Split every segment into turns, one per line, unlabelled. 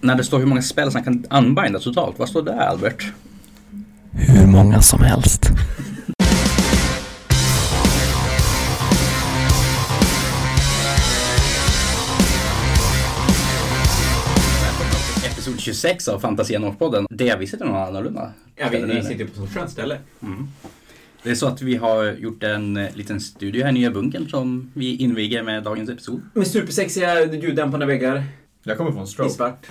När det står hur många spel som kan anbinda totalt, vad står det Albert?
Hur många som helst.
Episod 26 av Fantasianorspodden. Det vi sitter nog annorlunda.
Ja, vi,
Ställer det nu.
vi sitter på ett skönt ställe.
Det är så att vi har gjort en eh, liten studio här i Nya Bunkern som vi inviger med dagens episod.
Med supersexiga ljuddämpande väggar
Jag kommer få en
i
stroke.
svart.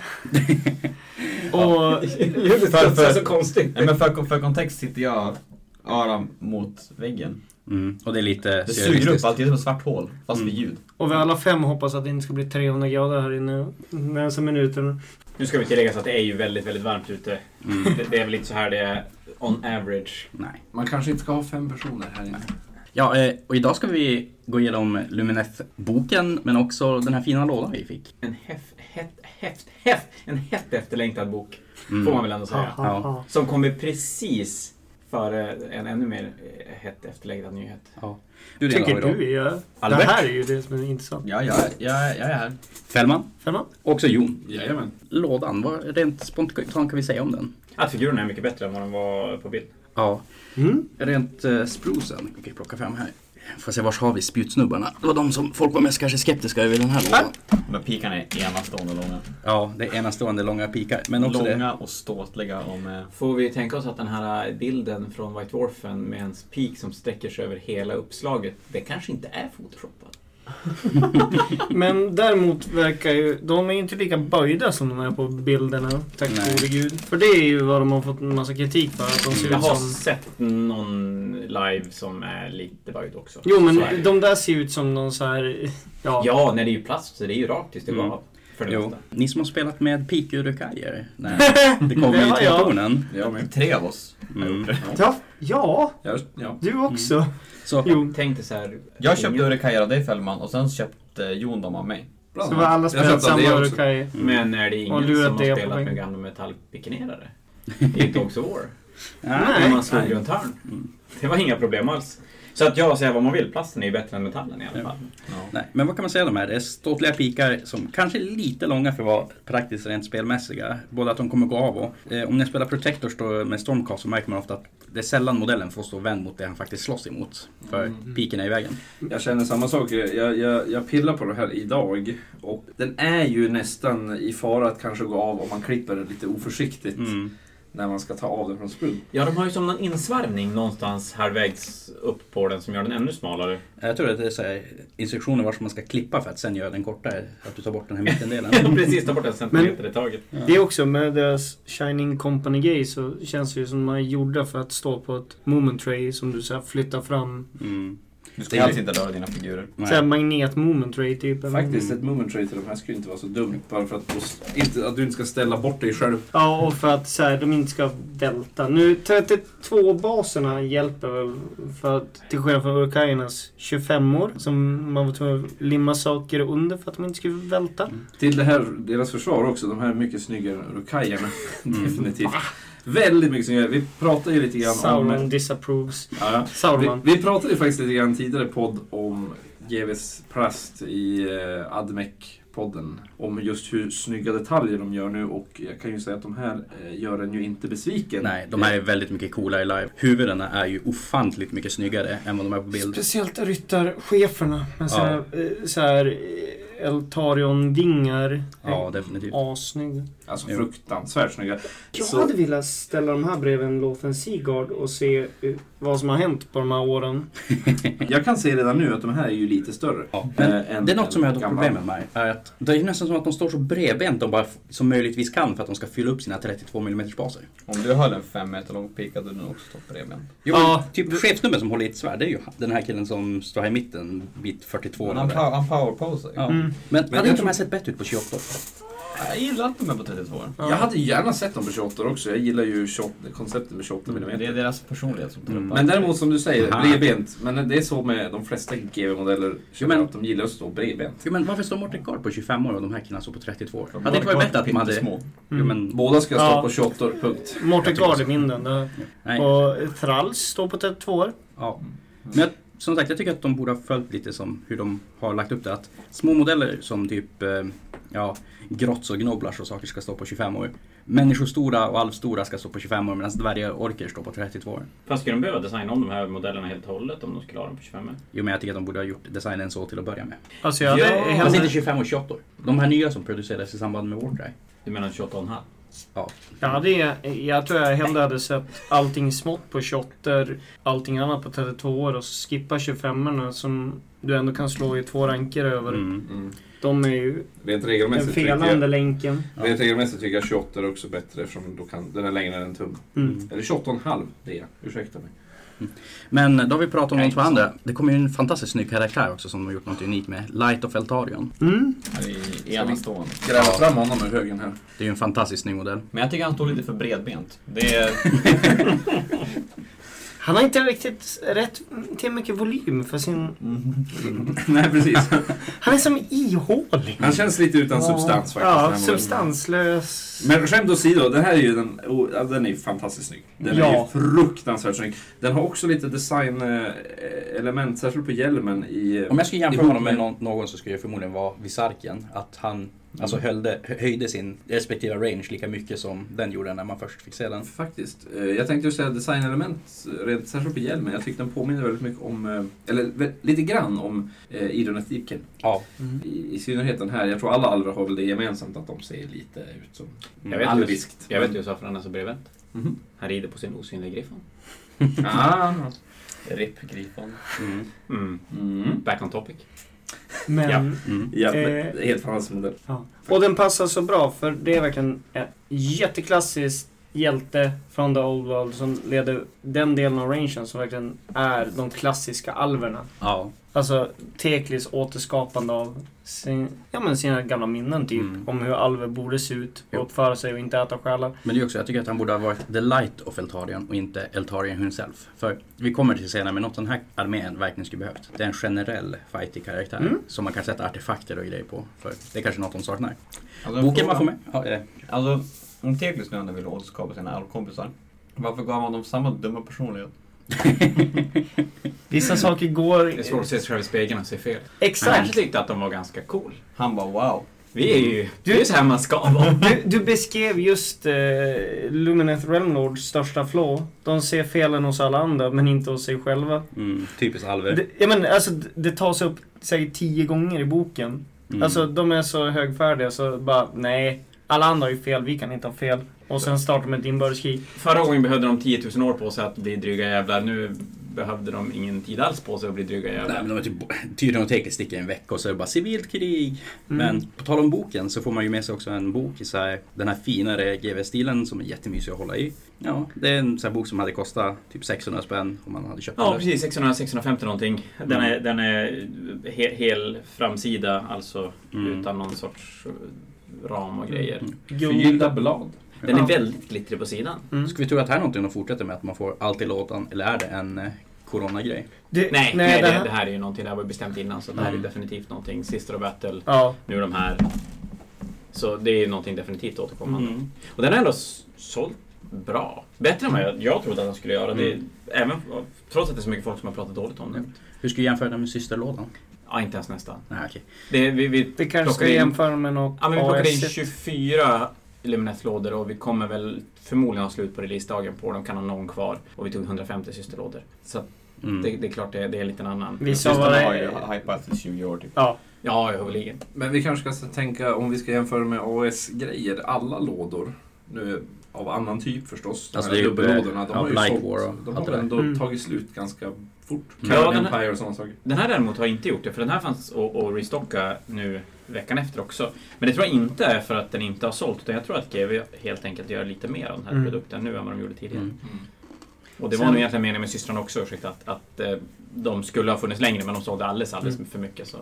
Och,
Ljudet
För-
studsar
för-
så konstigt.
nej, men för, för kontext sitter jag Aram mot väggen.
Mm. Och det är lite
Det suger upp
surrealistiskt.
allt, det är som ett svart hål fast
Mm.
med ljud.
Och vi alla fem hoppas att det inte ska bli 300 grader här inne närmaste minuterna.
Nu ska vi tillägga så att det är ju väldigt, väldigt varmt ute.
Mm.
Det, det är väl inte så här det är on average.
Nej.
Man kanske inte ska ha fem personer här inne.
Ja, eh, och idag ska vi gå igenom Lumineth-boken men också den här fina lådan vi fick.
En heft, hett, heft, heft, en hett efterlängtad bok.
Mm.
Får man väl ändå säga.
Ja.
ja.
Som kommer precis före en ännu mer eh, hett efterlängtad nyhet.
Ja. Du redan
Tycker
har idag.
du? Ja. Det
Albert?
här är ju det som är intressant.
Ja, ja, ja, jag är här.
Fällman,
Femman?
också Jon.
Jajamän.
Lådan, vad rent spontant kan vi säga om den?
Att figurerna är mycket bättre än vad de var på bild.
Ja,
Mm.
rent eh, sprosen. Vi kan ju plocka fram här. Får se, vars har vi spjutsnubbarna? Det var de som folk var mest kanske skeptiska över den här lådan.
Men pikarna är enastående långa.
Ja, det är enastående långa pikar. Men också det.
Långa och ståtliga eh, och med...
Får vi tänka oss att den här eh, bilden från White Dwarfen med en pik som sträcker sig över hela uppslaget, det kanske inte är photoshopat?
Men däremot verkar ju... De är ju inte lika böjda som de är på bilderna. Tack
Nej.
gode gud. För det är ju vad de har fått en massa kritik för. Att de ser
Jag
ut
har
som...
sett någon live som är lite böjd också.
Jo
Så är det.
men de där ser ju ut som någon så här... Ja.
Ja, nej det är ju plast så det är ju rakt tills det
Mm.
går av. För det
Jo,
mesta.
ni som har spelat med pikurukajer. Nej, det kommer
Det
ju
har
till
jag.
tornen.
Jag med.
Tre av oss har
Mm.
gjort det.
Ja, ja,
Jag, ja.
du också.
Så,
Jo.
Tänk dig så här.
Jag köpte
Mm.
ingen-
Urekajer av dig Fällman och sen köpte Jon dem av mig.
Bland
Så var alla
annat. Jag
spelat
köpte
samma
det också.
Urukai.
Men är det
Och
ingen
lurat
som
det
har
på
spelat
mig.
med gamla metallpikenerare? I Dogs of War?
ja,
När
Nej. Mm.
man slog runt hörn. Det var inga problem alls. Så att jag säger vad man vill, plasten är ju bättre än metallen i alla fall.
nej. Men vad kan man säga om de här? Det är ståtliga pikar som kanske är lite långa för att vara praktiskt rent spelmässiga. Både att de kommer gå av och... Eh, om ni spelar Protectors då, med Stormcast så märker man ofta att det är sällan modellen får stå vänd mot det han faktiskt slåss emot. För piken är i vägen.
Jag känner samma sak. Jag, jag, jag pillar på det här idag och den är ju nästan i fara att kanske gå av om man klipper den lite oförsiktigt
Mm.
när man ska ta av den från sprung.
Ja, de har ju som någon insvarvning någonstans halvvägs upp på den som gör den ännu smalare.
Jag tror att det är så här, instruktioner var som man ska klippa för att sen göra den kortare. Att du tar bort den här mittendelen.
Precis, ta bort en centimeter i taget.
Det är också med deras Shining Company grej så känns det ju som man är gjorda för att stå på ett moment tray som du så här flyttar fram.
Mm.
Du
Det
ska
är-
alls inte röra dina figurer.
Nej.
Så här magnet moment tray typ. eller-
Faktiskt, ett moment trait till de här skulle inte vara så dumt. Bara för att, då- inte, att du inte ska ställa bort dig själv.
Ja, och för att så här, de inte ska välta. Nu 32-baserna hjälper väl för att till skillnad från Urkajernas 25-or som man var tvungen att limma saker under för att de inte skulle välta.
Till det här, deras försvar också, de här är mycket snyggare rukajerna.
Mm.
Definitivt. Väldigt mycket snyggare. Vi pratade ju lite grann
Sauron
om...
disapproves.
Ja,
Sauron.
Vi, vi pratade ju faktiskt lite grann tidigare podd om GVs plast i eh, Admec-podden. Om just hur snygga detaljer de gör nu och jag kan ju säga att de här eh, gör en ju inte besviken.
Nej, de här är väldigt mycket coolare live. Huvudena är ju ofantligt mycket snyggare än vad de är på bild.
Speciellt ryttarcheferna med så här, eh, så här eh, Eltarion-vingar.
Ja, definitivt.
Assnygg.
Alltså
Jo.
fruktansvärt snygga.
Jag
Så-
hade velat ställa de här bredvid en Lothen Seagard och se eh, vad som har hänt på de här åren.
Jag kan se redan nu att de här är ju lite större.
Ja, men
eh, än
det är något som jag
en
har
gammal.
problem med mig. Är att det är nästan som att de står så bredbent de bara f- som möjligtvis kan för att de ska fylla upp sina 32 mm baser.
Om du höll en fem meter lång pik hade du nog också stått bredvid en.
Jo,
Ja,
typ chefsnummer som håller i ett svärd, det är ju den här killen som står här i mitten, bit 42.
Men
eller
han,
vad
pow-
det är.
han powerposar ju.
Ja.
Mm.
Men,
jag
hade inte de
tror-
här sett bättre ut på 28?
Jag gillar inte de här på 32 år.
Jag hade ju gärna sett dem på 28 också. Jag gillar ju 28, konceptet med 28 mm.
Det är deras personlighet som tar upp
Mm.
allt.
Men däremot som du säger,
Aha.
bredbent. Men det är så med de flesta GV-modeller. känner
Men-
jag att de gillar att stå bredbent.
Jo, men varför står Morten Gard på 25 år och de här killarna står på 32 år?
De
Hade det inte varit bättre att man hade...
pyttesmå.
Jo,
Mm.
men...
Båda ska stå
Ja.
på 28 punkt.
Morten
Jag tycker
Mm. Gard
så.
är mindre än det.
Nej.
Och Thralls står på 32 år.
Ja. Men jag som sagt, jag tycker att de borde ha följt lite som hur de har lagt upp det. Att små modeller som typ eh, ja, grotts och gnoblars och saker ska stå på 25 år. Människostora och alvstora ska stå på 25 år medan dvärgar och orker står på 32 år.
Fast skulle de behöva designa om de här modellerna helt och hållet om de skulle ha dem på 25 år?
Jo men jag tycker att de borde ha gjort designen så till att börja med.
Alltså jag hade
Ja,
hellre-
Fast inte 25 och 28 år. De här nya som producerades i samband med Warcry.
Du menar 28,5?
Ja.
Jag, hade, jag tror jag hellre hade sett allting smått på 28 allting annat på 32 år och skippa 25orna som du ändå kan slå i två ranker över.
Mm.
Mm.
De är ju
Rent
den
regelmässigt tycker
felande
jag,
länken.
rent regelmässigt tycker jag 28 är också bättre eftersom då kan, den är längre än en tum.
Mm.
Eller 28,5 det är Ursäkta mig.
Men eh, då har vi pratat om
Nej,
de två andra. Det kommer ju en fantastiskt snygg karaktär också som de har gjort något unikt med. Light of Eltarion.
Mm.
Han är enastående.
Gräva fram honom ur högen här.
Det är ju en fantastiskt snygg modell.
Men jag tycker han står lite för bredbent. Det är,
Han har inte riktigt rätt till mycket volym för sin...
Nej precis.
Han är som ihålig.
Han känns lite utan substans faktiskt. den här
Ja,
modellen.
substanslös.
Men skämt åsido, den här är ju den, oh, ja, den är ju fantastiskt snygg. Den är
Ja.
ju fruktansvärt snygg. Den har också lite designelement, särskilt på hjälmen i...
Om jag skulle jämföra
Ihop
honom med
med-
någon, någon så skulle jag förmodligen vara Visarken. Att han alltså höjde, höjde sin respektive range lika mycket som den gjorde när man först fick se den.
Faktiskt. Eh, Jag tänkte ju säga designelement, eh, rent särskilt på hjälmen. Jag tyckte den påminner väldigt mycket om, eh, eller vä- lite grann om eh, Idun of Deepkin.
Ja,
Mm.
I, I synnerhet den här. Jag tror alla alver har väl det gemensamt att de ser lite ut som
Jag vet
alviskt.
Jag vet ju varför han är så bredbent.
Mhm.
Han rider på sin osynliga griffon.
Ah.
Rip Grifon.
mm.
Mm.
Mm.
Back on topic.
Men...
Ja.
Mm.
Ja, men
Eh.
det är helt fantastisk modell.
Ja. Och den passar så bra för det är verkligen en jätteklassisk hjälte från The Old World som leder den delen av rangen som verkligen är de klassiska alverna.
ja.
Alltså Teklis återskapande av sin, ja, men sina gamla minnen typ.
Mm.
Om hur alver borde se ut
Jo.
och uppföra sig och inte äta själar.
Men det är också, jag tycker att han borde ha varit the light of Eltarion och inte Eltarion himself. För vi kommer till senare, men något den här armén verkligen skulle behövt. Det är en generell fightig karaktär
Mm.
som man kan sätta artefakter och grejer på. För det är kanske något de saknar.
Alltså, en
Boken
fråga.
man får med. Ja, eh,
Alltså, om Teglis nu ändå ville återskapa sina alvkompisar. Varför gav han dem samma dumma personlighet?
Vissa saker går...
Det är svårt att se sig själv i spegeln och se fel. Han
Exakt!
kanske tyckte att de var ganska cool.
Han bara wow.
Vi är ju... Det är ju så här man ska vara.
Du, du beskrev just eh, Lumineth Realmlords största flaw. De ser felen hos alla andra men inte hos sig själva.
mm, typiskt alver.
Det, ja, men, alltså, d- det tas upp säkert tio gånger i boken.
Mm.
Alltså de är så högfärdiga så bara nej. Alla andra har ju fel, vi kan inte ha fel. Och sen startar de ett inbördeskrig.
Förra gången behövde de 10 000 år på sig att bli dryga jävlar. Nu behövde de ingen tid alls på sig att bli dryga
Nej,
jävlar.
men de är typ, tydligen och Tekil sticker en vecka och så är det bara civilt krig.
Mm.
Men på tal om boken så får man ju med sig också en bok i så här, den här finare GV-stilen som är jättemysig att hålla i. Ja, det är en så här bok som hade kostat typ 600 spänn om man hade köpt
Ja,
den.
precis. 600, 650 någonting. Den är, den är he, hel framsida, alltså
Mm.
utan någon sorts eh, ram och grejer.
Mm.
Förgyllda blad.
Den
Ja.
är väldigt glittrig på sidan.
Mm.
Ska vi tro att det här är någonting de fortsätter med? Att man får allt i lådan? Eller är det en eh, coronagrej?
Det,
Nej, nej,
det
det,
här-
det här är ju någonting, det här var ju bestämt innan så det här är ju
Mm.
definitivt någonting. Sister of Battle,
Ja.
nu de här. Så det är ju någonting definitivt återkommande. Och den har ändå s- sålt bra. Bättre än vad jag, jag trodde att den skulle göra.
Mm.
Det, även, trots att det är så mycket folk som har pratat dåligt om den.
Hur ska vi jämföra den med systerlådan?
Ja, inte ens nästan.
Nej, okej.
Det, vi, vi,
Det kanske ska
Plockar in-
jämföra med något
ja, men vi plockade in
AS1.
24 Illuminati-lådor och vi kommer väl förmodligen ha slut på releasedagen på dem, kan ha någon kvar. Och vi tog 150 systerlådor. Så att
Mm.
det, det är klart det, det är lite en annan.
Vissa
Just
var
den har
det...
ju hypat i 20 år typ.
Ja.
Ja, jag håller i.
Men vi kanske ska tänka, om vi ska jämföra med AS-grejer, alla lådor, nu av annan typ förstås, de
Alltså,
här
det är ju-
dubbellådorna, de
ja,
har ju eh,
Light
sålt,
War och
de
allt
har
det
väl
där.
ändå
Mm.
tagit slut ganska fort.
Mm.
Ja,
Carrier
den här-
Empire och sådana saker.
Den här däremot har inte gjort det, för den här fanns att att restocka nu veckan efter också. Men det tror jag inte är för att den inte har sålt, utan jag tror att GW helt enkelt gör lite mer av den här
Mm.
produkten nu än vad de gjorde tidigare.
Mm.
Och det var
Sen-
nog egentligen meningen med systrarna också, ursäkta, att, att eh, de skulle ha funnits längre, men de sålde alldeles, alldeles för mycket. Så.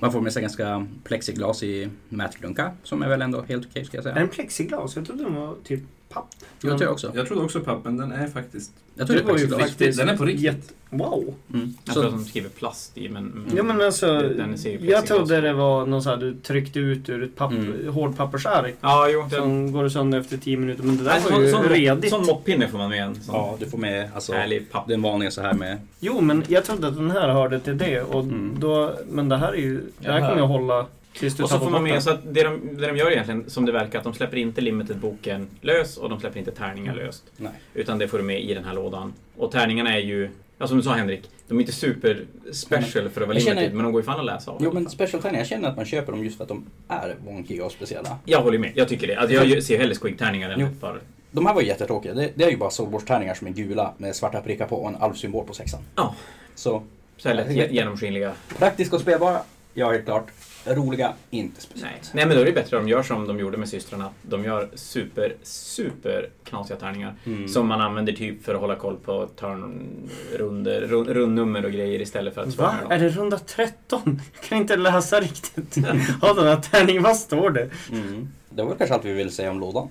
Man får med sig ganska plexiglas i mätklunka som är väl ändå helt okej ska jag
Är
säga.
Mm.
det en plexiglas? Jag trodde den var typ papp.
Jag tror jag också.
Jag trodde också papp, men den är faktiskt...
Jag tror det,
var ju
är faktiskt
faktiskt
Den är på riktigt.
jätte- Wow!
Mm.
Jag tror att de skriver plast i, men... men
Ja, men alltså,
Mm. den ser ju
jag
plexiglas.
trodde det var någon så här du tryckte ut ur ett papp,
Mm.
hårdpappersark
Ja, jo. Den,
som går sönder efter 10 minuter. Men det där
alltså,
var ju
sån,
redigt.
sån moppinne får man med en. Sån
Ja, du får med alltså,
härlig papp.
den vanliga så här med
Jo, men jag trodde att den här hörde till det. Och
Mm.
då, men det här är ju... Det här
Jaha.
kommer jag hålla tills du
Och så
tappar
får man
bort den.
med så att det de, det de gör egentligen, som det verkar, att de släpper inte Limited-boken lös och de släpper inte tärningar löst.
Mm. Nej.
Utan det får du med i den här lådan. Och tärningarna är ju, ja, som du sa Henrik, de är inte super special för att vara
Jag
Limited,
känner-
men de går ju fan att läsa av.
Jo men specialtärningar, jag känner att man köper dem just för att de är wonkiga och speciella.
Jag håller med, jag tycker det. Alltså, jag ju- ser hellre Squig-tärningar än
Mm. Jo.
ett par...
De här var ju jättetråkiga. Det, det är ju bara soulborstärningar som är gula med svarta prickar på och en alvsymbol på sexan.
Ja.
Så
Så här lätt ge- genomskinliga.
praktiska och spelbara, ja helt klart. Roliga, inte
Nej.
speciellt.
Nej, men då är det bättre att de gör som de gjorde med systrarna. De gör super, super knasiga tärningar.
Mm.
Som man använder typ för att hålla koll på turn-runder, rund- rundnummer och grejer istället för att slå
Va?
med dem.
Är det runda 13? Jag kan inte läsa riktigt. Av den här tärningen, vad står det?
Mm. Det var kanske allt vi ville säga om lådan.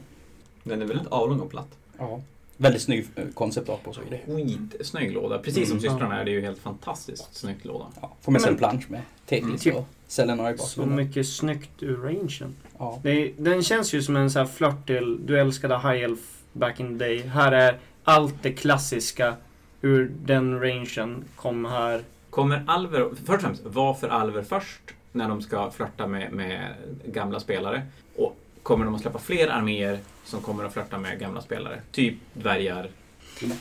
Den är väldigt avlång och platt.
Ja. Väldigt snygg eh, konceptart på så grejer.
Skitsnygg låda. Precis som
Mm.
systrarna är det ju helt fantastiskt snyggt låda.
Ja. Får med sig en
Men-
plansch med Tetris
Mm.
och Selenoir i
Så
bakgrunden.
mycket snyggt ur rangen.
Ja.
Det, är- den känns ju som en sån här flört till Du älskade High Elf back in the day. Här är allt det klassiska ur den rangen kom här.
Kommer Alver, först och främst, vad för Alver först när de ska flörta med, med gamla spelare? Och kommer de att släppa fler arméer som kommer att flörta med gamla spelare? Typ dvärgar.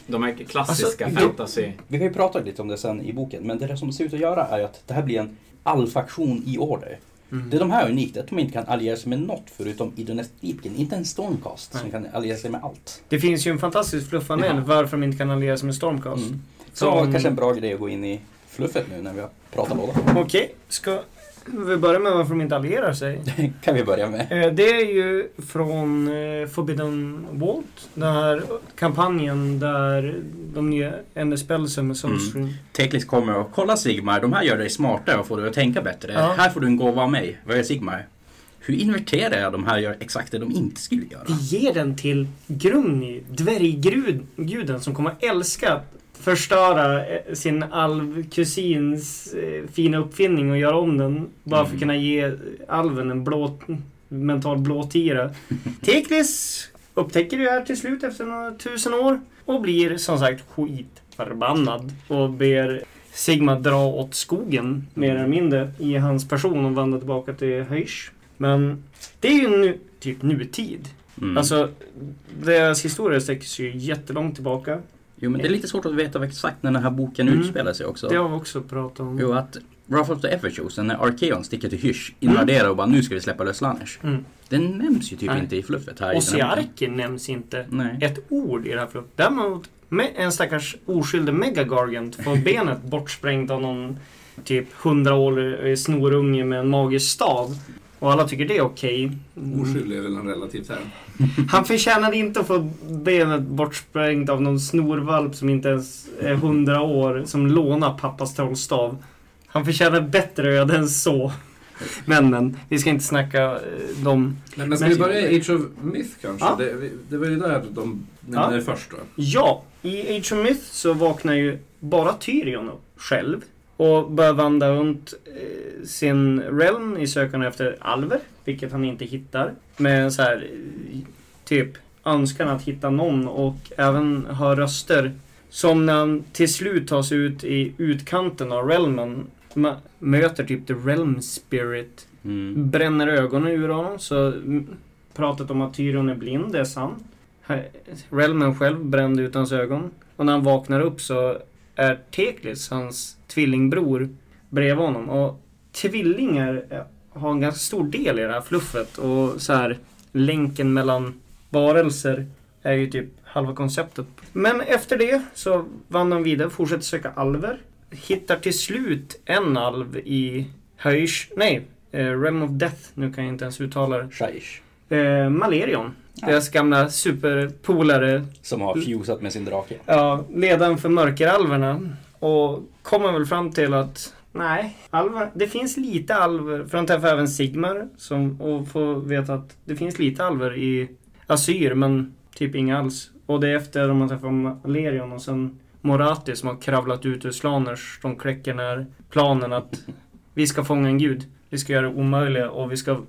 De här klassiska
Alltså,
fantasy.
Vi har ju pratat lite om det sen i boken, men det som ser ut att göra är ju att det här blir en all-faktion i order. Det
Mm.
de här är unikt är att de inte kan alliera sig med något förutom Idonest Deepkin. Inte en Stormcast som
Nej.
kan alliera sig med allt.
Det finns ju en fantastisk fluffanel
Ja.
varför de inte kan alliera sig med Stormcast.
Mm. Så
Som-
kanske en bra grej att gå in i fluffet nu när vi har pratat låda.
Okej, ska vi börja med varför de inte allierar sig?
Det kan vi börja med.
Eh, Det är ju från eh, Forbidden Vault. Den här kampanjen där de nya NSPelsen med
Mm.
Sunstream.
Teklis kommer och kolla Sigmar, de här gör dig smartare och får dig att tänka bättre.
Ja.
Här får du en gåva av mig. Vad gör Sigmar? Hur inverterar jag de här gör exakt det de inte skulle göra?
Vi ger den till Grumni, dvärgguden som kommer älska att förstöra eh, sin alvkusins eh, fina uppfinning och göra om den. Bara för
Mm.
att kunna ge alven en blå, mental blå tira. Teklis upptäcker det här till slut efter några tusen år och blir som sagt skitförbannad och ber Sigma dra åt skogen mer eller mindre i hans person och vandra tillbaka till Höjs. Men det är ju nu, typ nutid.
Mm.
Alltså, deras historia sträcker sig ju jättelångt tillbaka.
jo, men det är lite svårt att veta exakt när den här boken
Mm.
utspelar sig också.
Det har vi också pratat om.
Jo, att Wrath of the Everchosen, när Archeon sticker till Hysch, invaderar och bara nu ska vi släppa lös Lanners.
Mm.
Den nämns ju typ
Nej.
inte i fluffet här. i
Och
den här boken.
Siarken nämns inte
Nej.
ett ord i det här flödet. Däremot med en stackars oskyldig megagargant får benet bortsprängd av någon typ hundraårig snorunge med en magisk stav. Och alla tycker det är okej.
Oskyldig är väl en relativ term.
Han förtjänade inte att få benet bortsprängt av någon snorvalp som inte ens är hundra år som lånar pappas trollstav. Han förtjänar bättre öde än så. Men men, vi ska inte snacka eh, dem.
Men, men ska
Men-
vi börja i Age of Myth kanske?
Ja.
Det, vi- det var ju där de nämnde
Ja.
det först. Då.
Ja, i Age of Myth så vaknar ju bara Tyrion upp själv och börjar vandra runt eh, sin realm i sökande efter alver, vilket han inte hittar. Med en så här eh, typ önskan att hitta någon och även hör röster. Som när han till slut tas ut i utkanten av realmen ma- möter typ the realm spirit
Mm.
bränner ögonen ur honom. Så mm, pratet om att Tyrion är blind, det är sant. Här- Relman själv brände ut hans ögon. Och när han vaknar upp så är Teklis, hans tvillingbror, bredvid honom. Och tvillingar eh, har en ganska stor del i det här fluffet. Och så här, länken mellan varelser är ju typ halva konceptet. Men efter det så vandrar han vidare, fortsätter söka alver. Hittar till slut en alv i Höjs, nej, eh, Realm of Death, nu kan jag inte ens uttala det.
Shaish,
Eh, Malerion,
Ja.
deras gamla superpolare,
som har fusat med sin drake.
ja, ledaren för mörkeralverna. Och kommer väl fram till att nej, alver, det finns lite alver, för han träffar även Sigmar som, och får veta att det finns lite alver i Asyr, men Typ inga alls. Och det är efter de har träffat Malerion och sen Morati som har kravlat ut ur Slaners. De kläcker den här planen att vi ska fånga en gud. Vi ska göra det omöjliga och vi ska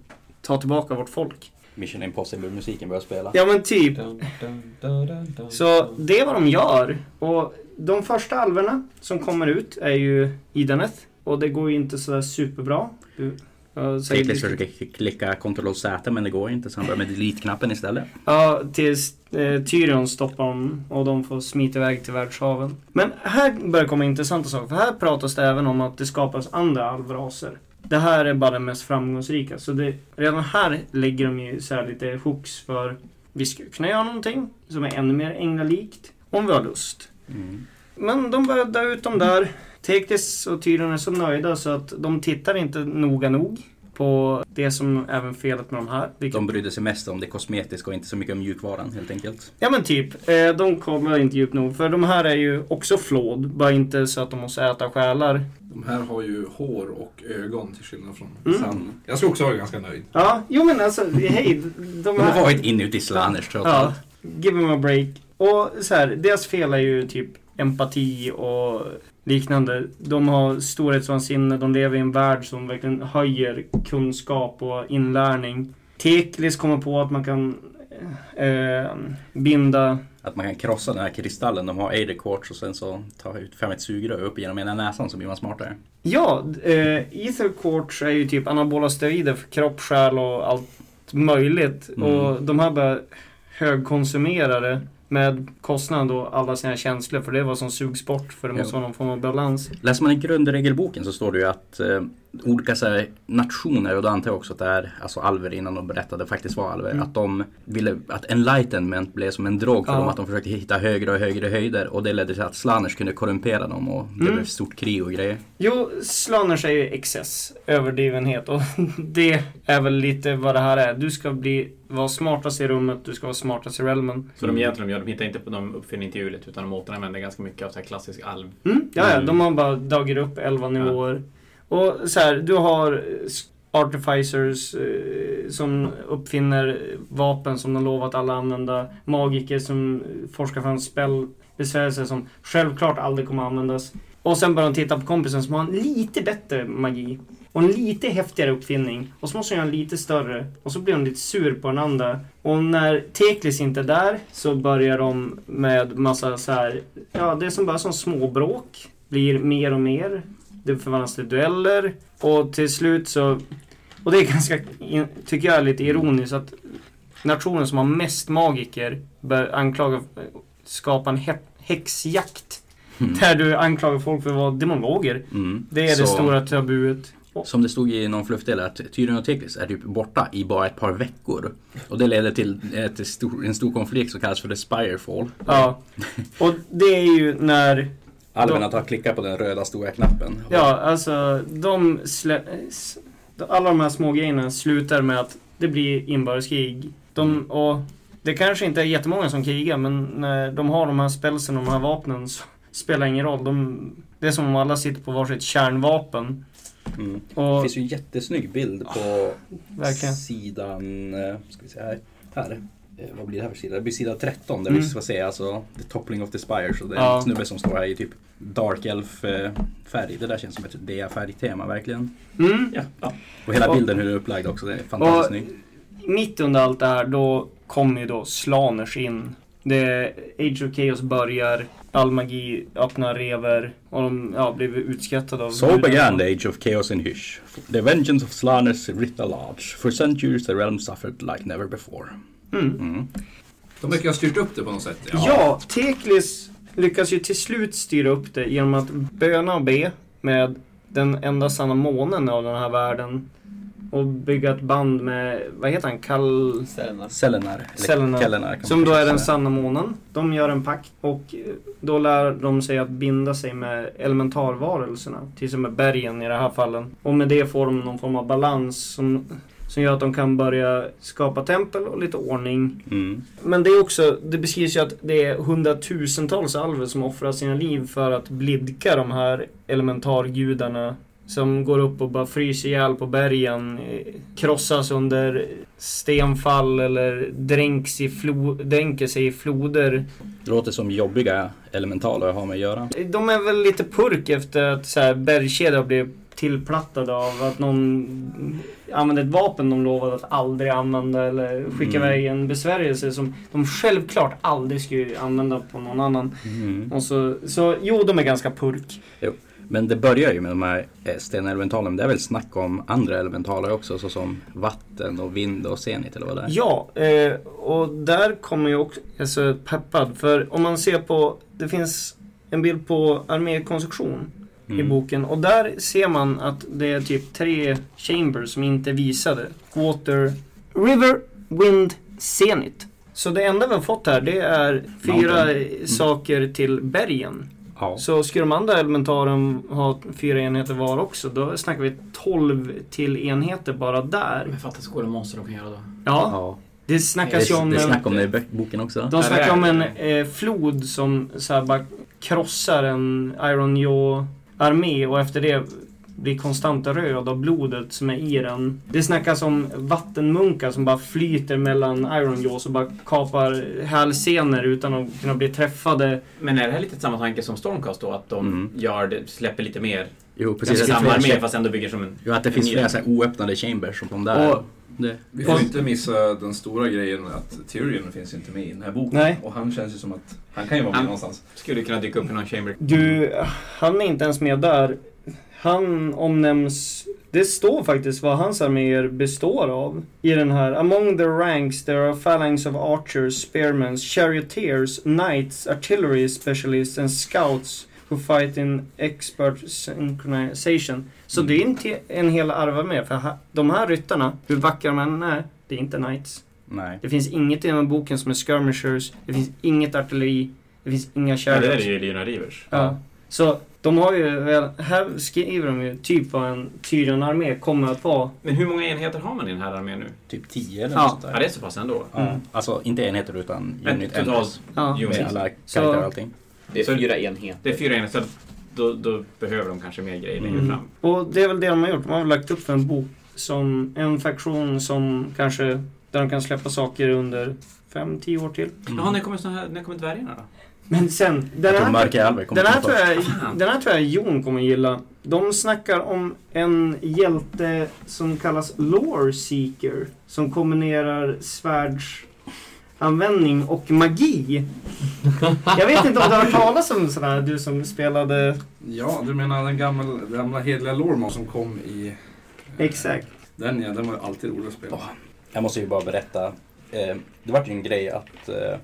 ta tillbaka vårt folk.
Mission Impossible-musiken börjar spela.
Ja men typ.
Dun, dun, dun, dun, dun.
Så det är vad de gör. Och de första alverna som kommer ut är ju Idaneth. Och det går ju inte sådär superbra. Du, jag säger-
Tekniskt försöker klicka Ctrl Z men det går inte så han börjar med delete-knappen istället.
Ja, tills eh, Tyrion stoppar dem och de får smita iväg till världshaven. Men här börjar komma intressanta saker, för här pratas det även om att det skapas andra alvraser. Det här är bara den mest framgångsrika, så det, redan här lägger de ju så här lite hooks för vi skulle kunna göra någonting som är ännu mer änglalikt, om vi har lust.
Mm.
Men de börjar dö ut dem där. Tektis och Tyrion är så nöjda så att de tittar inte noga nog på det som även felet med de här. vilket-
De brydde sig mest om det kosmetiska och inte så mycket om mjukvaran helt enkelt.
Ja men typ, eh, de kommer inte djupt nog. För de här är ju också flåd, bara inte så att de måste äta själar.
De här har ju hår och ögon till skillnad från
Mm.
San. Jag skulle också vara ganska nöjd.
Ja, jo men alltså hej, de
De har
här...
varit inuti Slaners trots
Ja,
allt.
give them a break. Och så här, deras fel är ju typ empati och liknande. De har storhetsvansinne, de lever i en värld som verkligen höjer kunskap och inlärning. Teklis kommer på att man kan eh, binda
Att man kan krossa den här kristallen. De har Eider Quartz och sen så tar jag ut fram ett sugrör upp genom ena näsan så blir man smartare.
Ja, eh, ether quartz är ju typ anabola steroider för kropp, själ och allt möjligt.
Mm.
Och de här bara högkonsumera det med kostnaden då alla sina känslor för det var som sugs bort för det måste
Ja.
vara någon form av balans.
Läser man i grundregelboken så står det ju att eh, olika så här, nationer, och då antar jag också att det är alltså alver innan de berättade faktiskt var alver,
Mm.
att de ville att enlightenment blev som en drog för
Ja.
dem, att de försökte hitta högre och högre höjder och det ledde till att slaners kunde korrumpera dem och det
Mm.
blev stort krig och grejer.
Jo, slanners är ju excess, överdrivenhet och det är väl lite vad det här är. Du ska bli, vara smartast i rummet, du ska vara smartast i realmen.
Så de egentligen de gör, de hittar inte på de uppfinner inte hjulet utan de återanvänder ganska mycket av så här klassisk alv.
Mm, ja, ja,
Mm.
de har bara dragit upp 11 nivåer. Och så här, du har eh, artificers eh, som uppfinner vapen som de lovat alla använda. Magiker som eh, forskar fram spellbesvärjelser som självklart aldrig kommer användas. Och sen börjar de titta på kompisen som har en lite bättre magi. Och en lite häftigare uppfinning. Och så måste de göra en lite större. Och så blir de lite sur på den andra. Och när Teklis inte är där så börjar de med massa så här Ja, det som bara som småbråk blir mer och mer. Det förvandlas till dueller och till slut så... Och det är ganska, in- tycker jag, är lite ironiskt att nationen som har mest magiker bör anklaga skapa en hä- häxjakt.
Mm.
Där du anklagar folk för att vara demonologer.
Mm.
Det är
Så-
det stora tabuet.
Som det stod i någon fluffdel att Tyrion och Teklis är typ borta i bara ett par veckor. Och det leder till ett stor, en stor konflikt som kallas för The Spirefall.
Ja. Och det är ju när
Alverna tar klicka på den röda stora knappen.
Ja, alltså de slä... s- Alla de här små grejerna slutar med att det blir inbördeskrig. De, och det kanske inte är jättemånga som krigar, men när de har de här spelsen och de här vapnen så spelar det ingen roll. De, det är som om alla sitter på varsitt kärnvapen.
Mm. Det
Och
finns ju en jättesnygg bild på
verkligen.
sidan, eh, ska vi se här, här. Eh, Vad blir det här för sida? Det blir sida 13 där vi
Mm.
ska se alltså The Toppling of the Spire. Så det är en
Ja.
snubbe som står här i typ Dark Elf eh, färg. Det där känns som ett DA-färgtema verkligen.
Mm.
Ja, ja.
Och hela
Och-
bilden hur den är upplagd också, det är fantastiskt
Och-
snyggt.
Mitt under allt det här, då kommer ju då Slaners in. Det Age of Chaos börjar, all magi öppnar rever och de ja, blev utskrattade av
So began the age of chaos in Hysh. The vengeance of Slaners writ large. For centuries the realm suffered like never before.
Mm.
Mm.
De verkar ha styrt upp det på något sätt.
Ja. Teklis lyckas ju till slut styra upp det genom att böna och be med den enda sanna månen av den här världen. Och bygga ett band med, vad heter han, Kal...
Städerna.
Selenar. eller
Selenar.
Kellenar kan man
Som då är
kanske
den
säga.
sanna månen. De gör en pakt och eh, då lär de sig att binda sig med elementarvarelserna. Till som med bergen i det här fallen. Och med det får de någon form av balans som, som gör att de kan börja skapa tempel och lite ordning.
Mm.
Men det är också, det beskrivs ju att det är hundratusentals alver som offrar sina liv för att blidka de här elementargudarna Som går upp och bara fryser ihjäl på bergen. eh, Krossas under stenfall eller dränks i flo- dränker sig i floder.
Det låter som jobbiga elementaler jag har med att göra.
De är väl lite purk efter att så här, bergskedjor blev tillplattade av att någon använde ett vapen de lovade att aldrig använda eller skicka
Mm.
iväg en besvärjelse som de självklart aldrig skulle använda på någon annan.
Mm.
Och så, så jo, de är ganska purk.
Men det börjar ju med de här eh, stenelementalerna. men Det är väl snack om andra elementaler också såsom vatten och vind och senit eller vad det är.
Ja, eh, och där kommer jag också jag är så peppad. För om man ser på, det finns en bild på armékonstruktion. i
Mm.
boken. Och där ser man att det är typ tre chambers som inte är visade. Water, River, Wind, Zenit. Så det enda vi har fått här det är fyra
Mm.
saker till bergen.
Ja.
Så skulle de andra elementaren ha fyra enheter var också, då snackar vi 12 till enheter bara där.
Men fatta så coola monster de kan göra då.
Ja,
Ja.
det
Det,
snackas ju om...
det
eh,
snackar om det i bö- boken också.
de snackar om en
Ja,
eh, flod som så här bara krossar en Iron Jaw-armé och efter det blir konstant röd av blodet som är i den. Det snackas om vattenmunkar som bara flyter mellan Iron Jaws och bara kapar hälsenor utan att kunna bli träffade.
Men är det här lite samma tanke som Stormcast då? Att de
Mm.
gör det, släpper lite mer?
Jo,
Precis,
precis.
ska
samma
få-
armé fast ändå bygger som en...
Jo, att det finns
en-
flera så här oöppnade chambers som de där.
Och-
det.
Vi får inte missa den stora grejen att Tyrion finns inte med i den här boken.
Nej.
Och han känns ju som att han kan ju vara med
Han-
någonstans.
Skulle kunna dyka upp i någon chamber.
Du, han är inte ens med där. Han omnämns... Det står faktiskt vad hans arméer består av i den här. Among the ranks there are phalanx of archers, spearmen, charioteers, knights, artillery specialists and scouts who fight in expert synchronization. Så det är
Mm.
inte en hel arva med för ha- de här ryttarna, hur vackra de än är, det är inte knights.
Nej.
Det finns inget i den här boken som är skirmishers, det finns inget artilleri, det finns inga
Ja,
chariots.
det där är ju Lina Rivers.
Ja. Så de har ju, väl- här skriver de ju typ vad en Tyrion-armé kommer att vara.
Men hur många enheter har man i den här armén nu?
Typ 10 eller
Ja.
något sånt
Ja,
där.
det är så pass ändå.
Ja. Alltså inte enheter utan
Men
unit
totalt...
Ja.
Jo,
Med
precis.
alla
Så-
karaktärer och allting.
Det är fyra enheter.
Det är fyra enheter, så då, då behöver de kanske mer grejer längre
Mm.
fram.
Och det är väl det de har gjort. De har väl lagt upp en bok som en faktion som kanske, där de kan släppa saker under 5-10 år till.
Mm. Jaha, när kommer, såna här- när kommer dvärgarna då?
Men sen, den
Att de
här,
mörka alver kommer
den här,
till
tror jag,
Fan.
den här tror jag Jon kommer gilla. De snackar om en hjälte som kallas Lore Seeker. Som kombinerar svärdsanvändning och magi. Jag vet inte om du har hört talas om sådär, du som spelade...
Ja, du menar den gamla, gamla hedliga Lormon som kom i...
Exakt.
Den ja, den var ju alltid rolig att spela.
Åh. Jag måste ju bara berätta. Eh, det var ju en grej att eh,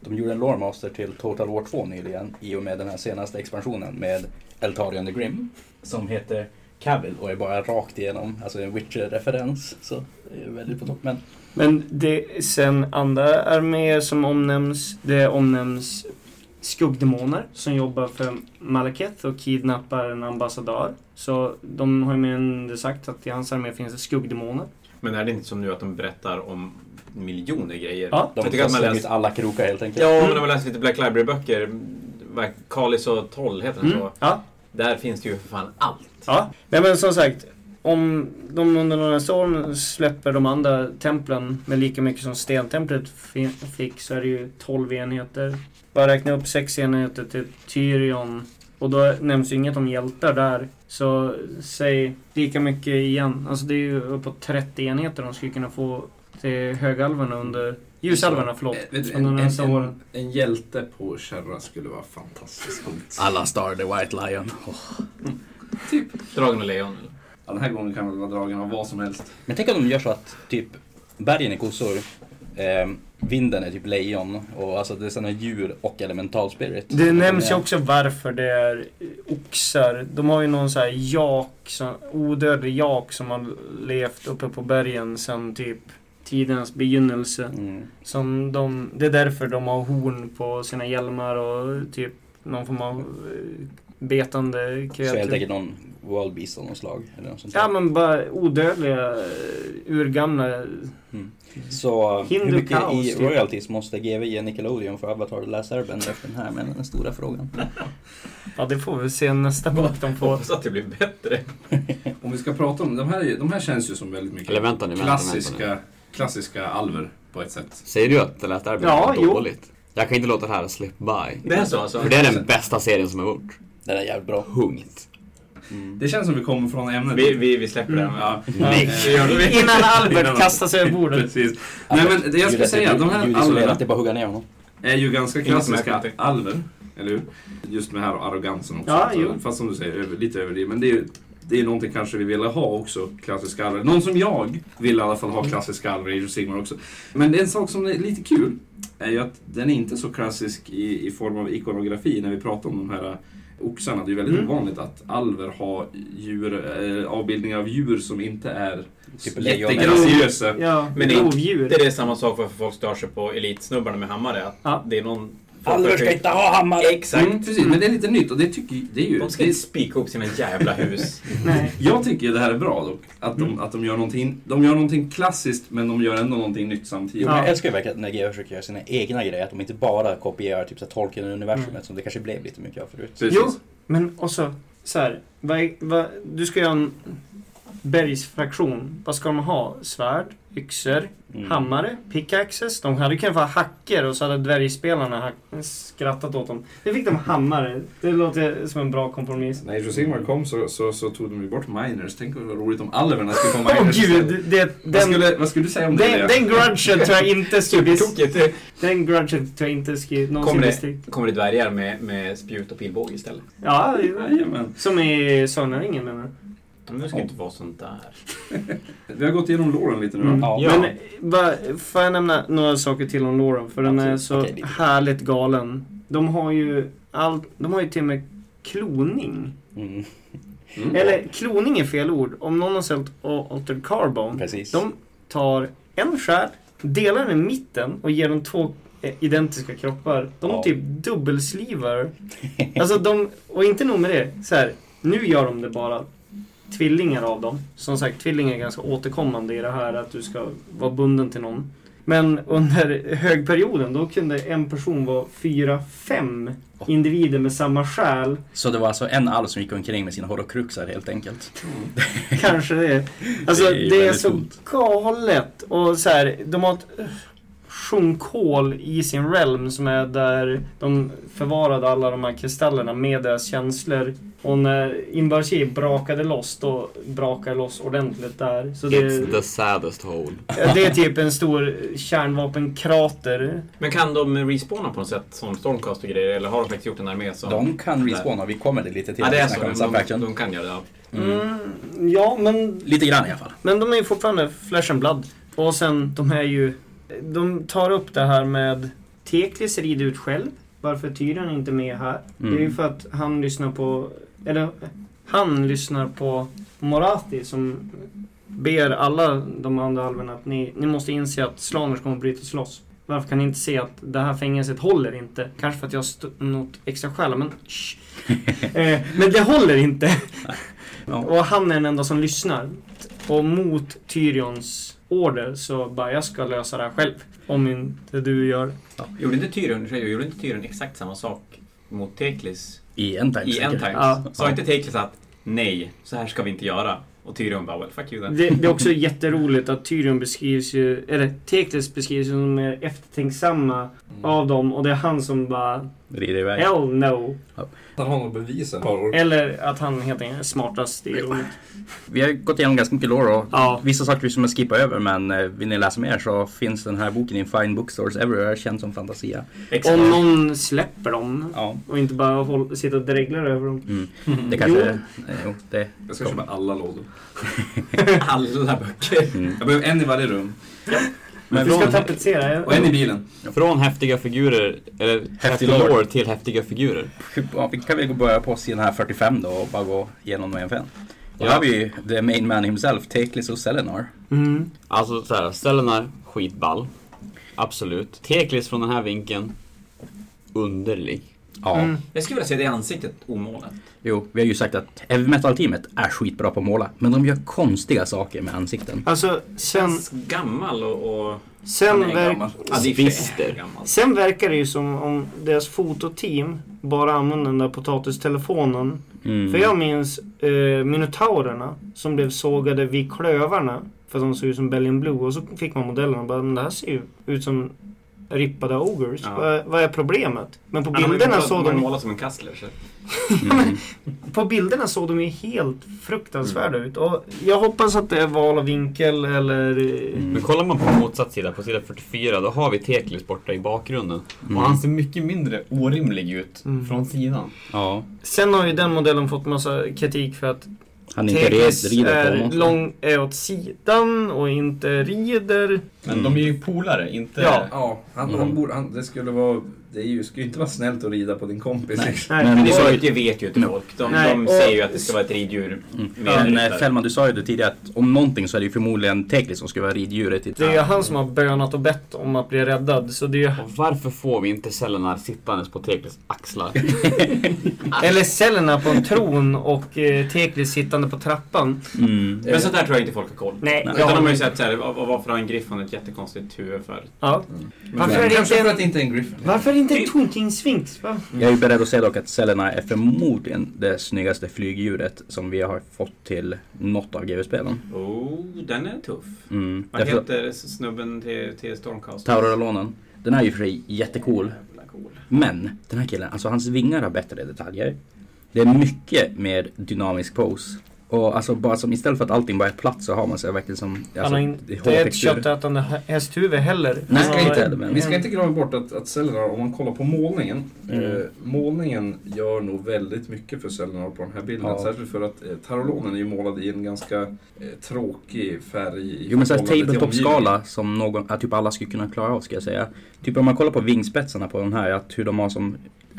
de gjorde en Lore Master till Total War 2 nyligen i och med den här senaste expansionen med Eltarion the Grim som heter Cavill och är bara rakt igenom, alltså en Witcher-referens. Så det är väldigt på topp. Men
Men det, sen andra arméer som omnämns, det omnämns skuggdemoner som jobbar för Malaketh och kidnappar en ambassadör. Så de har ju med en- sagt att i hans armé finns det skuggdemoner.
Men är det inte som nu att de berättar om miljoner grejer?
Ja.
de
jag tycker
har
att man
slagit
läser...
alla krokar helt enkelt.
Ja, men när man läser lite Black Library-böcker, Kalis och Toll heter den så.
Ja.
Där finns det ju för fan allt.
ja. Nej men som sagt, om de under några storm släpper de andra templen med lika mycket som stentemplet fi- fick så är det ju 12 enheter. Bara räkna upp 6 enheter till Tyrion. Och då nämns ju inget om hjältar där. Så säg lika mycket igen. Alltså det är ju uppåt 30 enheter de skulle kunna få till högalvarna under... Ljusalvarna, förlåt.
Eh, vet du,
Under
en,
de
en,
nästa
en,
åren.
en hjälte på Kärra skulle vara fantastiskt coolt.
Ah.
Alla Star the White Lion. Åh.
Dragen och Lejon. eller?
Ja, den här gången kan väl vara dragen av vad som helst.
Men tänk om de gör så att typ bergen är kossor, eh, vinden är typ lejon och alltså det är sådana djur och elemental spirit.
Det nämns ju
Ja.
också varför det är eh, oxar. De har ju någon så här jak, som, odödlig jak som har levt uppe på bergen sedan typ tidernas begynnelse.
Mm.
Som de, det är därför de har horn på sina hjälmar och typ någon form av eh, betande
Så helt
kreatur.
enkelt någon World Beast av något slag. Eller något sånt där.
Ja men bara odödliga eh, urgamla.
Så hur
Hindu
mycket
kaos,
i
typ.
royalties måste GV ge Nickelodeon för Avatar The Last Airbender efter den här? Men den stora frågan.
Ja det får vi se nästa bok de får.
Hoppas att det blir bättre.
Om vi ska prata om de här, är ju- de här känns ju som väldigt mycket
Eller vänta nu, vänta, vänta
klassiska, klassiska alver på ett sätt.
nu. Säger du att The Last Airbender
Ja,
var
jo.
dåligt? Jag kan inte låta det här slip by.
Det är så alltså?
För det är den bästa serien som har gjort.
Den är jävligt bra. Mm.
Punkt.
Det känns som vi kommer från ämnet.
Vi, vi, vi släpper den.
Ja.
Nej.
Eh,
Innan Albert
Innan-
kastar sig över bordet.
Precis. Nej
Alltså,
men det jag skulle säga, de här alverna
alverna... Det är bara att hugga ner honom.
är ju ganska
Inget
klassiska
märkligt.
alver. Eller hur? Just med här arrogansen också.
Ja,
Alltså,
jo.
Fast som du säger, över, lite överdrivet. Men det är ju det är någonting kanske vi ville ha också, klassiska alver. Någon som jag vill i alla fall ha klassiska alver i Age of Sigmar också. Men det är en sak som är lite kul är ju att den är inte så klassisk i, i form av ikonografi när vi pratar om de här eh, oxarna. Det är ju väldigt
Mm.
ovanligt att alver har djur, eh, avbildningar av djur som inte är
Typ lejon.
jättegraciösa.
Ja,
Men det är-
rovdjur.
Det är det samma sak varför folk stör sig på elitsnubbarna med hammare. Att
Ja.
Det är någon...
Alver ska inte ha hammare!
Exakt.
Mm, precis, men det är lite nytt och det tycker det är ju...
De ska
det
inte spika upp sina jävla hus.
Nej.
Jag tycker ju det här är bra dock. Att
Mm.
de, att de, gör, någonting, de gör någonting klassiskt men de gör ändå någonting nytt samtidigt.
Jo, men
Ja.
jag älskar ju verkligen när GW försöker göra sina egna grejer. Att de inte bara kopierar typ så här Tolkien-universumet
Mm.
som det kanske blev lite mycket av förut.
Precis.
Jo. Men också, så här, vad, vad, du ska göra en bergsfraktion. Vad ska de ha? Svärd, yxor,
Mm.
hammare, pickaxes. De hade ju kunnat få hacker och så hade dvärgspelarna hack- skrattat åt dem. Nu fick de hammare. Det låter som en bra kompromiss.
När Age of Sigmar kom så, så, så tog de ju bort miners. Tänk vad roligt om alverna skulle få
Åh
miners istället.
gud! Det,
vad,
den,
skulle, vad skulle du säga om det?
den,
Lea?
den grudgen tror jag inte skulle...
Tokigt.
Den grudgen tror jag inte skulle någonsin
Kommer det-
bli strikt.
Kommer det dvärgar med, med spjut och pilbåge istället?
Ja,
Jajamän.
som i Sagan om ringen menar du?
Men det ska inte vara sånt där.
Vi har gått igenom låren lite nu. va?
Ja.
Men va, får jag nämna några saker till om Lauren? För den är
Absolut.
så
Okej, det är bra.
härligt galen. De har ju allt, de har ju till och med kloning.
Mm.
Mm.
Eller kloning är fel ord. Om någon har sålt o- Altered Carbon.
Precis.
De tar en skärd, delar den i mitten och ger dem två eh, identiska kroppar. De
Ja.
typ dubbelslivar. Alltså de, och inte nog med det. Så här, nu gör de det bara tvillingar av dem. Som sagt, tvillingar är ganska återkommande i det här att du ska vara bunden till någon. Men under högperioden då kunde en person vara fyra, fem individer med samma själ.
Så det var alltså en alv som gick omkring med sina horokruxar helt enkelt.
Kanske det. Alltså
Det
det
är
är,
ju väldigt
så
coolt.
galet. Och så här, de har ett eh, sjunkhål i sin realm som är där de förvarade alla de här kristallerna med deras känslor. Och när Inbarshi brakade loss, då brakade det loss ordentligt där. Så det,
It's the saddest hole.
det är typ en stor kärnvapenkrater.
Men kan de respawna på något sätt som Stormcast och grejer? Eller har de faktiskt gjort en armé som...
De kan respawna, vi kommer det lite till.
Ja, det är
när vi
så.
snackar om
De,
subfaction.
de, de kan göra det. Ja.
Mm.
Mm, ja, men
Lite grann i alla fall.
Men de är ju fortfarande flesh and blood. Och sen, de är ju... De tar upp det här med Teklis rider ut själv. Varför är Tyrion inte med här? Det är ju
Mm.
för att han lyssnar på... Eller, han lyssnar på Morati som ber alla de andra alverna att ni, ni måste inse att slaners kommer att brytas loss. Varför kan ni inte se att det här fängelset håller inte? Kanske för att jag har st- något extra skäl, men shh. eh, Men det håller inte.
Ja.
Och han är den enda som lyssnar. Och mot Tyrions order så bara, jag ska lösa det här själv. Om inte du gör.
Gjorde inte Tyrion, gjorde inte Tyrion exakt samma sak mot Teklis
I en tank.
i
säkert.
End Times?
Ja.
Sa inte Teklis att nej, så här ska vi inte göra? Och Tyrion bara well, fuck you then.
Det, det är också jätteroligt att Tyrion beskrivs ju, eller Tekles beskrivs ju som den mer eftertänksamma
Mm.
av dem. Och det är han som bara,
Rider iväg.
hell no.
Han har något bevis ett par år.
Eller att han helt enkelt är smartast i rummet.
Vi har gått igenom ganska mycket lore och
Ja.
vissa saker som jag skippar över men eh, vill ni läsa mer så finns den här boken i Fine Bookstores Everywhere, känd som Fantasia.
Exakt.
Om någon Liksom. släpper dem
Ja,
och inte bara håll, sitter och dreglar över dem.
mm. det kanske... eh, Jo, det...
Jag ska köpa alla lådor.
alla böcker.
Mm.
Jag behöver en i varje rum.
Men
Men
vi ska
från-
tapetsera.
Och en i bilen.
Från häftiga figurer, eller häftig
lore.
lore till häftiga figurer.
Ja, vi kan väl gå och börja på sidan här 45 då och bara gå igenom dem en för en. Då
Ja.
har vi ju the main man himself, Teklis och Selenar.
Mm.
Alltså så här, Stellenar, skitball. Absolut. Teklis från den här vinkeln, underlig.
Ja.
Mm.
Jag skulle vilja se det i ansiktet omålat.
Jo, vi har ju sagt att heavy metal-teamet är skitbra på att måla. Men de gör konstiga saker med ansikten.
Alltså, sen,
Känns gammal och... och
sen,
Nej,
verk,
gammal.
ja, det är
Svister. Alltså,
för gammal.
sen verkar det ju som om deras fototeam bara använde den där potatistelefonen.
Mm.
För jag minns eh, minotaurerna som blev sågade vid klövarna. För att de såg ut som Belgian Blue. Och så fick man modellen och bara, men det här ser ju ut som rippade ogers.
Ja.
Vad, vad är problemet? Men på
Han har ju
bilderna,
målat-
såg
han har
de,
målat som en kassler. Så.
Mm.
på bilderna såg de ju helt fruktansvärda
Mm.
ut. Och jag hoppas att det är val och vinkel eller... eh,
Mm.
Men kollar man på motsatt sida, på sida 44, då har vi Teklis borta i bakgrunden.
Mm.
Och han ser mycket mindre orimlig ut
Mm.
från sidan.
Ja,
Sen har ju den modellen fått massa kritik för att
han inte
Teknis
red, rider på
är,
monster.
lång, är åt sidan och inte rider.
Men de är ju polare, inte...
Ja.
Mm. Ja, han,
Mm.
han borde, han, det skulle vara... Det är ju, skulle ju inte vara snällt att rida på din kompis.
Nej.
Men det sa
Folk
ju,
det vet ju inte
Mm.
No.
folk. De,
Nej,
de
och-
säger ju att det ska vara ett riddjur.
Mm.
Mer
men
ryttare.
eh, Fällman, du sa ju det tidigare att om någonting så är det ju förmodligen Teklis som skulle vara riddjuret. I
Det är ju han som har bönat och bett om att bli räddad. Så det är ju...
Och varför får vi inte Selenar sittandes på Teklis axlar?
Eller cellerna på en tron och eh, Teklis sittande på trappan.
Mm.
Men sånt där tror jag inte folk har koll på.
Nej,
Nej.
Utan de har ju sett såhär, "Vad- vad- varför har en griffon ett jättekonstigt huvud för?
Ja.
Men-
Varför är det
Kanske för
inte
att det inte är en griffin.
varför är det inte en tonkingsvinx? va?
Jag är ju beredd att säga dock att cellerna är förmodligen det snyggaste flygdjuret som vi har fått till något av GW-spelen.
Oh, den är tuff.
Mm.
Vad
Därför-
heter snubben till, till Stormcast?
Taurolonen. Den är ju för sig jättecool.
Jävla cool.
Men den här killen, alltså hans vingar har bättre detaljer. Det är mycket mer dynamisk pose. Och alltså bara som istället för att allting bara är platt så har man så här verkligen som... Alltså,
Han har inte
hårtextur.
ett köttätande hä- hästhuvud heller.
Nej,
Han
ska
har-
inte, men
Vi ska inte glömma bort att, att Sellenar, om man kollar på målningen.
Mm.
Eh, målningen gör nog väldigt mycket för Sellenar på den här bilden.
Ja.
Särskilt för att eh, Tarolonen är ju målad i en ganska eh, tråkig färg. i
Jo men såhär
förhållande till
tabletop-skala som någon, att typ alla skulle kunna klara av ska jag säga. Typ om man kollar på vingspetsarna på den här, att hur de har som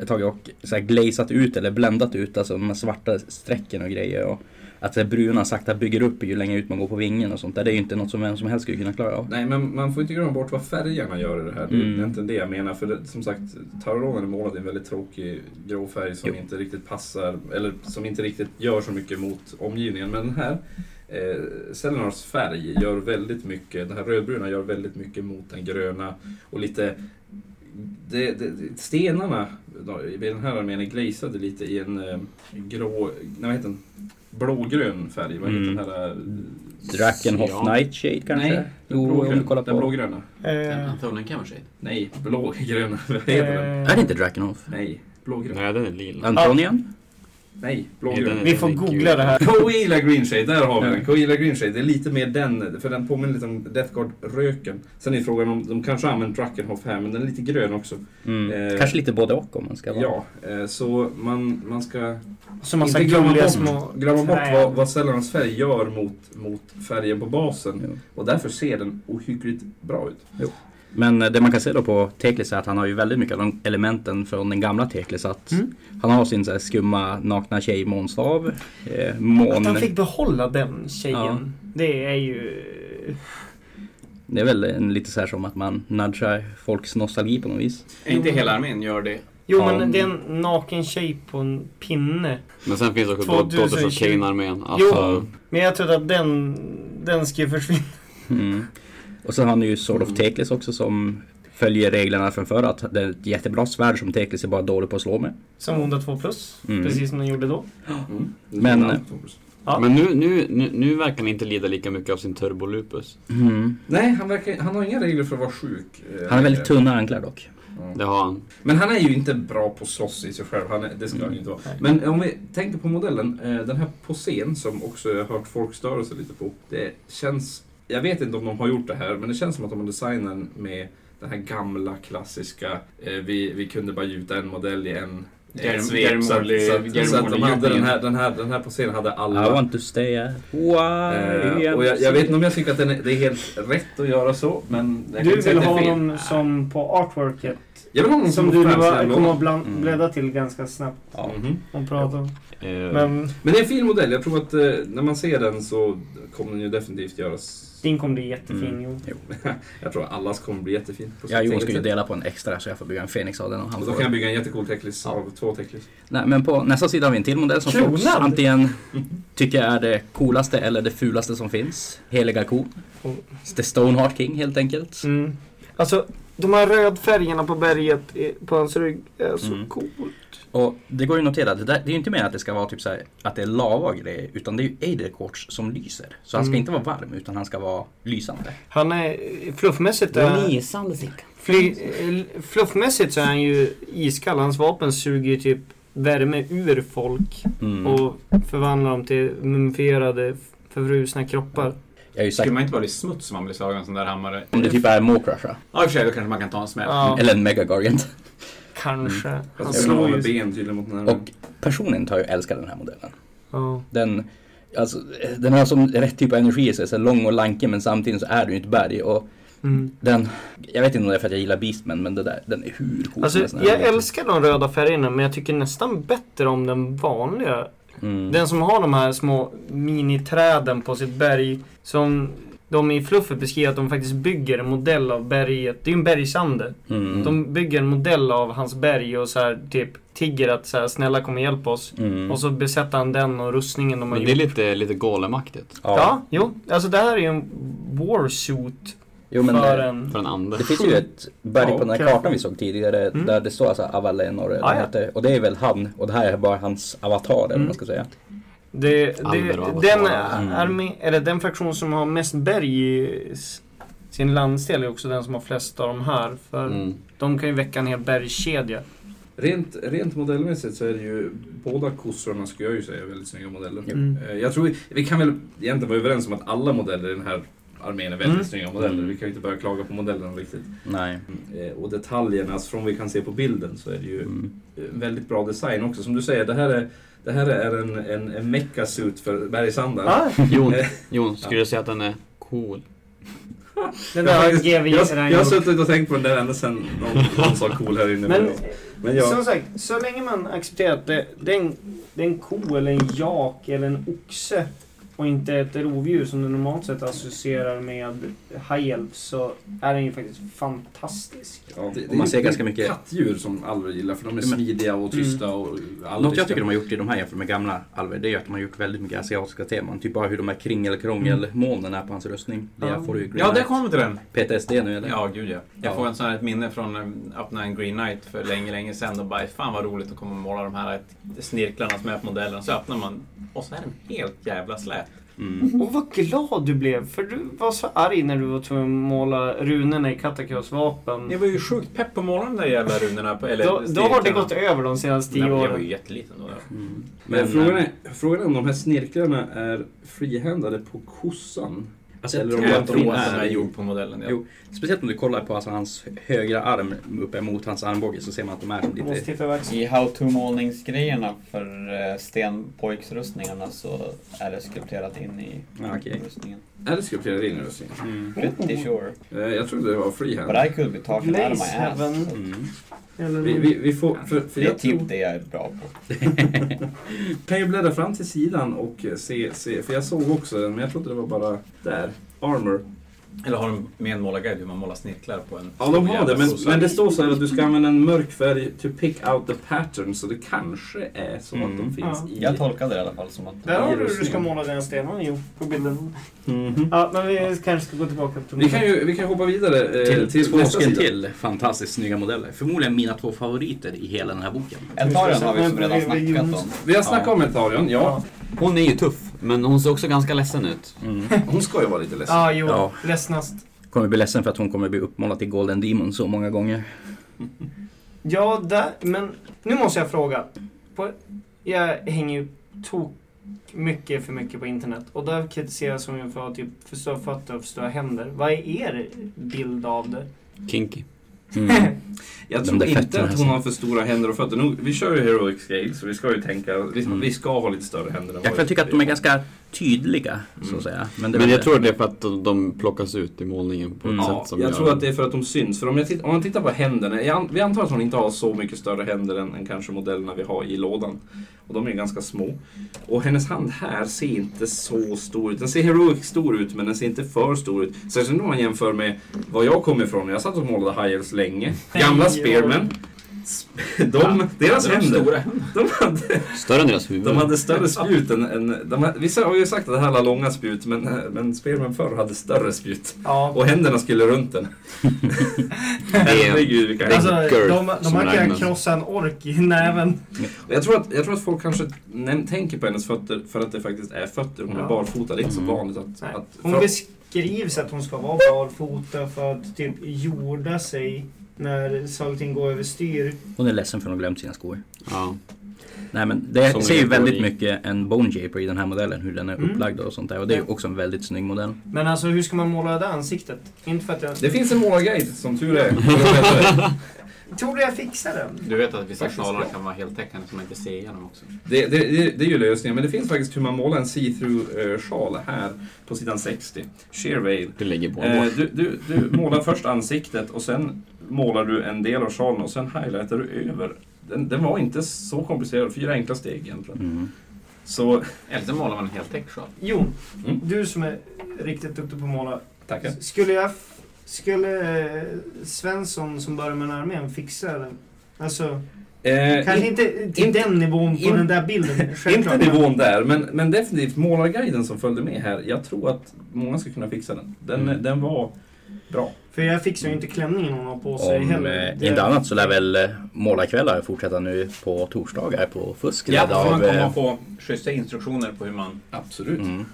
tagit och så här glazat ut eller bländat ut, alltså de här svarta strecken och grejer. Och att det bruna sakta bygger upp ju längre ut man går på vingen och sånt där. Det är ju inte något som vem som helst skulle kunna klara av.
Nej, men man får inte glömma bort vad färgerna gör i det här. Det är
Mm.
det är inte det jag menar. För det, som sagt, Tarolonen är målad i en väldigt tråkig grå färg som
Jo.
inte riktigt passar, eller som inte riktigt gör så mycket mot omgivningen. Men den här, eh, Selenars färg gör väldigt mycket, den här rödbruna gör väldigt mycket mot den gröna och lite det, det, det- stenarna då, i den här armén är glazade lite i en eh, grå, nej vad heter den? Blågrön färg, vad heter
Mm.
den här? eh,
Drakenhof
Ja.
Nightshade kanske?
Nej,
jo, om du kollar på...
Den blågröna.
Eh,
Antonen Cammershade.
Nej, blågröna. Vad heter den?
Är det
eh,
inte Drakenhof?
Nej, blågrön.
Nej, den är lila.
Antonian?
Nej,
Nej,
blågrön.
den är-
vi får googla det här.
Coila Greenshade, där har vi
Ja.
den. Coila Greenshade, det är lite mer den, för den påminner lite om Death Guard-röken. Sen är frågan om, de kanske använder Drakenhof här, men den är lite grön också.
Mm.
Eh,
Kanske lite både och om man ska vara...
Ja, eh, så man, man ska
Så massa
inte glömma
gulliga
bort,
små...
glömma bort
träd.
vad, vad Sellerans färg gör mot, mot färgen på basen.
Jo.
Och därför ser den ohyggligt bra ut.
Men eh, det man kan se då på Teklis är att han har ju väldigt mycket av de elementen från den gamla Teklis. Att
Mm.
Han har sin så här skumma nakna tjej månstav. Eh, mån...
Att han fick behålla den tjejen.
Ja.
Det är ju...
Det är väl en, lite så här som att man nudgar folks nostalgi på något vis.
Är inte hela armén gör
Eh,
det?
Jo
Ja.
men det är en naken tjej på en pinne.
Men sen finns också Daughters of
2020.
Kane-armén. Alltså,
Men jag trodde att den, den ska försvinna.
Mm. Och så har han ju Sword
Mm.
of Teklis också som följer reglerna från förr. Att det är ett jättebra svärd som Teklis är bara dålig på att slå med.
Som onda 2 plus.
Mm.
Precis som den gjorde då.
Mm.
Men-
Ja.
Men nu, nu, nu, nu verkar han inte lida lika mycket av sin turbolupus.
Mm.
Nej, han, verkar, han har inga regler för att vara sjuk. eh,
Han har väldigt
längre.
tunna anklar dock.
Det har han.
Men han är ju inte bra på att slåss i sig själv, han är, det ska han ju inte vara.
Mm,
Men om vi tänker på modellen, eh, den här posén som också jag har hört folk störa sig lite på. Det känns, jag vet inte om de har gjort det här, men det känns som att de har designat den med den här gamla klassiska, eh, vi, vi kunde bara gjuta en modell i en
Gary-
ett svep.
Gary
Så att-
Morley-
så att-
Gary
så att de hade den
Morley-gjutningen.
här, den här, den här posén hade
I
alla.
want to stay here. Why?
Eh, och jag, jag vet inte om jag tycker att den är, det är helt rätt att göra så, men jag kan
Du
inte säga
vill
att det är
ha
fel.
någon som på artworket.
Jag vill ha någon
Som
som,
du
fans
bara
där
kommer att
långt.
bland,
Mm.
bläddra till ganska snabbt.
Ja.
Mhm.
Om pratar om.
Eh,
Men
Men det är en fin modell. Jag tror att eh, när man ser den så kommer den ju definitivt göras
Din kommer bli jättefin
Mm.
Jon.
Jo.
Jag tror att allas kommer bli jättefint. på sitt
Jag och Jon
eget
skulle
sätt.
dela på en extra så jag får bygga en Fenix av den. Och han
Och då kan jag
får...
bygga en jättecool techlist av två techlist.
Nej, men på nästa sida har vi en till modell som
Kronan?
folks antingen tycker är det coolaste eller det fulaste som finns. Heliga kon. The Stoneheart King helt enkelt.
Mm. Alltså, de här rödfärgerna på berget eh, på hans rygg är så
Mm.
cool.
Och det går ju att notera att det, där, det är ju inte meningen att det ska vara typ så här, att det är lava och grejer utan det är ju Eiderquartz som lyser. Så han ska
Mm.
inte vara varm utan han ska vara lysande.
Han är eh, fluffmässigt... Är,
Lysande Sickan.
fly, eh, fluffmässigt så är han ju iskall. Hans vapen suger ju typ värme ur folk
Mm.
och förvandlar dem till mumifierade förfrusna kroppar.
Jag har ju
Skulle
sagt
man inte vara i smuts om man blir slagen av en sån där hammare?
om det typ är Mawcrusher
Ja, i och för sig, då kanske man kan ta en smäll. Mm.
Ja,
eller en Mega Gargant.
kanske. Han
Fast även
slår
alla
ju...
ben tydligen mot
Mm.
den här.
Och personligen har jag älskat den här modellen.
Ja.
Den, alltså, den har som rätt typ av energi i sig, så här lång och lanke men samtidigt så är den ju ett berg. Och
Mm.
den, jag vet inte om det är för att jag gillar Beastman men det där, den är hur cool
Alltså,
helst, den här
jag
modellen.
älskar de röda färgerna men jag tycker nästan bättre om den vanliga
Mm.
Den som har de här små miniträden på sitt berg som de i fluffet beskriver att de faktiskt bygger en modell av berget. Det är ju en bergsande.
Mm.
De bygger en modell av hans berg och så här typ tigger att så här, snälla kom och hjälp oss.
Mm.
Och så besätter han den och rustningen de
Men
har gjort.
det är lite, lite golemaktigt.
ja. jo. Alltså det här är ju en warsuit
Jo, men
för
det-
en...
För en ande.
Det finns ju ett berg på den här
Okej.
kartan vi såg tidigare
Mm.
där det står alltså Avalenor eller vad
Ah,
det
ja.
heter. Och det är väl han och det här är bara hans avatar eller vad
Mm.
man ska säga.
Det, det,
Alver och
den,
Avatar.
Mm.
armé, eller den fraktion som har mest berg i s- sin landsdel är också den som har flest av de här. För
Mm.
de kan ju väcka en hel bergskedja.
Rent, rent modellmässigt så är det ju båda kossorna skulle jag ju säga är väldigt snygga modeller.
Mm.
Eh, Jag tror vi, vi kan väl egentligen vara överens om att alla modeller i den här armén är väldigt
Mm.
snygga modeller. Vi kan ju inte börja klaga på modellerna riktigt.
Nej.
Eh, Och detaljerna, alltså från vad vi kan se på bilden så är det ju
Mm.
eh, väldigt bra design också. Som du säger, det här är, det här är en, en, en mecka-suit för bergsandar.
Ah,
Jon, Jon, skulle du säga att den är cool?
den
Jag har
där
faktiskt-
GV
Jag,
redan
jag har
gjort.
suttit och tänkt på den där ända sedan någon, någon sa cool här inne.
Men,
men jag,
som sagt, så länge man accepterar att det, det, är en, det är en ko eller en jak eller en oxe och inte ett rovdjur som du normalt sett associerar med high elf så är den ju faktiskt fantastisk.
Ja, det,
Och man ser ganska mycket-
kattdjur som alver gillar för de är
Men-
smidiga och tysta och aldrig...
Något jag tycker de har gjort i de här jämfört med gamla alver det är att de har gjort väldigt mycket asiatiska teman. Typ bara hur de här kringelkrångelmolnen är på hans rustning. Det jag får ju Green
Ja, där
Knight
kommer till den!
PTSD nu eller?
Ja, gud ja. Jag
Ja.
får en sån här ett minne från eh, öppna en Green Knight för länge, länge sedan och bara fan vad roligt att komma och måla de här snirklarna som är på modellen. Så öppnar man och så är den helt jävla slät.
Mm.
Och vad glad du blev! För du var så arg när du var tvungen att måla runorna i Katakios vapen.
Jag var ju sjukt pepp på morgonen de där jävla runorna. På, eller
Då, då har det
snirklarna.
gått över de senaste
Nej,
tio
men Jag var ju
åren.
jätteliten då.
Mm.
Men, eh, frågan, är, frågan är om de här snirklarna är frihändade på kossan.
Alltså, jag
Eller om
tror
jag
att
Jag
de
tror att
är-
den är gjord på modellen. Ja.
Jo. Speciellt om du kollar på alltså, hans högra arm uppe mot hans armbåge så ser man att de är som
Jag måste
lite...
titta över axeln.
I how-to-målningsgrejerna för eh, stenpojksrustningarna så är det skulpterat in i
Ja, okej.
rustningen.
Är det skulpterade in i rustningen?
Mm.
Pretty sure.
Eh, Jag trodde det var
But
freehand.
I could be talking out of
Glaze
my ass.
heaven.
Så
Mm.
Eller
Vi, vi, vi får... För, för
Det är
jag
typ
tror,
det jag är bra på.
Eh,
kan ju bläddra fram till sidan och se, se, för jag såg också den men jag trodde det var bara där. Armor.
Eller har de med en målarguide hur man målar snirklar på en
Ja, de
stor
har det,
jävla
men,
kossa?
men det står så här att du ska använda en mörk färg to pick out the pattern, så det kanske är som att de
Mm.
finns
Ja.
i...
Jag tolkade det i alla fall som att...
Där har du hur du ska måla den stenen, jo, på bilden.
Mhm.
Ja, men vi kanske ska gå tillbaka till
Vi kan ju vi kan hoppa vidare eh,
Till,
till,
till två
nästa
stycken
sida.
till fantastiskt snygga modeller. Förmodligen mina två favoriter i hela den här boken.
Eltarion har vi som redan
Men- men-
snackat om.
Vi har snackat om Etarion, ja.
Hon är ju tuff, men hon ser också ganska ledsen ut.
Hon ska ju vara lite ledsen.
Ja, jo.
Ja.
Ledsnast.
Mm. Kommer bli ledsen för att hon kommer bli uppmålad till Golden Demon så många gånger.
Ja, där, men nu måste jag fråga. På, jag hänger ju tok mycket för mycket på internet och där kritiseras hon ju för att ha typ för stora fötter och för stora händer. Vad är er bild av det?
Kinky.
Mm.
Jag
De
tror
där
inte
fötterna
att
alltså.
hon har för stora händer och fötter. Nu, vi kör ju Heroic Scale så vi ska ju tänka, vi,
Mm.
vi ska ha lite större händer än
Jag kan
vad vi-
tycka att de är ganska tydliga, så att säga. Men, det är
Men
väl
jag
det.
tror det är för att de, de plockas ut i målningen på ett
Mm.
Ja,
sätt som
jag
gör
tror att det är för att de syns. För om, jag titt, om man tittar på händerna, jag an, vi antar att hon inte har så mycket större händer än, än kanske modellerna vi har i lådan. Och de är ju ganska små. Och hennes hand här ser inte så stor ut. Den ser heroic stor ut, men den ser inte för stor ut. Särskilt om man jämför med var jag kom ifrån. Jag satt och målade high elves länge. Gamla spearmen. De, deras händer,
Stora.
de hade
Större än deras huvud.
de hade större spjut än... än de hade, vissa har ju sagt att det här var långa spjut, men, men spelmän förr hade större spjut.
Ja.
Och händerna skulle runt den. Herregud, vilka
Alltså, de,
Girth
de
som
här kan
Ragnar.
krossa en ork i näven.
jag, tror att, jag tror att folk kanske näm- tänker på hennes fötter för att det faktiskt är fötter. Hon är
Ja.
barfota, det är inte så
Mm.
vanligt att...
Nej.
att
Hon
för-
beskrivs att hon ska vara barfota för att typ jorda sig när saker och ting går överstyr.
Hon är ledsen för att hon har glömt sina skor.
Ja.
Nej men det
Som
ser ju
är
väldigt
i-
mycket en Bone Japer i den här modellen, hur den är
Mm.
upplagd och sånt där. Och det är ju också en väldigt snygg modell.
Men alltså hur ska man måla det ansiktet? Inte för att jag...
det finns en målarguide, som tur är.
Tror du jag fixar den?
Du vet att vissa
Faktiskt
knallar
bra.
kan vara heltäckande som man inte ser igenom också.
Det, det, det, det är ju lösningen, men det finns faktiskt hur man målar en see-through eh, sjal här på sidan 60. Sheer veil.
Du lägger på
Eh,
en
du, du, du målar först ansiktet och sen målar du en del av sjalen och sen highlightar du över. Den, den var inte så komplicerad, fyra enkla steg egentligen.
Mm.
Så,
Eller så målar man en heltäck sjal.
Jon,
Mm.
du som är riktigt duktig på att måla.
tackar.
Skulle jag... f- Skulle eh, Svensson som börjar med den här armén fixa den? Alltså,
Eh,
kanske
in-
inte till
inte-
den nivån på
in-
den där bilden.
inte
självklart, men-
nivån där, men, men definitivt målarguiden som följde med här. Jag tror att många ska kunna fixa den. Den,
Mm.
den var bra.
För jag fixar ju inte klänningen hon har på sig
Om
heller.
eh,
Det-
inte annat så lär väl eh, målarkvällar fortsätta nu på torsdagar på Fusk.
Ja,
ledd
så man
av,
kommer
eh,
att få schyssta instruktioner på hur man
Absolut.
mm.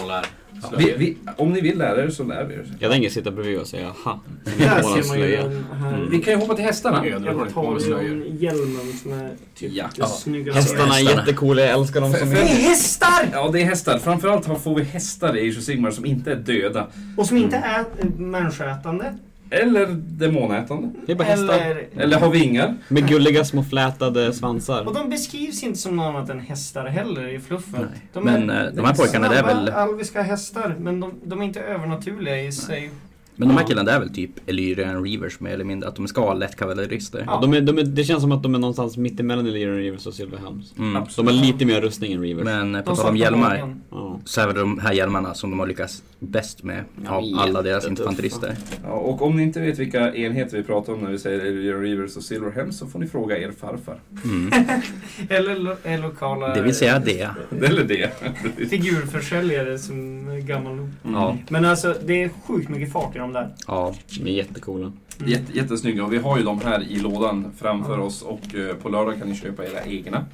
målar
Vi,
slöjor.
vi, om ni vill lära er så lär vi er.
Jag tänker sitta bredvid och säga ha.
Där
Våran
ser man ju
slöja.
den
Mm.
här.
Vi kan ju hoppa till hästarna.
Jag tar ju den hjälmen som är typ
Ja.
det snyggaste.
Hästarna är
Hästarna.
jättecoola, jag älskar dem som
För- för-
är.
hästar!
Ja, det är hästar. Framförallt har- får vi hästar i Age of Sigmar som inte är döda.
Och som inte är eh, människoätande.
Eller demonätande.
Det är bara hästar.
Eller,
Eller har vingar.
Med gulliga små flätade
och
svansar.
de beskrivs inte som något annat än hästar heller i fluffen.
Nej. Men, eh, de här pojkarna, det är väl-
snabba alviska hästar, men de, de är inte övernaturliga i sig.
Men de här
Ja.
killarna det är väl typ Elyrian Reavers mer eller mindre, att de ska vara lättkavallerister.
Ja.
De är, de är, det känns som att de är någonstans mittemellan Illyrian Rivers och Silverhamns.
Mm.
De har lite mer rustning än Rivers.
Men eh, på
De
tal om
saknar
hjälmar
magen.
Ja.
så är väl de här hjälmarna som de har lyckats bäst med
Ja,
av alla deras
jättetuffa.
infanterister.
Ja, och om ni inte vet vilka enheter vi pratar om när vi säger Elvira Reavers och Silverhem så får ni fråga er farfar.
Mm.
Eller lo, är lokala
Det vill säga det.
Eller det.
figurförsäljare som är gammal.
Ja,
Men alltså, det är sjukt mycket fart i de där.
ja.
De är jättecoola.
Mm.
Jätte, jättesnygga. Och vi har ju de här i lådan framför oss och eh, på lördag kan ni köpa era egna.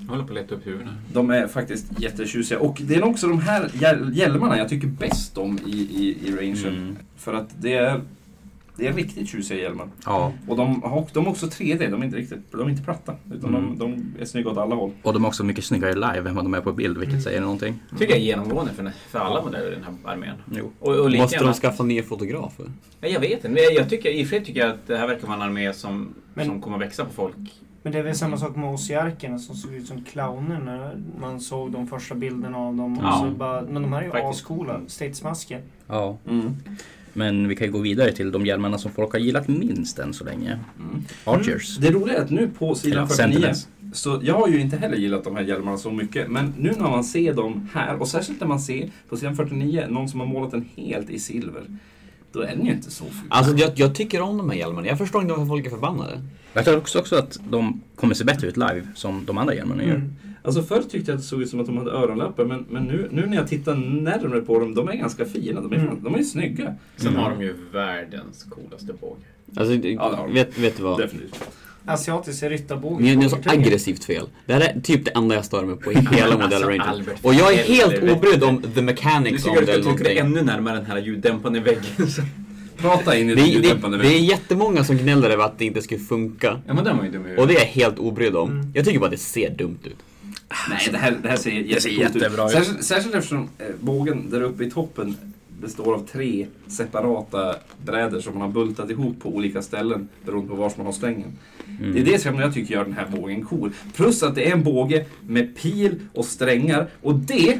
Jag håller på att leta upp huvudena.
De är faktiskt jättetjusiga. Och det är också de här hjäl- hjälmarna jag tycker bäst om i, i, i rangen.
Mm.
För att det är, det är riktigt tjusiga hjälmar.
ja.
Och de, har- de är också 3D, de är inte riktigt de är inte platta. Utan
Mm.
de, de är snygga åt alla håll.
Och de är också mycket snyggare live än vad de är på bild, vilket
Mm.
säger någonting.
tycker jag är genomgående för, för alla modeller i den här armén.
Jo.
Och, och lite
Måste de
grann,
skaffa nya fotografer?
Nej, jag vet inte. Men jag- Jag tycker, I och för sig tycker jag att det här verkar vara en armé som,
Men-
som kommer att växa på folk.
Men det är väl samma sak med ossiarkerna som såg ut som clowner när man såg de första bilderna av dem.
Ja.
Och så bara, men de här är ju
Faktiskt.
ascoola. Statesmasker.
Ja. Men vi kan ju gå vidare till de hjälmarna som folk har gillat minst än så länge.
Mm.
Archers.
Det roliga är att nu på
Eller
sidan 49
Sentinels.
Så jag har ju inte heller gillat de här hjälmarna så mycket, men nu när man ser dem här och särskilt när man ser på sidan 49 någon som har målat den helt i silver, då är den ju inte så ful.
Alltså jag, jag tycker om de här hjälmarna. Jag förstår inte varför folk är förbannade.
Jag tror också, också att de kommer se bättre ut live som de andra hjälmarna gör.
Mm.
Alltså förr tyckte jag att det såg ut som att de hade öronlappar, men, men nu, nu när jag tittar närmare på dem, de är ganska fina. De är,
Mm.
de är ju snygga.
Sen
Mm.
har de ju världens coolaste båge.
Alltså, det-
Ja, det har de.
vet, vet du vad?
Definitivt.
Asiatisk ryttarbåge.
Ni ni har så aggressivt fel. Det här är typ det enda jag stör mig på i hela modellrangen.
Alltså, Albert,
Och jag är
för
helt
helvete.
obrydd om the
Du
mechanics
tycker
om
att du
det eller
ska trycka dig
någonting.
ännu närmare den här ljuddämpande väggen.
Prata in i
Det
den
är,
ljuddämpande
det, det är
väggen.
jättemånga som gnäller över att det inte skulle funka.
ja, men den var ju dum i
Och
huvudet.
det är jag helt obrydd om.
Mm.
Jag tycker bara att det ser dumt ut.
Nej, det här, det här ser
ser
jättecoolt
jättebra
ut.
ut.
Särskilt, särskilt eftersom eh, bågen där uppe i toppen består av tre separata brädor som man har bultat ihop på olika ställen beroende på var man har strängen.
Mm.
Det är det som jag tycker gör den här bågen cool. Plus att det är en båge med pil och strängar och det,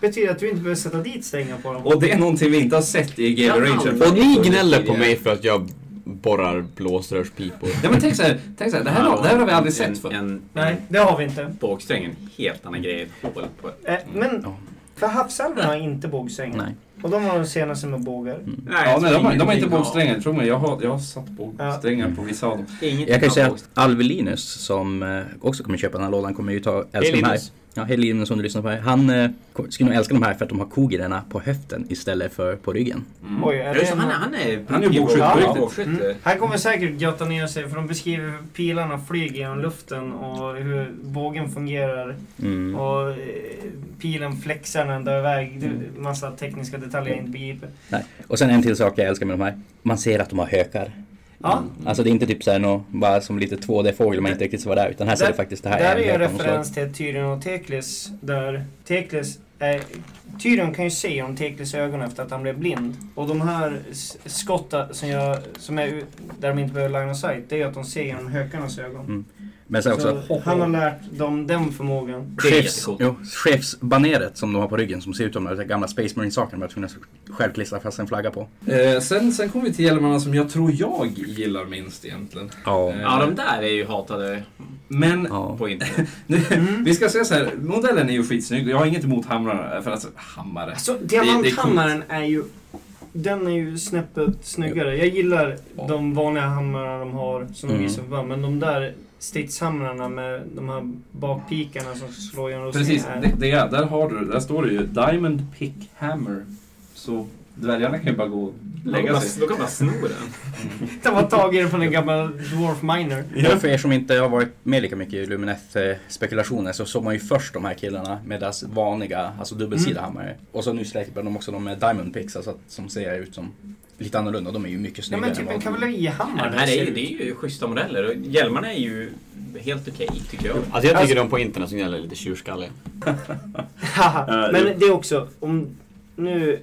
Betyder att du inte behöver sätta dit strängar på dem?
och det är någonting vi inte har sett i Game Ranger.
Och ni gnäller på mig för att jag borrar blåsrörspipor.
Ja men tänk så här, tänk så här det, här har, det här har vi aldrig sett
en,
förr.
en
Nej, det har vi inte.
bågsträng, en helt annan grej. Ett hål på.
Eh, men
Ja.
för havsalverna har inte bågsträngar.
Nej.
Och de var de senaste med bågar.
Mm.
Ja, nej, de, har, de har inte
ingenting av-
bågsträngar, tror mig. Jag har, jag har satt bågsträngar på vissa av dem.
ingenting
Jag kan ju
av
säga
bågsträng.
att Alvelinus som eh, också kommer köpa den här lådan kommer ju ta älska de här.
Linus.
Ja, hej Linus som du lyssnar på här. Han eh, skulle nog älska de här för att de har kogirarna på höften istället för på ryggen.
Mm.
Oj, är
Ja, just
det
det,
en...
han, är- han är
Han är ju bågskytt
på
Ja,
riktigt.
bågskytt.
Mm. Han kommer säkert götta ner sig för de beskriver hur pilarna flyger genom luften och hur bågen fungerar
Mm.
och eh, pilen flexar när den drar iväg. Det är massa tekniska detaljer jag inte begriper.
Och sen en till sak jag älskar med de här. Man ser att de har hökar.
Ja,
Mm.
Alltså det är inte typ såhär nå, bara som lite 2D-fågel man inte riktigt ser vad det är. Utan här ser
Där-
det faktiskt det här
där är
en
ju en
hök av något slag.
referens till Tyrion och Teklis där Teklis är, Tyrion kan ju se om Teklis ögon efter att han blev blind. Och de här s- skotta som, jag, som är ut- där de inte behöver line of sight, det är att de ser genom hökarnas ögon.
Men sen också
Så han har lärt dem den förmågan.
Det är
chefs,
jättecoolt.
jo, chefsbaneret som de har på ryggen som ser ut som de där gamla Space Marine-sakerna. Man var själv klistra fast en flagga på.
Eh, sen, sen kommer vi till hjälmarna som jag tror jag gillar minst egentligen.
Ja.
Eh,
Ja, de där är ju hatade
Men
Ja.
på internet.
nu, vi ska säga så här, modellen är ju skitsnygg och jag har inget emot hamrarna. För alltså, hammare.
Alltså
är coolt.
diamanthammaren är ju... Den är ju snäppet snyggare. Jag gillar
Ja.
de vanliga hammarna de har som de
Mm.
visar för varandra, Men de där stridshamrarna med de här bakpikarna som slår genom rustningen
Precis,
är-
det, det, är- där har du Där står det ju Diamond Pick Hammer. Så dvärgarna kan ju bara gå och lägga sig.
Då kan man sno den.
De var tagen från en gammal Dwarf Miner.
Ja. För er som inte har varit med lika mycket i Lumineth-spekulationer så såg man ju först de här killarna med deras vanliga, alltså
Mm.
dubbelsida hammare. Och så nu släpper de också de med Diamond Picks, alltså att, som ser ut som lite annorlunda. De är ju mycket
Nej
snyggare.
men typ en
än vad-
kavallerihammare.
Det här är ju,
ser
det
ut.
är ju schyssta modeller och hjälmarna är ju helt okej tycker jag.
Alltså jag tycker de på internet som gäller lite tjurskalliga.
Haha.
Ja, det-
men det är också, om nu...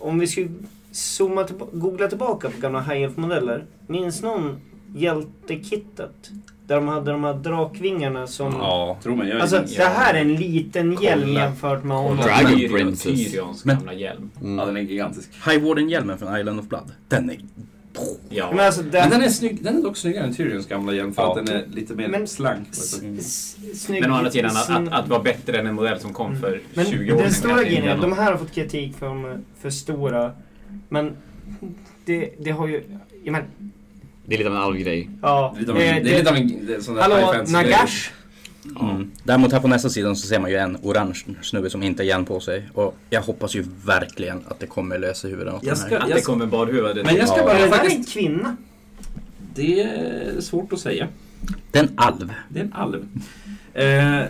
Om vi skulle zooma tillba- googla tillbaka på gamla high modeller Minns någon hjältekittet? Där de hade de här drakvingarna som...
Ja.
Tror mig, jag är
Alltså
ingen-
det här är en liten hjälm
Kolla.
jämfört med honom.
Dragon
Tyrion-
Princess.
Tyrions
Men-
gamla hjälm.
Mm.
Ja, den är gigantisk.
High Warden-hjälmen från Island of Blood. Den är...
Men
Ja.
alltså
Men den
den...
är, snygg, den är dock snyggare än Tyrions gamla igen för
Ja.
att den är lite mer
Men-
slank. på ett
s-
sätt.
s- Snygg.
Men å andra sidan att,
Sin-
att, att vara bättre än en modell som kom för
Mm. Men
20 år
den
sedan.
stora
kanske
grejen är,
inte
de här har fått kritik för att de är för stora. Men det, det har ju... Jag men,
Det är lite av en alvgrej.
ja. eh,
Det är lite av en- det är lite av en det är sån där high
hallå,
fantasy-
Nagash?
Mm. Däremot här på nästa sidan så ser man ju en orange snubbe som inte har hjälm på sig. Och jag hoppas ju verkligen att det kommer lösa huvuden åt
Jag
den här.
ska-
Att det kommer badhuvudet.
Men jag ska
Ja.
Är
bara
det där en
faktiskt...
kvinna?
Det är svårt att säga.
Det är en alv.
Det är en alv. Eh,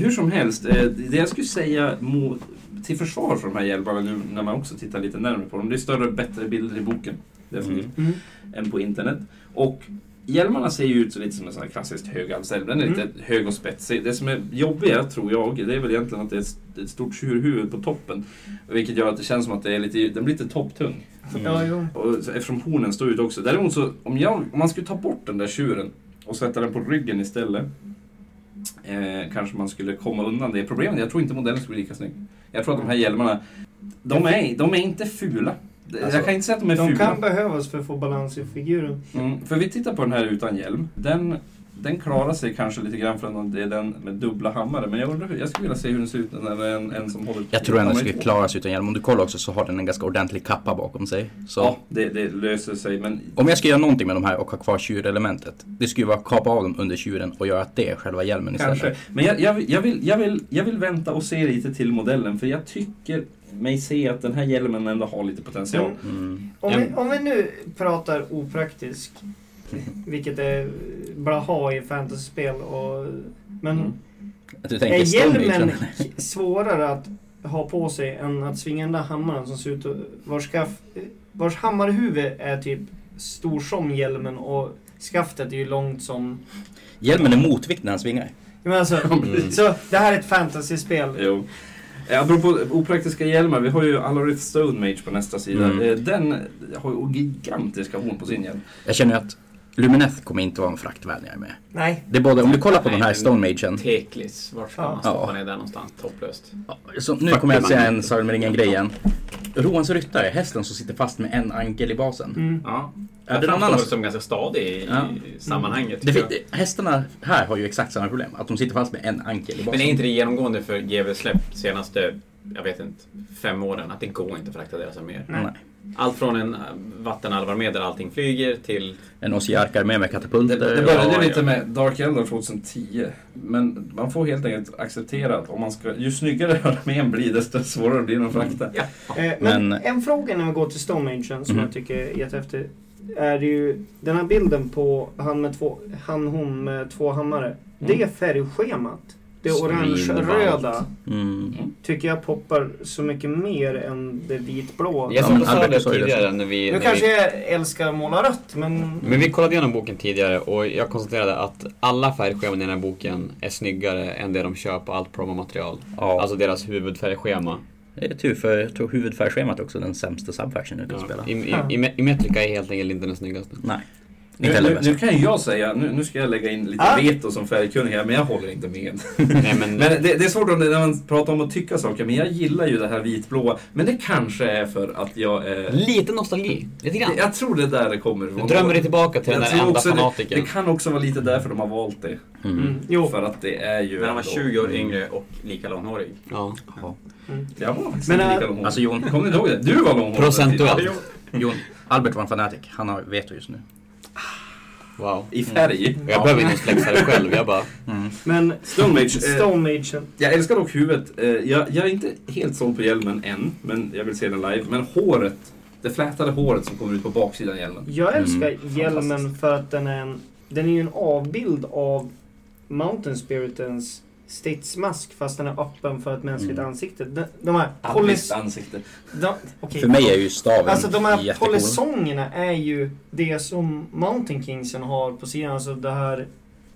hur som helst, eh, det jag skulle säga mo- till försvar för de här hjälparna nu när man också tittar lite närmare på dem. Det är större bättre bilder i boken definitivt,
Mm.
än på internet. Och hjälmarna ser ju ut så lite som en sån här klassiskt högalvshjälm. Den är lite hög och spetsig. Det som är jobbiga tror jag, det är väl egentligen att det är ett- ett stort tjurhuvud på toppen. Vilket gör att det känns som att det är lite, den blir lite topptung.
Mm. Ja, jo.
Och så- Eftersom hornen står ut också. Däremot så, om, jag, om man skulle ta bort den där tjuren och sätta den på ryggen istället. Eh, kanske man skulle komma undan det problemet. Jag tror inte modellen skulle bli lika snygg. Jag tror att de här hjälmarna, de är, de är inte fula. Det-
Alltså,
jag kan inte säga att de är
De
fula.
kan behövas för att få balans i figuren.
Mm, för vi tittar på den här utan hjälm. Den, den klarar sig kanske lite grann för att det är den med dubbla hammare. Men jag, undrar, hur- jag skulle vilja se hur den ser ut när det är en, en som håller
Jag tror ändå
hammare i
skulle
två.
klara sig utan hjälm. Om du kollar också så har den en ganska ordentlig kappa bakom sig. Så
Ja, det, det löser sig. Men
om jag ska göra någonting med de här och ha kvar tjurelementet. Det skulle ju vara att kapa av dem under tjuren och göra att det är själva hjälmen istället.
Kanske. Men jag, jag, vill- jag, vill, jag, vill, jag vill vänta och se lite till modellen för jag tycker mig se att den här hjälmen ändå har lite potential.
Men
Mm.
Om, vi, om vi nu pratar opraktisk, vilket är blaha i fantasyspel och... Men
Mm.
Du
är
tänker
hjälmen
Stonehenge.
k- svårare att ha på sig än att svinga den där hammaren som ser ut att... Vars, skaff, vars hammarhuvud är typ stor som hjälmen och skaftet är ju långt som...
Hjälmen är motvikt när han svingar.
Jag menar alltså,
Mm.
så det här är ett fantasyspel.
Jo. Eh, Apropå opraktiska hjälmar, vi har ju Alarith Stone Mage på nästa sida.
Mm.
Eh, Den har ju gigantiska horn på sin hjälm.
Jag känner att Lumineth kommer inte vara en fraktvän jag är med.
Nej.
Det är både, om du kollar på den här Stone Magen.
typ Teklis, vart ska man
Ja.
stoppa ner där någonstans? Topplöst.
Så nu kommer jag att säga en Sagan med ringen grejen. Roans ryttare, hästen som sitter fast med en ankel i basen.
Mm.
Ja.
Är
Den
det någon
framstår
annan?
som ganska stadig i,
Ja.
i sammanhanget.
Det,
tycker
fin- hästarna här har ju exakt samma problem, att de sitter fast med en ankel i
jag.
basen.
Men är inte det genomgående för GW släpp senaste, jag vet inte, fem åren att det går inte att frakta deras arméer?
Nej.
Allt från en eh, vattenalvararmé där allting flyger till...
En osiarkar med med katapulter.
Det
och-
började lite med Dark Elder 2010. Men man får helt enkelt acceptera att om man ska, ju snyggare armén blir desto svårare blir den att frakta.
Eh, Men,
Men-
en fråga när vi går till Stone Ancient som
Mhm.
jag tycker är jättehäftig. Är det ju den här bilden på han med två, han hon med två hammare.
Mm.
Det färgschemat. Det orange-röda
Mm.
tycker jag poppar så mycket mer än det vitblå.
Jag
men
satt och sa
Albert,
det
sa ju det
tidigare när vi...
Nu
När
kanske
vi Mm.
jag älskar att måla rött men...
men vi kollade igenom boken tidigare och jag konstaterade att alla färgscheman i den här boken är snyggare än det de kör på allt promomaterial.
Ja,
Alltså deras huvudfärgschema.
det är tur för jag tror huvudfärgschemat är också den sämsta subfaction du kan spela.
I, i, i, i Metrica är helt enkelt inte den snyggaste.
Nej.
Nu,
Inte heller
nu,
bäst.
nu kan jag säga, nu, nu ska jag lägga in lite
Ah.
veto som färgkunnig här, men jag håller inte med.
Nej, men,
Men det, det är svårt om det, när man pratar om att tycka saker, men jag gillar ju det här vitblåa. Men det kanske är för att jag är...
lite nostalgi. Lite grann.
Jag tror det där det kommer ifrån.
Du drömmer dig tillbaka till
Jag
den där
tror
enda
också det-
fanatikern.
Det kan också vara lite därför de har valt det.
Mm. Jo.
För att det är ju...
När han var
ändå- Mm.
20 år yngre och lika långhårig.
Ja.
Jag var faktiskt
Men,
inte
äh,
lika långhårig.
Alltså Jon,
Kommer ni ihåg det? Du var långhårig.
Procentuellt.
Jon, Albert var en fanatic. Han har veto just nu.
Wow.
I färg.
Och jag behöver inte ens flexa det själv. Jag bara...
Men
Stone Mage. Eh,
Stone Ancient.
jag älskar dock huvudet. Eh, jag, jag är inte helt såld på hjälmen än, men jag vill se den live. Men håret. Det flätade håret som kommer ut på baksidan av hjälmen.
Jag älskar hjälmen
Fantastiskt.
för att den är en... Den är ju en avbild av Mountain Spiritens stridsmask fast den är öppen för ett mänskligt
Mm.
ansikte. De, de här
Alice
polis...
ansikte.
De, okej.
För mig är ju staven
Alltså de här
jättecool.
polisongerna är ju det som Mountain Kingsen har på sidan. Alltså det här...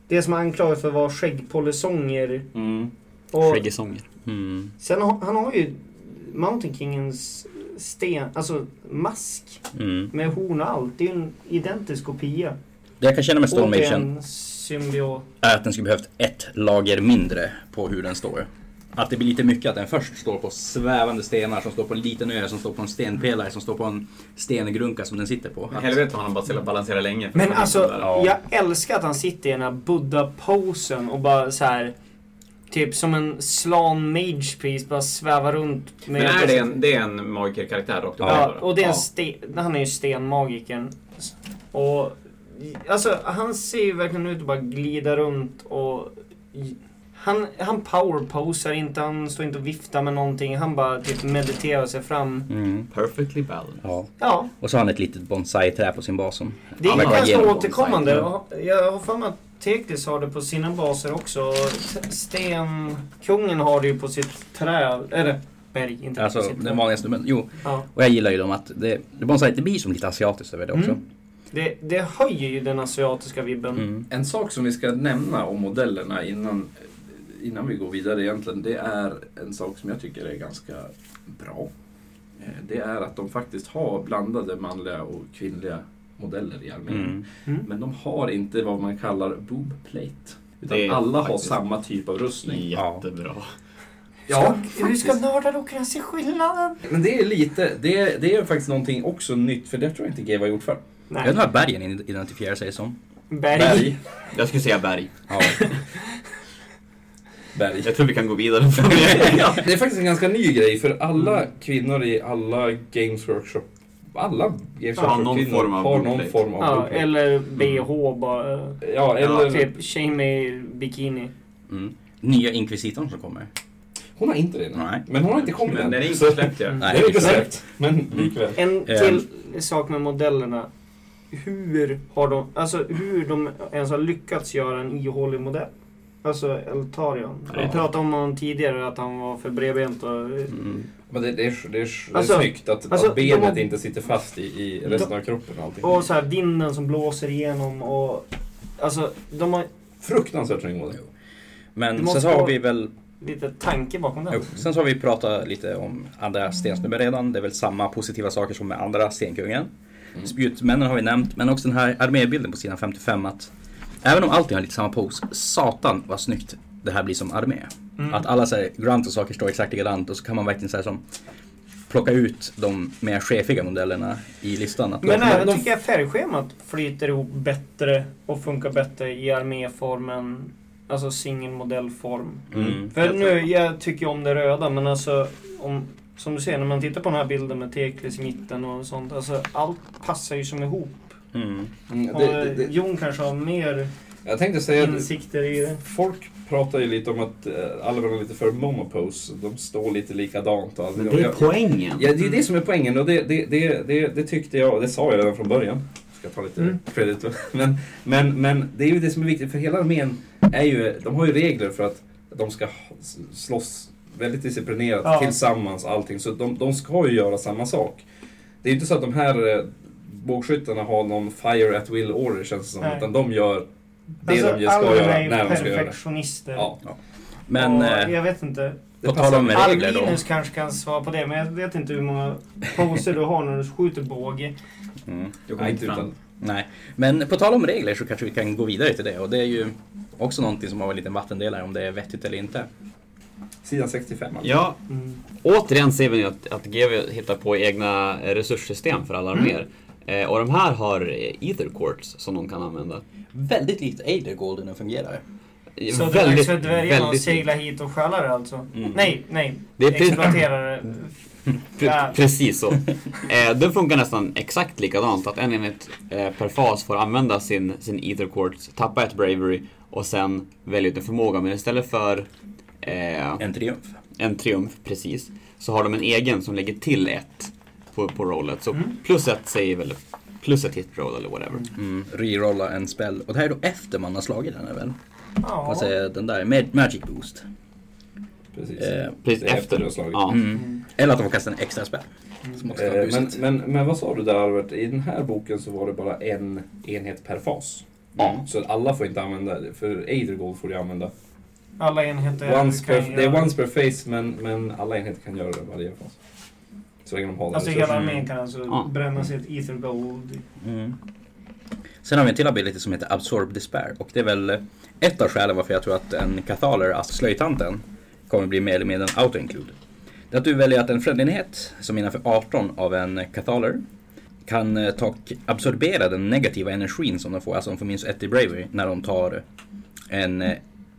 Det som är anklagat för att vara skäggpolisonger.
Mm.
Och
Skäggisånger.
Mm.
sen har, han har ju Mountain Kingens sten, alltså mask
Mm.
med horn och allt. Det är ju en identisk kopia.
Det jag kan känna med Stone Magen
Återigen symbiot.
är att den skulle behövt ett lager mindre på hur den står. Att det blir lite mycket att den först står på svävande stenar som står på en liten ö som står på en stenpelare som står på en stengrunka som den sitter på.
Men helvete vad han har bara balanserat länge.
Men alltså,
Ja.
jag älskar att han sitter i den här buddha-posen och bara så här. Typ som en slan mage priest bara svävar runt med...
Men är det en, det är en magiker-karaktär rakt upp och
Ja,
ner då?
och det är en sten, han är ju stenmagikern. Och... Alltså, han ser ju verkligen ut att bara glida runt och... Han, han powerposar inte, han står inte och viftar med någonting. Han bara typ mediterar sig fram.
Mm.
Perfectly balanced.
Ja.
Ja,
Och så har han ett litet bonsai-trä på sin bas som
Det är
verkar
ganska
genomgång.
återkommande. Jag har för mig att Teklis har det på sina baser också. Stenkungen har det ju på sitt träd. Eller berg, inte
Alltså
på sitt
den
träd.
vanligaste. Men, jo,
Ja,
och jag gillar ju dem att det, det bonsai det blir som lite asiatiskt över det också.
Mm. det, det höjer ju den asiatiska vibben.
Mm.
En sak som vi ska nämna om modellerna innan, innan vi går vidare egentligen, det är en sak som jag tycker är ganska bra. Eh, Det är att de faktiskt har blandade manliga och kvinnliga modeller i armén.
Mm.
Men de har inte vad man kallar boob plate.
Det är
Utan alla har
faktiskt-
samma typ av rustning.
Jättebra.
Ja,
Hur ska nördar då kunna se skillnaden?
men det är lite, det är, det är faktiskt någonting också nytt för det tror jag inte GW har gjort för.
Jag vet
Nej,
inte vad bergen identifierar sig som.
berg.
Jag skulle säga berg.
Ja.
Berg.
Jag tror vi kan gå vidare från
ja, det är faktiskt en ganska ny grej för alla kvinnor i alla Games Workshop alla Games
Ja,
Workshop
någon
kvinnor
form av
har någon
bootleg.
form av
Ja,
bootleg.
eller bh bara.
Ja, eller...
Ja, typ tjej med bikini.
Mm. Nya inkvisitorn som kommer.
Hon har inte det nu.
Nej.
Men hon har inte kommit
Men
än.
den är inte
Så-
släppt ju.
Det är inte
exakt.
släppt. Men likväl.
En
Eh.
till sak med modellerna. Hur har de, alltså hur de ens har lyckats göra en ihålig modell? Alltså Eltarion. Vi
Ja.
pratade om honom tidigare att han var för bredbent och...
Mm.
Men det, det, är, det, är, det är
Alltså-
snyggt att,
alltså,
att benet
de har-
inte sitter fast i, i resten av kroppen och allting.
Och så här vinden som blåser igenom och... Alltså de har...
Fruktansvärt snygg modell.
Men
Det
sen
måste
så har
vara-
vi väl
lite tanke bakom den.
Jo. Sen så har vi pratat lite om andra stensnubben redan. Det är väl samma positiva saker som med andra stenkungen.
Mm.
Spjutmännen har vi nämnt, men också den här armébilden på sidan 55 att även om allting har lite samma pose, satan vad snyggt det här blir som armé.
Mm.
Att alla så här, grunt och saker står exakt likadant och så kan man verkligen så här, som, plocka ut de mer chefiga modellerna i listan. Att
Men
de-
även
de-
tycker jag färgschemat flyter ihop bättre och funkar bättre i arméformen. Alltså singelmodellform.
Mm.
För nu, jag tycker ju om det röda men alltså om, som du ser när man tittar på den här bilden med Teklis i mitten och sånt. Alltså allt passar ju som ihop.
Mm.
Mm,
Och
det, det, det.
Jon kanske har mer
Jag tänkte säga att
insikter i det.
Folk pratar ju lite om att eh, alverna är lite för monopose. De står lite likadant. Och allt.
Men det är
Jag-
poängen.
Ja, det är det som är poängen och det, det, det, det, det tyckte jag, och det sa jag redan från början. Ska jag ta lite
Mm.
credit. då? Men, men, men det är ju det som är viktigt för hela armén är ju, de har ju regler för att de ska slåss väldigt disciplinerat
Ja.
tillsammans allting. Så de, de ska ju göra samma sak. Det är ju inte så att de här eh, bågskyttarna har någon fire at will order känns det som.
Nej.
Utan de gör det de ska
Alltså, alla
göra
är ju
när de ska göra det.
perfektionister.
Ja.
Men
och
eh,
jag vet inte.
på tal om regler då.
Linus kanske kan svara på det men jag vet inte hur många poser du har när du skjuter båge.
Mm.
Jag
Nej, inte
fram.
utan.
Nej, men på tal om regler så kanske vi kan gå vidare till det och det är ju också någonting som har en liten vattendelare om det är vettigt eller inte.
Sidan 65. alltså.
Ja,
Mm.
återigen ser vi nu att, att GW hittar på egna eh, resurssystem för alla arméer. Eh, och de här har eh, ether quartz som de kan använda.
Väldigt likt Eider Golden den fungerar.
Eh,
Så det är dags för dvärgarna att
väldigt-
segla hit och stjäla det alltså?
Mm.
Nej, nej.
Det är precis-
Exploatera det.
Pre- precis så. Eh, den funkar nästan exakt likadant, att en enhet eh, per fas får använda sin, sin ether quartz, tappa ett bravery och sen välja ut en förmåga. Men istället för eh,
En triumf.
en triumf, precis, så har de en egen som lägger till ett på, på rollet. Så
Mm.
plus ett säger väl plus ett hit roll eller whatever.
Mm. Rerolla en spell och det här är då efter man har slagit den här väl?
Ja.
Alltså den där med magic boost.
Precis.
Eh,
Precis
Det är efter
efter.
du har slagit.
Ja.
mm.
Mm.
Eller att de får kasta en extra spel. Som också har
Eh, Men,
busigt.
men, men vad sa du där Albert? I den här boken så var det bara en enhet per fas. Mm.
Ja.
Så alla får inte använda det, för Eidergold får du använda.
Alla enheter
Once
kan
per,
göra-
det är once per face men, men alla enheter kan göra det varje fas. Så länge de har den
Alltså hela
resursen.
armén kan alltså
Ja.
bränna sig ett ether gold.
Mm. Sen har vi en till ability som heter Absorb Despair och det är väl eh, ett av skälen varför jag tror att en kathaler, alltså slöjtanten, kommer bli mer eller mindre en auto-include. Det är att du väljer att en främlingenhet som innanför 18 av en kathaler kan eh, ta och absorbera den negativa energin som de får, alltså de får minst ett i bravery när de tar en eh,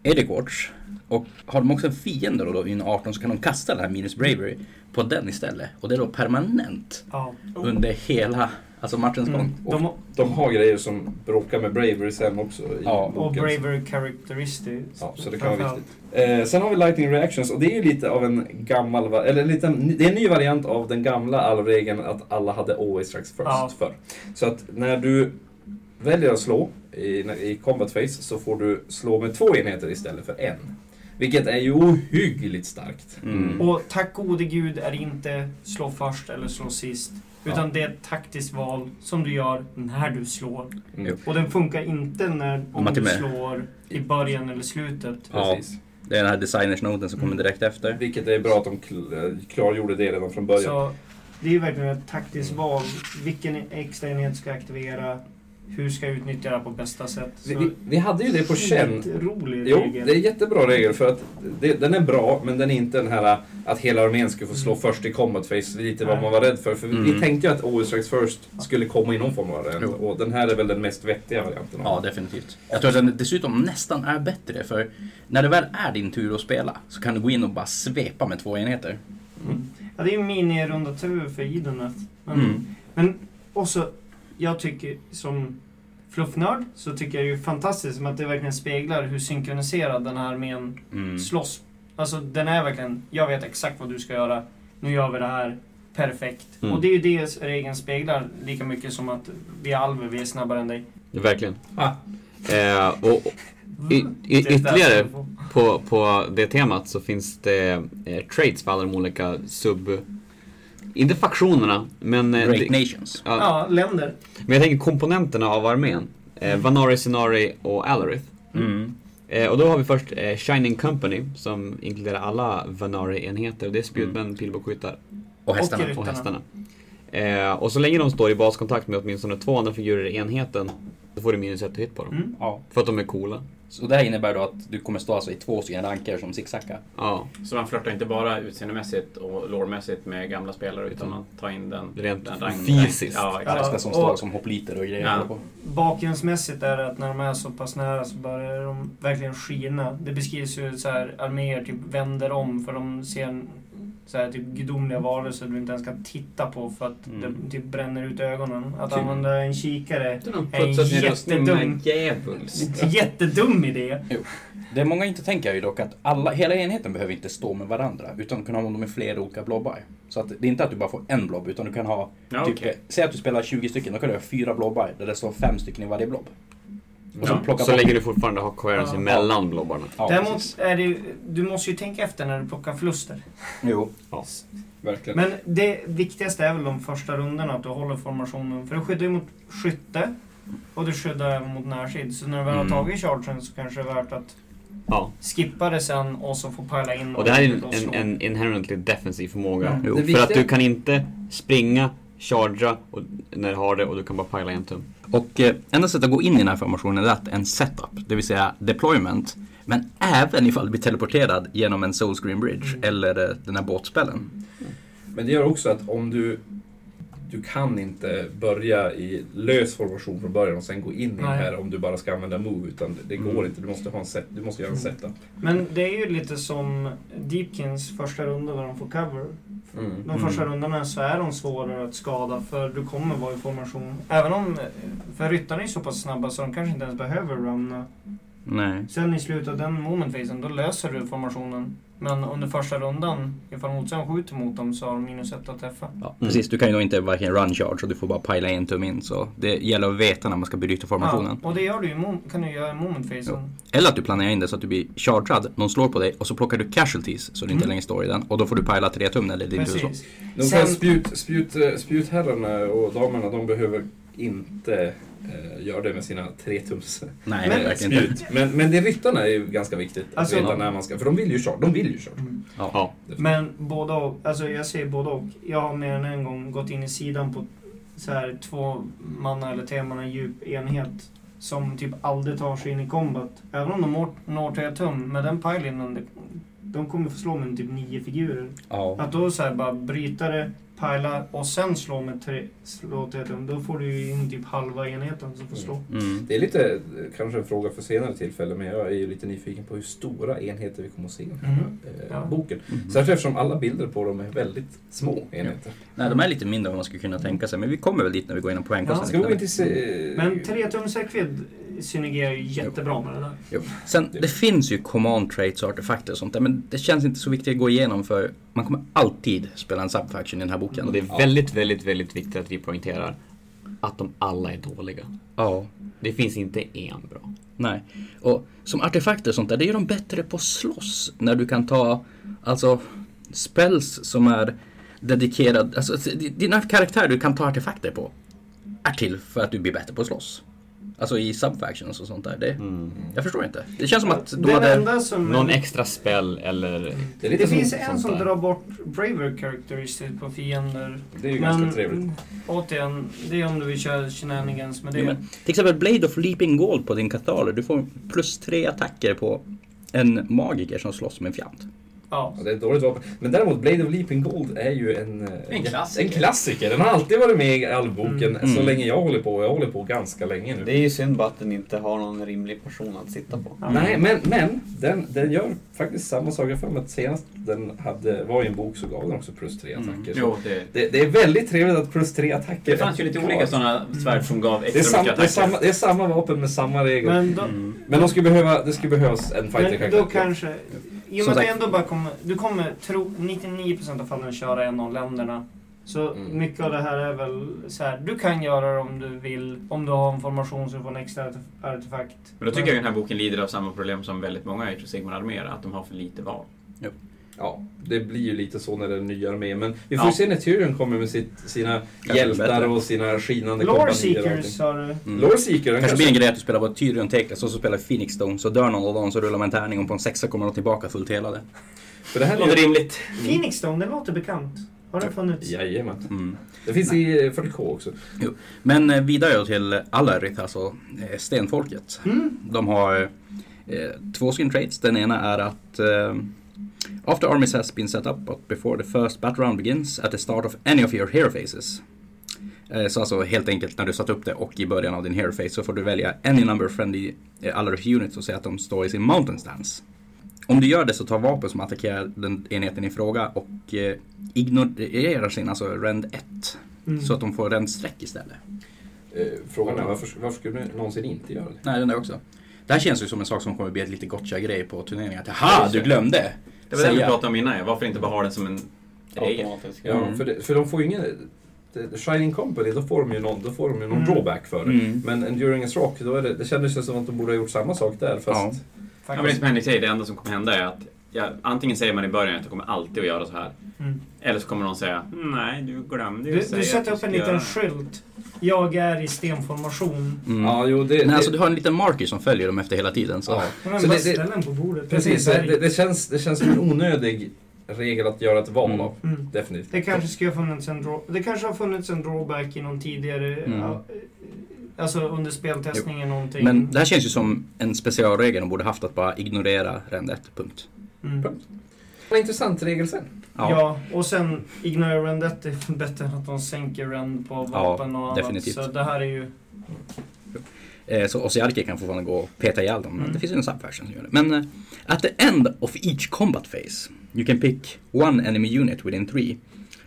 Edic Watch. Och har de också en fiende då, då in 18 så kan de kasta den här minus bravery på den istället. Och det är då permanent
Ja.
under hela alltså matchens gång.
Mm. De, har-
De har grejer som bråkar med Bravery sen också i
Ja.
och
boken.
braver characteristics.
Ja, så det kan vara
framförallt.
Eh, sen har vi Lightning Reactions och det är ju lite av en gammal, va- eller en liten, det är en ny variant av den gamla alvregeln att alla hade always strikes first
Ja.
förr. Så att när du väljer att slå i, i combat phase så får du slå med två enheter istället för en. Vilket är ju ohyggligt starkt.
Mm.
Och tack gode gud är det inte slå först eller
Mm.
slå sist. Utan det är ett taktiskt val som du gör när du slår.
Mm.
Och den funkar inte när, om
man till
du
och med-
slår i början eller slutet.
Ja.
Precis.
Det är den här designersnoten som kommer direkt efter.
Vilket är bra att de kl- klargjorde det redan från början.
Så det är ju verkligen ett taktiskt val. Vilken extra enhet ska jag aktivera? Hur ska jag utnyttja det här på bästa sätt?
Vi,
Så
vi, vi hade ju det på känn
rolig
Jo,
regel.
det är jättebra regel för att det, den är bra men den är inte den här att hela armén skulle få slå
Mm.
först i combat phase, lite
Nej.
vad man var rädd för. För
Mm.
vi tänkte ju att always strikes first skulle komma i någon form av variant
Jo.
och den här är väl den mest vettiga varianten. av
Ja, definitivt. Jag tror att den dessutom nästan är bättre för när det väl är din tur att spela så kan du gå in och bara svepa med två enheter.
Mm. Ja, det är ju mini-runda tur för Gideonet. Men,
Mm.
men också, jag tycker som fluffnörd så tycker jag det är ju fantastiskt som att det verkligen speglar hur synkroniserad den här armén
Mm.
slåss. Alltså den är verkligen, jag vet exakt vad du ska göra. Nu gör vi det här. Perfekt.
Mm.
Och det är ju det regeln speglar lika mycket som att vi är alver, vi är snabbare än dig.
Verkligen.
Ah.
Eh, och, och y- y-
Mm. Det är där
ytterligare
du får-
På, på det temat så finns det eh, traits för alla de olika sub... Inte faktionerna, men... eh,
Great
det-
Nations.
ja,
Ja, Mm. länder.
Mm.
Men jag tänker komponenterna av armén. Eh, Vanari, Sinari och Alarith. Eh, och då har vi först eh, Shining Company som inkluderar alla Vanari-enheter. Och Det är spjutmän,
Mm.
pilbågsskyttar
Och hästarna.
Och hästarna. Eh, och så länge de står i baskontakt med åtminstone två andra figurer i enheten så får du minus ett hit på dem.
Mm.
Ja.
För att de är coola.
Så det här innebär då att du kommer stå alltså i två stycken ranker som zigzacka.
Ja,
Så man flörtar inte bara utseendemässigt och lårmässigt med gamla spelare utan man tar in den...
Rent
den rank-
fysiskt.
Ja, exakt.
Flesta som
och-
står som hopliter och grejer.
Ja.
på.
Bakgrundsmässigt är det att när de är så pass nära så börjar de verkligen skina. Det beskrivs ju så här arméer typ vänder om för de ser en, så här, typ gudomliga varelser du inte ens kan titta på för att
Mm.
det typ bränner ut ögonen. Att
Typ.
använda en kikare
De
är en
putsar sin rustning
jättedum,
med djävulskt.
jättedum idé.
Det många inte tänker är ju dock att alla, hela enheten behöver inte stå med varandra utan kan ha dem i flera olika blobbar. Så att det är inte att du bara får en blob utan du kan ha,
Ja,
typ,
okej.
säg att du spelar 20 stycken, då kan du ha fyra blobbar där det står fem stycken i varje blob. Och så
Ja.
plocka
Så
bort-
länge du fortfarande har coherence
Ja.
mellan blobbarna.
Ja,
Däremot
precis.
är det ju, du måste ju tänka efter när du plockar förluster.
Jo.
Verkligen.
Men det viktigaste är väl de första rundorna, att du håller formationen. För du skyddar ju mot skytte och du skyddar även mot närsid. Så när du väl har
Mm.
tagit chargen så kanske det är värt att
Ja.
skippa det sen och så få pajla in.
Och det här är en,
och slå.
en, en inherently defensiv förmåga.
Mm.
Jo. Det
För att
viktiga-
du kan inte springa, chargea och, när du har det och du kan bara pajla en tum.
Och eh, enda sättet att gå in i den här formationen är att en setup, det vill säga deployment, men även ifall du blir teleporterad genom en Soul Screen Bridge
Mm.
eller eh, den här båtspellen.
Men det gör också att om du... Du kan inte börja i lös formation från början och sen gå in i det
Nej.
här om du bara ska använda move. Utan det, det
Mm.
går inte. Du måste, ha en set, du måste göra en setup.
Men det är ju lite som Deepkins första runda där de får cover.
Mm.
De
Mm.
första rundorna så är de svårare att skada för du kommer vara i formation. Även om, för ryttarna är ju så pass snabba så de kanske inte ens behöver runna.
Nej.
Sen i slutet av den momentfasen, då löser du formationen. Men under första rundan, ifall motståndaren skjuter mot dem så har de minus ett att träffa.
Ja, precis, du kan ju då inte varken run charge och du får bara pajla en tum in. Så det gäller att veta när man ska bryta formationen.
Ja, och det gör du ju, i mom- kan du göra i momentfasen.
Eller att du planerar in det så att du blir chargead, någon slår på dig och så plockar du casualties så du inte
Mm.
längre står i den. Och då får du pajla tre tum när det är din tur.
Precis.
De
Sen-
här spjut, spjut, eh, spjutherrarna och damerna, de behöver inte eh, göra det med sina tretums
Nej,
Men-
det är verkligen inte.
spjut. Men, men det ryttarna är ju ganska viktigt att
Alltså- Mm.
veta när man ska... För de vill ju charge. De vill ju charge.
Ja.
Men båda och, alltså jag säger båda och. Jag har mer än en gång gått in i sidan på så här två manna eller tre manna djup enhet som typ aldrig tar sig in i combat. Även om de når, når tre tum, med den pajlinen, de- de kommer få slå med typ nio figurer.
Ja.
Att då så här bara bryta det, pajla och sen slå med tre, slå tre tum. Då får du ju in typ halva enheten som får slå.
Mm.
Det är lite eh, kanske en fråga för senare tillfälle men jag är ju lite nyfiken på hur stora enheter vi kommer att se i den här
Mm.
eh,
Ja.
boken.
Mm.
Särskilt eftersom alla bilder på dem är väldigt små enheter.
Nej, de är lite mindre än vad man skulle kunna tänka sig. Men vi kommer väl dit när vi går igenom
Ja.
poängkostnaden.
Ska vi inte se...
Men tre tums räckvidd synergerar ju jättebra med det där.
Jo. Sen, det finns ju command traits och artefakter och sånt där, men det känns inte så viktigt att gå igenom för man kommer alltid spela en subfaction i den här boken.
Och det
Mm.
är väldigt, väldigt, väldigt viktigt att vi poängterar att de alla är dåliga.
Ja,
Det finns inte en bra.
nej. Och som artefakter och sånt där, det är de bättre på att slåss när du kan ta, alltså, spells som är dedikerad, alltså dina karaktärer du kan ta artefakter på är till för att du blir bättre på att slåss. Alltså i subfactions och sånt där. Det,
Mm.
Jag förstår inte. Det känns som att de
Den
hade...
enda som...
Någon extra spel eller...
Det, är
det
lite som,
finns en
sånt
som
där.
drar bort braver characteristics på fiender.
det är ju ganska trevligt.
återigen, det är om du vill köra shenanigans med det.
Ja, men, till exempel Blade of Leaping Gold på din kataler. Du får plus tre attacker på en magiker som slåss med en fjant.
ja.
Ja, det är ett dåligt vapen. Men däremot Blade of Leaping Gold är ju en, eh,
En klassiker.
en klassiker. Den har alltid varit med i allboken
Mm.
så
Mm.
länge jag håller på och jag håller på ganska länge nu.
Det är ju synd bara att den inte har någon rimlig person att sitta på.
Nej, men, men den, den gör faktiskt samma sak. Jag för mig att senast den hade, var i en bok så gav den också plus tre
Mm.
attacker. Så
Jo, det,
Det, det är väldigt trevligt att plus tre attacker
det fanns ju lite
är
olika
kvar.
sådana svärd som gav
Det är,
extra
sam,
mycket
det, är
attacker.
samma, det är samma vapen med samma regler. Men,
Men, då,
de skulle behöva, det skulle behövas en
men då
fighter
kanske... I och
Som
med att du
sagt.
ändå bara kommer... Du kommer tro 99% av fallen köra en av länderna. Så
Mm.
mycket av det här är väl så här. Du kan göra det om du vill. Om du har en formation så du får en extra arte- artefakt.
Men då tycker jag den här boken lider av samma problem som väldigt många i sigmar arméer att de har för lite val.
Ja, det blir ju lite så när det är en ny armé. Men vi får
Ja.
se när Tyrion kommer med sitt, sina hjältar
bättre.
och sina skinande
Lore
kompanier. och
Seekers
allting.
har du.
Mm.
Lore Seeker,
Det
den
kanske blir en
kanske...
grej att du spelar på ett Tyrion Teklas och så spelar Phoenix Stone. Så dör någon av dem så rullar man en tärning och på en sexa kommer de tillbaka fullt helade.
För det här
Låter
är ju...
rimligt.
Phoenix Stone, det låter bekant. Har den funnits?
Jajamän.
Mm.
Det finns i eh, 40K också.
Men eh, vidare då till Alarith, alltså eh, stenfolket. De har eh, två skin traits. Den ena är att eh, After armies has been set up but before the first battle round begins at the start of any of your hero phases. Eh, så alltså helt enkelt när du satt upp det och i början av din hero phase så får du välja any number of friendly eh, Alarith units och säga att de står i sin mountain stance. Om du gör det så tar vapen som attackerar den enheten i fråga och eh, ignorerar sin, alltså rend 1.
Mm.
Så att de får rend streck istället.
Eh, frågan är varför, varför skulle du någonsin inte göra det?
Nej, den där också. Det här känns ju som en sak som kommer bli ett lite gotcha-grej på turneringar. Att, Jaha, du glömde!
Det var det vi
Säga.
pratade om innan. ja. Varför inte bara ha den som en regel?
Automatiskt.
Ja,
Mm.
för, det, för de får ju ingen... det- Shining Company, då får de ju någon, då får de ju någon
Mm.
drawback för det.
Mm.
Men Enduring as Rock, då är det, det kändes ju som att de borde ha gjort samma sak där. Fast
Ja, men det är som Henrik säger, det enda som kommer hända är att ja, antingen säger man i början att jag kommer alltid att göra så här.
Mm.
Eller så kommer någon säga Nej, du glömde ju
Du,
säga
du sätter
att
upp
ska
en
göra
liten
det."
skylt. Jag är i stenformation.
Mm.
Ja, jo, det,
Nej,
det,
alltså du har en liten marker som följer dem efter hela tiden. Så.
ja.
Men
Så
bara
det- det-
ställ den på bordet.
Precis,
Det är
det, det, känns, det känns som en onödig regel att göra ett val
Mm.
av.
Mm.
Definitivt.
Det kanske skulle ha funnits en draw, Det kanske har funnits en drawback i någon tidigare...
Mm.
ja, Alltså under speltestningen någonting.
Men det här känns ju som en specialregel de borde haft att bara ignorera rend 1, punkt.
Mm.
En intressant regel sen.
Ja,
Ja. och sen ignorera rendet är bättre än att de sänker rend på vapen och annat.
definitivt.
Så det här är ju...
Eh, så Ossiarki kan fortfarande gå och peta ihjäl dem, men
Mm.
det finns ju en subversion som gör det. Men eh, at the end of each combat phase you can pick one enemy unit within three.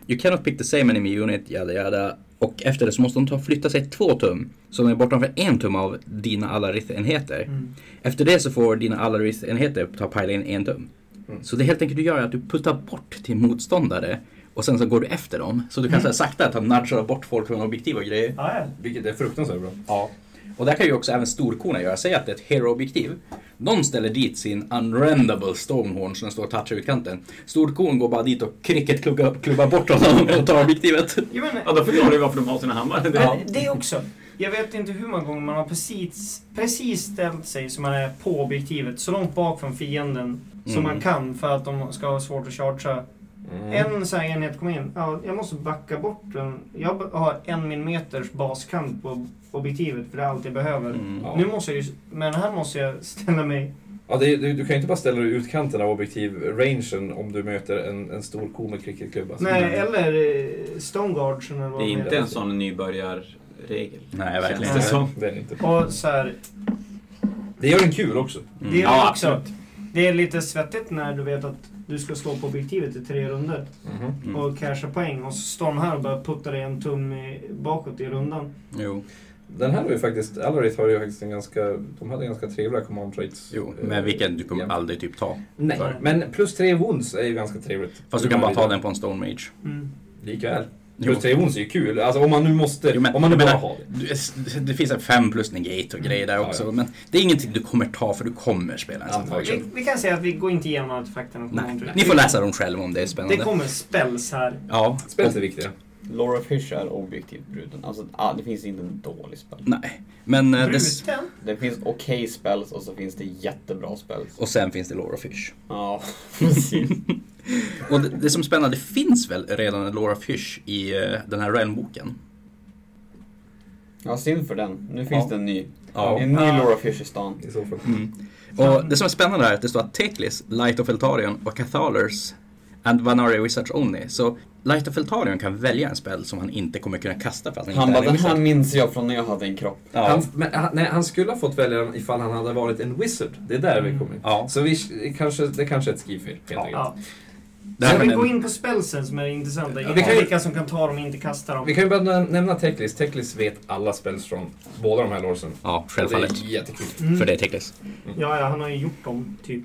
You cannot pick the same enemy unit, yada yada. Och efter det så måste de ta, flytta sig två tum, så de är bortanför en tum av dina alla enheter
Mm.
Efter det så får dina alla enheter ta pajla in en tum.
Mm.
Så det helt enkelt du gör är att du puttar bort till motståndare och sen så går du efter dem. Så du kan mm. sakta ta nudga bort folk från objektiv och grejer.
Ja, ja.
Vilket är fruktansvärt bra.
Ja. Och där kan ju också även storkorna göra. Säg att det är ett hero-objektiv. De ställer dit sin unrendable stormhorn som den står och touchar utkanten. Storkorn går bara dit och cricketklubbar klubbar bort honom och tar objektivet.
Jag menar,
Ja, då förklarar du varför de har sina hammare. Det-
Men det också. Jag vet inte hur många gånger man har precis, precis ställt sig som man är på objektivet, så långt bak från fienden som
Mm.
man kan för att de ska ha svårt att chargea. Mm. En sån här enhet kom in, ja, jag måste backa bort den. Jag b- har en millimeters baskant på objektivet för det är allt jag behöver.
Mm.
Ja.
Nu måste jag ju, men här måste jag ställa mig...
Ja, det, är- du, du kan ju inte bara ställa dig i utkanten av objektiv-rangen om du möter en, en stor ko med cricketklubba. Alltså.
Nej,
Mm.
eller eh, Stoneguards eller vad
Det är
de
inte
heter.
en sån nybörjarregel.
Nej, verkligen
Känns det
inte.
som.
Det, är det inte.
Och så här,
det gör den kul också.
Mm.
Det är,
Ja,
också, det är lite svettigt när du vet att du ska slå på objektivet i tre runder
Mm.
och casha poäng och så står de här och bara puttar dig en tum i, bakåt i rundan.
Jo.
Den här har ju faktiskt, Alarith har ju faktiskt en ganska, de hade ganska trevliga command traits.
jo,
Eh,
men vilken du kommer
jämfört.
aldrig typ ta.
Nej,
för.
men plus tre wounds är ju ganska trevligt.
Fast du kan bara ta den på en stone mage.
Mm.
Likväl.
Jo.
Plus tre wounds är ju kul, alltså om man nu måste,
Jo, men-
om man nu
jag
bara
menar-
har det.
Du- Det finns en fem plus negate och grejer där
Ja,
också.
ja.
Men det är ingenting du kommer ta för du kommer spela en sån
Vi,
Antagligen.
version.
vi kan säga att vi går inte igenom artefakterna. på
Nej.
Mountain.
Ni får läsa dem själva om det är
Mm. Det
spännande.
kommer spells här.
Ja.
Spelet är viktiga.
Laura Fish är objektivt bruten. Alltså, ah, det finns inte en dålig spel.
Nej. Men eh, det,
Bruten?
Det finns okej spells och så finns det jättebra spells.
och sen finns det Laura Fish.
Ja, precis.
Och det, det som är spännande, det finns väl redan en Laura Fish i eh, den här Realm-boken?
Ja, synd för den. Nu finns
Ja.
det en ny.
Ja.
En ny
Ja.
Laura Fish i stan.
I så fall.
Mm. Och det som är spännande här är att det står att Teklis, Light of Eltarion och Cathalers and Vanaria Wizards Only. Så Light of Eltarion kan välja en spel som han inte kommer kunna kasta för att han,
Han
inte
bara,
är en
den här
wizard.
minns jag från när jag hade en kropp.
Han,
Ja.
men, han, nej, han skulle ha fått välja den ifall han hade varit en wizard. Det är där vi kommer
Mm.
in.
Ja.
Så vi, kanske, det kanske är ett skrivfel helt enkelt.
Ja.
Det
Ska
här
vi
med
gå
den,
in på spelsen som är intressanta?
Ja, vi kan ju-
Vilka som kan ta dem och inte kasta dem.
Vi kan ju bara näm- nämna Teklis. Teklis vet alla spells från båda de här låsen.
ja,
Och Det
självfallet.
är jättekul.
Mm.
För det är Teklis.
Ja, ja, han har ju gjort dem, typ.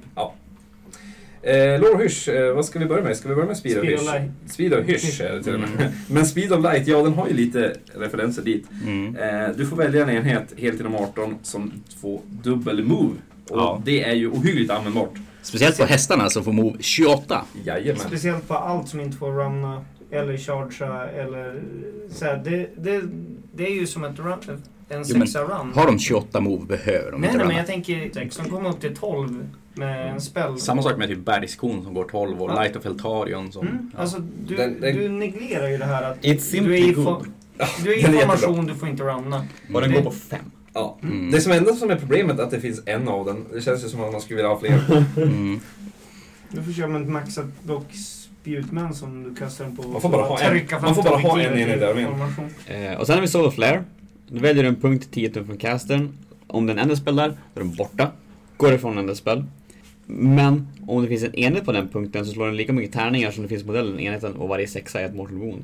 Eh, Lore Hysch, eh, vad ska vi börja med? Ska vi börja med Speed of
Speed of
Hysch?
Light.
Speed of Hysch är det till och med. Men Speed of Light, ja den har ju lite referenser dit.
Mm.
Eh, du får välja en enhet helt inom 18 som får dubbel move. Och
Ja.
det är ju ohyggligt användbart.
Speciellt på hästarna som får move 28.
Speciellt på allt som inte får runna eller chargea eller så här, det, det, det är ju som ett run, en
Jo, men
sexa run.
Har de 28 move behöver de inte
nej, nej,
runna.
men jag tänker sex. De kommer upp till 12 med
Mm.
en spell.
Samma sak med typ bergskon som går 12 och
Ja.
Light of Eltarion som...
Mm,
ja.
alltså du,
Den- den-
du neglerar ju det här att
It's
du
simply
är,
good.
info- du är
den är jättebra.
information, du får inte runna.
Och den går
Det-
Mm.
på fem. Ja. Det som enda som är problemet är att det finns en av den. Det känns ju som att man skulle vilja ha fler.
Mm.
Du får köra med ett maxat block spjutmän som du kastar den på.
Man får bara ha en-
Trycka fram
man får bara ha
objektivet
en enhet
till
där med.
information.
Eh, och sen har vi Soul Flare. Då väljer du en punkt 10 tum från castern. Om den ändrar spel där, då är den borta. Går ifrån ändra spel. Men om det finns en enhet på den punkten så slår den lika mycket tärningar som det finns modellen i enheten och varje sexa är ett mortal wound.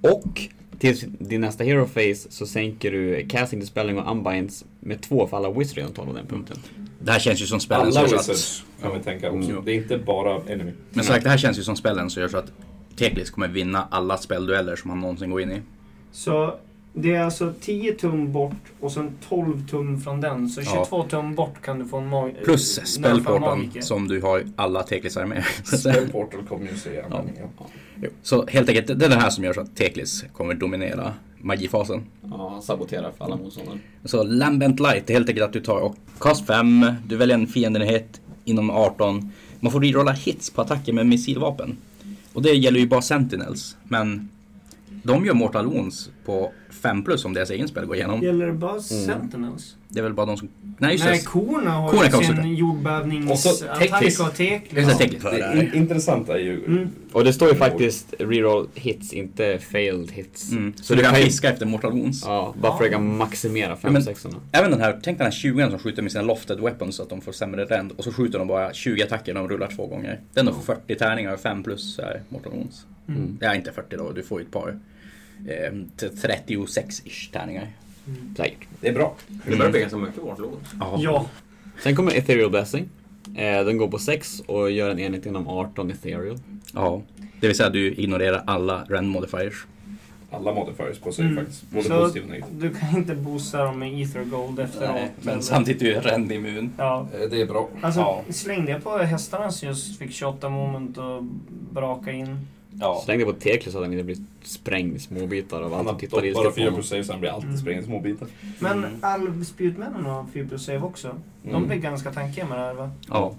Och till din nästa hero phase så sänker du casting, dispelling och unbinds med två för alla wizards redan tar på den punkten.
Det här känns ju som spelen
Alla
så att-
wizards,
kan vi tänka
Mm.
också. Det är inte bara enemy.
Men sagt, det här känns ju som spelen som gör så att Teklis kommer vinna alla speldueller som han någonsin går in i.
Så det är alltså 10 tum bort och sen 12 tum från den. Så
Ja.
22 tum bort kan du få en mag...
Plus
eh, nerfamagike.
spellporten som du har i alla Teklis-arméer.
Spellportal kommer ju se användning. Ja.
Jo, Så helt enkelt, det är det här som gör så att Teklis kommer dominera magifasen.
Ja, sabotera för alla motståndare.
Så Lambent Light är helt enkelt att du tar och cast 5, du väljer en fiendenhet inom 18. Man får rerolla hits på attacker med missilvapen. Och det gäller ju bara Sentinels, men de gör Mortal Wounds på 5 plus om deras egen spel går igenom.
Gäller det bara
Mm.
Sentinels?
Det är väl bara de som... Nej, just
Nej,
det.
korna har
Korna kan
ju
också
sin
det.
Och så
jordbävningsattack
Teklis.
och tek.
Just det, Mm.
liksom.
Teklis.
Det in- intressanta är ju...
Mm.
Och det står ju faktiskt reroll hits, inte failed hits.
Mm. Så du kan fiska efter Mortal Wounds.
Ja, bara försöka maximera
Ja, men-
5-6orna.
Även den här, tänk den här 20 som skjuter med sina lofted weapons så att de får sämre rend och så skjuter de bara 20 attacker när de rullar två gånger. Den har 40 tärningar och 5 plus så här, Mortal Wounds.
Mm.
Ja, inte 40 då, du får ju ett par eh, t- 36-ish tärningar.
Säkert.
Det är bra.
Det börjar bli ganska mycket vårt lån.
Ja.
Sen kommer Ethereal Blessing. Eh, den går på 6 och gör en enhet inom 18 Ethereal.
Ja, det vill säga du ignorerar alla rend modifiers.
Alla modifiers på sig
Mm.
faktiskt. Både
Så-
positivt och negativt.
Du kan inte boosta dem med ether gold efteråt. eller-
Eh, men samtidigt är ju rend immun.
Ja.
Eh, Det är bra.
Alltså,
Ja.
släng det på hästarna som just fick 28 moment och braka in.
Ja.
Släng det på Teklis så att den inte blir sprängd i småbitar av
Han
allt
har
som tittar i
dock bara 4
sig
plus save så han blir alltid
Mm.
sprängd i småbitar.
Men
Mm.
alvspjutmännen har 4 plus save också.
Mm.
De blir ganska tankiga med det här va?
Ja,
Och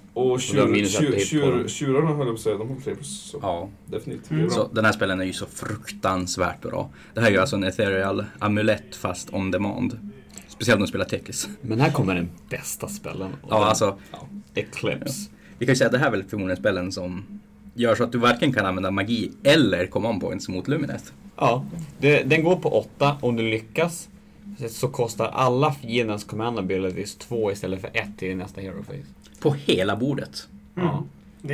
då har minus ett
tjur-
hit på
tjur-
dem.
tjurarna höll jag på att säga, de har 3 plus. Så
ja.
definitivt.
Mm.
Det är bra.
Så den här spelen är ju så fruktansvärt bra. Det här är ju alltså en ethereal amulett fast on demand. Speciellt när du spelar Teklis.
Men här kommer den bästa spellen. och
Ja,
den-
alltså
Eclipse.
Vi kan ju säga att det här är väl förmodligen spelen som gör så att du varken kan använda magi eller command points mot Luminet.
Ja, det, den går på 8 om du lyckas. Så kostar alla fiendens command abilities 2 istället för 1 i nästa hero phase.
På hela bordet.
Mm. Det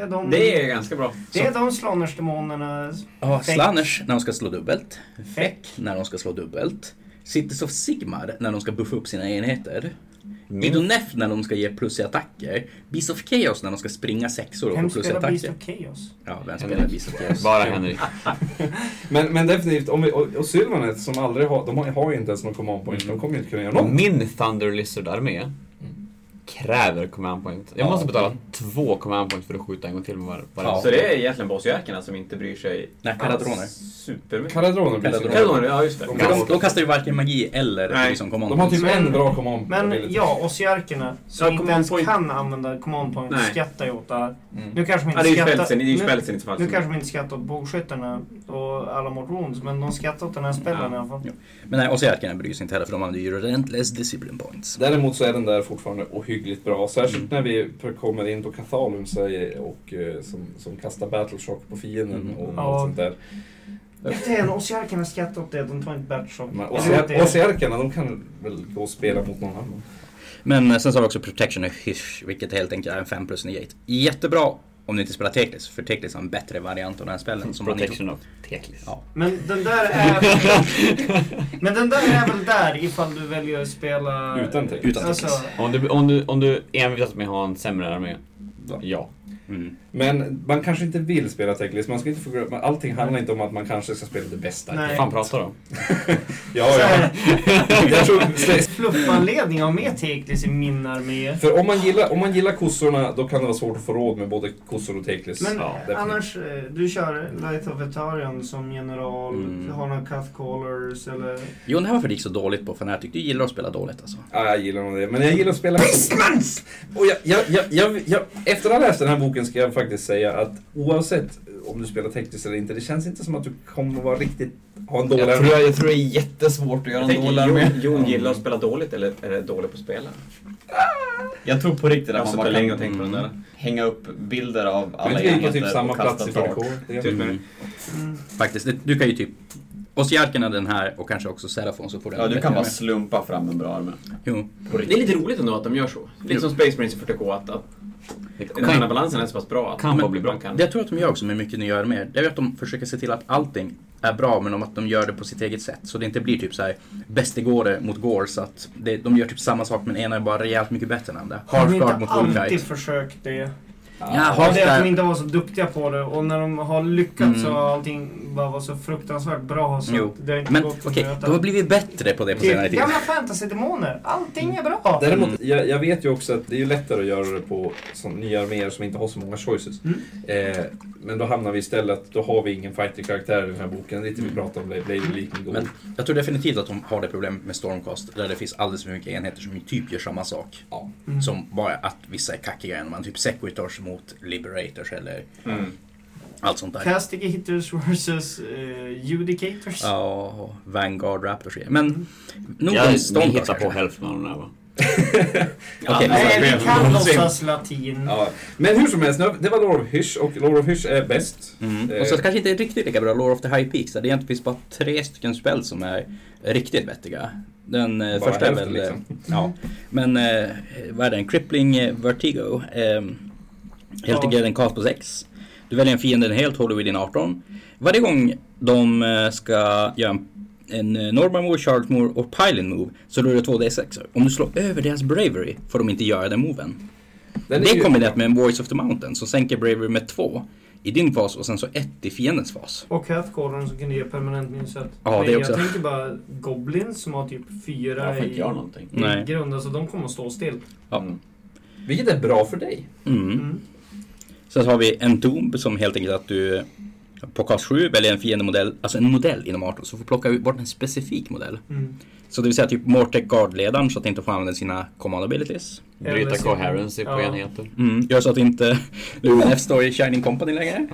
är de,
Det är ganska bra.
det är de slanersdemonerna.
Ja,
Feck.
Slanners när de ska slå dubbelt.
Feck.
När de ska slå dubbelt. Cities of Sigmar när de ska buffa upp sina enheter.
Mm.
Idonef när de ska ge plus i attacker. Beast of Chaos när de ska springa sexor och få
Vem
plus i
spelar Beast
attacker.
of Chaos?
Ja, vem spelar Beast of Chaos?
Bara Henrik.
Men, men definitivt, om vi, och, och Sylvanet som aldrig har, de har, har ju inte ens någon command point. De kommer ju inte kunna göra någonting.
Min Thunder Lizard-armé kräver command point. Jag måste betala två command point för att skjuta en gång till med var- varje.
Ja.
Så det är egentligen bossjäklarna som inte bryr sig
Nej, Caradroner.
supermycket.
Karadroner blir
Karadroner.
Karadroner.
Kaldoner, ja just det.
De-
För de, de kastar ju varken magi eller
Nej,
liksom command
De har
points.
typ en bra command
Men
ability.
ja, ossiarkerna som
Ja,
inte
command
ens
point.
kan använda command point
Nej.
skrattar ju åt det här.
Mm.
Nu kanske de
Ja,
inte
det är ju
skrattar-
spelsen, det är ju
nu-
spelsen i så fall.
Nu
som-
kanske de inte skrattar åt bågskyttarna och alla mot wounds, men de skrattar åt den här spelen
Ja.
i alla fall.
Ja. Men nej, Ossiarkerna bryr sig inte heller för de använder ju Relentless Discipline Points.
Däremot så är den där fortfarande ohyggligt bra. Särskilt när vi pr- kommer in på Kathalum säger och eh, som, som kastar battleshock på fienden
Mm.
och
Ja.
allt sånt där.
Det är en ossiarkerna skrattar åt det, de tar inte Bertshock.
Men
Eller det-
Ossiar- Ossiarkerna, de kan väl gå och spela mot någon annan.
Men eh, sen så har vi också Protection och Hysch, vilket helt enkelt är en 5 plus 9 8. Jättebra om du inte spelar Teklis, för Teklis har en bättre variant av den här spelen. Som man inte...
Protection of Teklis.
Ja.
Men den där är... men den där är väl där ifall du väljer att spela...
Utan text.
Utan
Alltså,
text.
Om du, om du, om du envisas med att ha en sämre armé?
Ja.
Ja.
Men man kanske inte vill spela Techlist. Man ska inte få glömma- Allting handlar inte om att man kanske ska spela det bästa.
Nej. Vad
fan pratar du om?
ja, ja. Jag tror...
Fluffanledning av mer Teklis i min armé.
För om man, gillar, om man gillar kossorna, då kan det vara svårt att få råd med både kossor och Techlist.
Men
definitivt.
annars, eh, du kör Light of Etarian som general,
Mm.
har några Cuthcallers eller...
Jo, det här var det gick så dåligt på Fnatic. Du gillar att spela dåligt alltså.
Ja, jag gillar nog det. Men jag gillar att spela... Pissmans! Och jag, jag, jag, jag, jag, efter att ha läst den här boken ska jag faktiskt säga att oavsett om du spelar tekniskt eller inte, det känns inte som att du kommer vara riktigt... Ha en dålig...
Jag tror, jag tror det är jättesvårt att göra
Jag
en dålig
tänker, Jon,
armé.
Jon gillar att spela dåligt eller är det dålig på spelen?
Jag tror på riktigt
Jag
att
har
man
suttit
bara
länge
kan
och tänkt på den
Mm.
där.
hänga upp bilder av
Men
alla
vi gick på
enheter
typ samma
och kasta
plats i
tak.
40K.
Typ med det.
Faktiskt, det- du kan ju typ... Ossiarken hade den här och kanske också Serafon så får du
Ja,
en
du
bättre
kan bara
med.
slumpa fram en bra armé.
Jo.
På
Det är
riktigt.
lite roligt ändå att de gör så. Lite
Jo.
som Space Marines i 40K att, att den här balansen är så pass bra att
Kan bara
bli bra. Kan.
Det jag tror att de gör också med mycket nya arméer, det är ju att de försöker se till att allting är bra men om att de gör det på sitt eget sätt. Så det inte blir typ så här bästegåre mot gore så att det, de gör typ samma sak men ena är bara rejält mycket bättre än andra. Harfgard mot
De har alltid
Wolfguide.
försökt det.
Ja,
Ja, det är att
Harfgard.
de inte var så duktiga på det och när de har lyckats
Mm.
så har allting bara varit så fruktansvärt bra så
Jo.
att det har inte
Men
gått att
okej,
möta.
de har blivit bättre på det på senare
Typ,
tid.
gamla fantasy-demoner, allting är bra!
Däremot, jag, jag vet ju också att det är ju lättare att göra det på sån, nya arméer som inte har så många choices.
Mm.
Eh, men då hamnar vi istället att då har vi ingen fighter-karaktär i den här boken. Lite vi pratade om, Blade Blade Leaking Gold.
Men jag tror definitivt att de har det problemet med Stormcast där det finns alldeles för mycket enheter som typ gör samma sak.
Ja.
Mm.
Som bara att vissa är kackiga än man. Typ Sequitors mot Liberators eller
Mm.
allt sånt där.
Castic hitters versus eh, judicators. Mm.
Ja, och Vanguard Raptors och grejer. Men nog
Jag,
om
ni
Stormcast
hittar på
kanske.
hälften av de där va?
Okej,
Nej, vi kan låtsas latin.
Ja. Men hur som helst, nu- det var Lord of Hysh och Lord of Hysh är bäst.
Mm. Och så kanske inte riktigt lika bra Lore of the High Peaks. Där det egentligen finns bara tre stycken spel som är riktigt vettiga. Den eh,
Bara
första är
hälften,
väl...
liksom.
Ja. Men eh, vad är den? Crippling eh, Vertigo. Eh, helt enkelt en cast på 6. Du väljer en fiende, den helt håller vid din 18. Varje gång de eh, ska göra en, en eh, Norman Move, Charlotte Move och Pylon Move så rullar du 2 D6. Om du slår över deras Bravery får de inte göra den moven.
Den är
det
ju-
kombinerat med en Voice of the Mountain som sänker Bravery med två i din fas och sen så ett i fiendens fas.
Och Hathgården som kunde ge permanent nysätt.
Ja, det
Men
också.
Jag tänker bara Goblins som har typ
Jag
fyra
får inte göra
i
någonting.
Mm.
i
Nej.
grund. Alltså de kommer att stå still.
Ja.
Mm.
Vilket är bra för dig.
Mm.
Mm.
Sen har vi en Doom som helt enkelt att du på kast 7 väljer en fiendemodell, alltså en modell inom 18, så får du plocka ut- bort en specifik modell.
Mm.
Så det vill säga typ Mortec Guard-ledaren så att den inte får använda sina command abilities.
Bryta coherency på
Ja.
enheter.
Mm. Gör så att inte UNF står i Shining Company längre.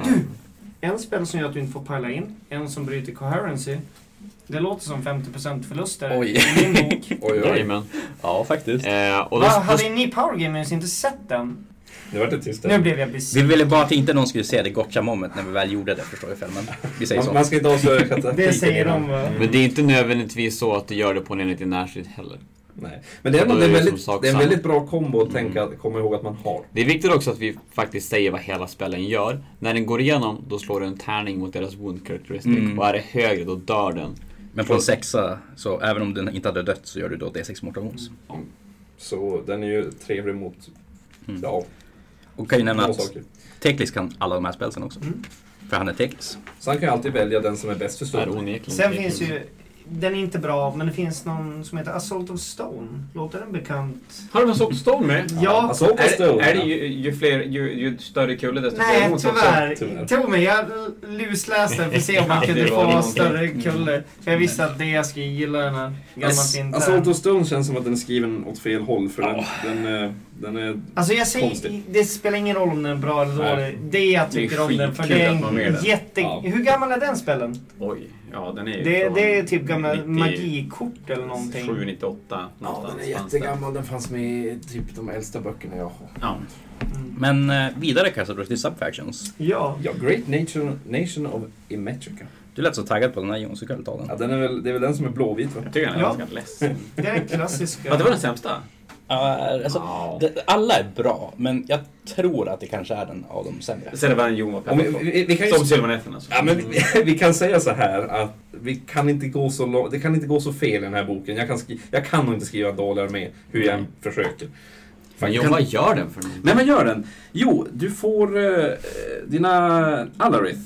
En spel som gör att du inte får pajla in, en som bryter coherency. Det låter som 50% förluster
Oj.
i min bok.
Oj, oj, oj.
Jajamän.
Ja, faktiskt.
Eh, och då,
Va,
då,
hade ni Power Gamers inte sett den?
Nu vart det tyst.
Nu blev jag
Vi
besviken.
ville bara att inte någon skulle se det gotcha moment när vi väl gjorde det förstår jag själv, men vi säger
Man,
så.
man ska inte avslöja karaktären.
Det säger de va?
Mm.
men det är inte nödvändigtvis så att du gör det på en enhet i närstrid heller.
Nej. Men det är, ändå,
Då
det,
är
är
det
väldigt,
som sak
det är en
samma.
väldigt bra kombo att tänka, komma ihåg att man har.
Det är viktigt också att vi faktiskt säger vad hela spelen gör. När den går igenom, då slår du en tärning mot deras wound characteristic.
Mm.
Och är det högre, då dör den.
Men på en sexa, så även om den inte hade dött så gör du då D6 mortal wounds.
Så den är ju trevlig mot...
Mm.
Ja,
Och kan ju nämna
små
att
saker.
Teklis kan alla de här spelsen också.
Mm.
För han är Teklis.
Så han kan ju alltid välja den som är bäst för
Det är
stunden.
onekligen.
Sen finns ju, den är inte bra, men det finns någon som heter Assault of Stone. Låter den bekant?
Har de en Sock Stone med?
Ja,
Alltså, hoppas
Är,
du.
är det ju, ju fler, ju, ju större kulle desto fler
nej
mot också?
tyvärr.
tyvärr.
Tro mig, jag lusläste för att se om man
Ja,
kunde
det Mm. var
få
någonting.
större kulle. För jag visste att det jag skulle gilla den här gamla fint.
Assault of Stone känns som att den är skriven åt fel håll för den, den, eh, den är...
Alltså jag säger,
Konstigt.
det spelar ingen roll om den är bra eller
Nej.
dålig. Det jag
Det är
tycker om den, för
skitkul
det är
att man är
en
med den.
jätte...
Ja.
Hur gammal är den spelen?
Oj, ja den är ju
Det,
från
det är typ gamla
90
magikort eller någonting.
7, 98 någonstans. fanns
Den fanns med i typ de äldsta böckerna jag har.
det. Ja.
Mm.
Men eh, vidare kastar du till Subfactions.
Ja.
Ja, Great Nation, Nation of Emetrica.
Du lät så taggad på den här Jon, så kan du ta den.
Ja, den är väl, det är väl den som är blåvit va?
Jag tycker den är
Ja.
ganska ledsen.
Det är den klassiska.
Ja, det var den sämsta.
alltså, det- alla är bra, men jag tror att det kanske är den av de sämre.
Sen är det bara en Jon och
Om vi,
Peppa.
vi, vi kan ju
Som Silverneffen alltså.
Ja, men vi, vi kan säga så här att vi kan inte gå så långt, det kan inte gå så fel i den här boken. Jag kan, skri, jag kan nog inte skriva en dålig armé, hur jag än försöker.
Men John,
Kan-
vad gör den för någonting?
Nej men gör den. Jo, du får eh, dina Alarith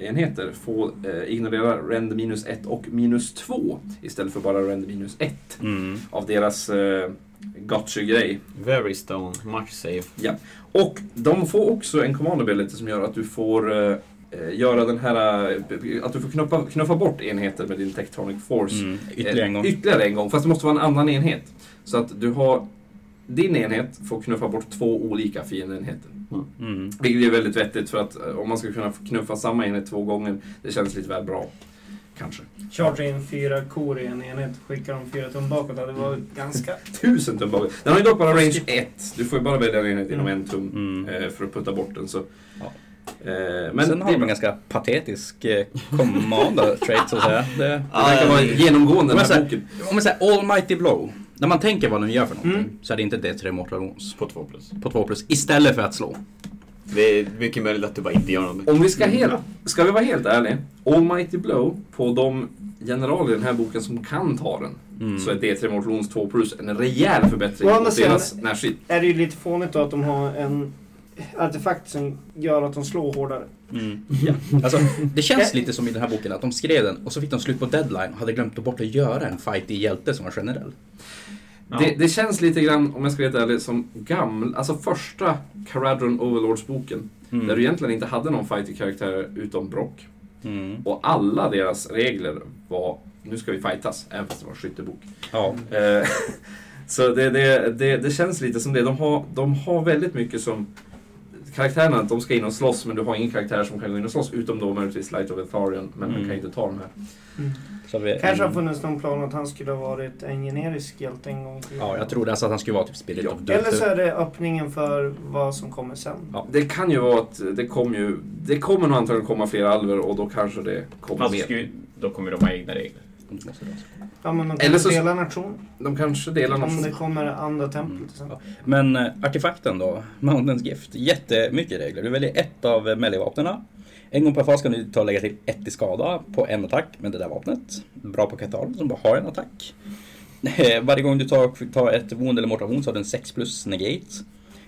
enheter få eh, ignorera rend minus 1 och minus 2 istället för bara rend minus 1
Mm.
av deras eh, gotcha-grej.
Very stone, much safe.
Ja. Och de får också en command ability som gör att du får eh, eh, göra den här, eh, b- b- att du får knuffa, knuffa bort enheter med din Tectonic Force.
Mm, ytterligare en gång.
Eh, Ytterligare en gång, fast det måste vara en annan enhet. Så att du har, din enhet får knuffa bort två olika fiendenheter.
Mm.
Vilket är väldigt vettigt för att eh, om man ska kunna knuffa samma enhet två gånger, det känns lite väl bra. Kanske.
Charter in fyra kor i en enhet och skickar dem fyra tum bakåt. Det var ganska...
Tusen tum bakåt. Den har ju dock bara range 1. Du får ju bara välja en enhet inom en tum eh, för att putta bort den. Så. Eh,
Men Sen har
det-
de en ganska patetisk eh, commander trait så att säga. Det, det
Ja, ja, ja. Genomgående
Om jag
i den här
säger-
boken.
Om man säger Almighty Blow. När man tänker vad den gör för någonting så är det inte D3 Mortal Wounds.
På 2 plus.
Mm. På 2 plus istället för att slå.
Det är mycket möjligt att du bara inte gör någonting.
Om vi ska, helt, ska vi vara helt ärliga, Almighty Blow på de generaler i den här boken som kan ta den
Mm.
så är D3 Mortal Wounds 2 plus en rejäl förbättring
Å andra
mot
sidan-
deras närstrid.
är det ju lite fånigt då att de har en artefakt som gör att de slår hårdare.
Ja. Alltså, det känns lite som i den här boken att de skrev den och så fick de slut på deadline och hade glömt bort att göra en fight i hjälte som var generell.
Det, det känns lite grann, om jag ska vara helt ärlig, som gamla, alltså första Caradron Overlords-boken.
Mm.
Där du egentligen inte hade någon fighter-karaktär utom Brock.
Mm.
Och alla deras regler var, nu ska vi fightas, även fast det var en skyttebok.
Ja.
Eh, Så det, det, det, det känns lite som det. De har, de har väldigt mycket som karaktärerna, de ska in och slåss men du har ingen karaktär som kan gå in och slåss utom då möjligtvis Light of Etharion, men han
Mm.
kan inte ta de här.
Så har vi
Kanske har
en-
funnits någon plan att han skulle ha varit en generisk hjälte en gång till.
Ja, jag trodde alltså att han skulle vara typ Spirit of Death.
Eller så är det öppningen för vad som kommer sen.
Ja, det kan ju vara att det kommer ju, det kommer nog antagligen komma fler alver och då kanske det kommer
Fast
mer.
skulle- då kommer de ha egna regler.
Ja, men de kanske
Eller så-
delar nation.
De kanske delar
Om det
något.
kommer andra tempel
Mm.
till exempel.
Men eh, artefakten då, Mountains Gift, jättemycket regler. Du väljer ett av eh, melee-vapnena. En gång per fas kan du ta och lägga till ett i skada på en attack med det där vapnet. Bra på Katal som bara har en attack. Eh, Varje gång du tar, tar ett wound eller mortal wound så har du en 6 plus negate.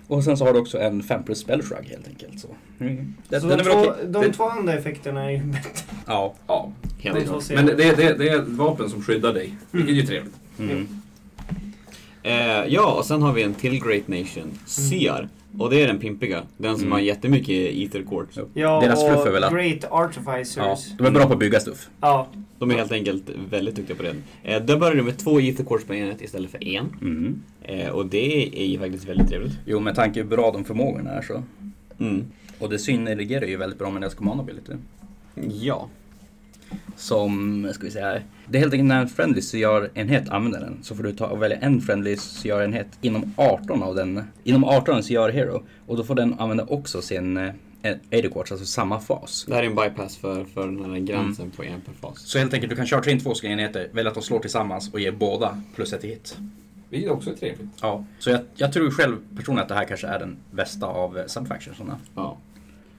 Och sen så har du också en 5 plus spell shrug helt enkelt. Så. Mm. Den,
Så
den
de
är väl
två,
okej?
de
Det-
två andra effekterna är ju bättre.
Ja.
Ja.
Helt
De
klart.
två
Men det,
serierna.
det, det, det är ett vapen som skyddar dig, vilket är ju trevligt.
Mm.
Mm.
Eh, ja, och sen har vi en till Great Nation, Sear. Och det är den pimpiga. Den som
Mm.
har jättemycket Ether Quartz.
Ja,
Deras fluff är
och Mm.
väl att-
Great Artificers.
Ja,
Ja.
de är bra på att bygga stuff.
De är helt enkelt väldigt duktiga på det. Eh, där börjar du med två Ether Quartz på enhet istället för en.
Mm.
Eh, och det är ju faktiskt väldigt trevligt.
Jo, med tanke på hur bra de förmågorna är så.
Mm.
Och det synergerar ju väldigt bra med deras command ability.
Ja.
som, ska vi säga här. Det är helt enkelt när en friendly CR-enhet använder den så får du ta och välja en friendly CR-enhet inom 18 av den, inom 18 av en CR Hero och då får den använda också sin eh, Aid Quartz, alltså samma fas.
Det här är en bypass för, för den här gränsen på en per fas.
Så helt enkelt, du kan charta in två stycken enheter, välja att de slår tillsammans och ge båda plus ett i hit.
Vilket också är trevligt.
Ja, så jag, jag tror själv personligen att det här kanske är den bästa av eh, subfactionsarna.
Ja.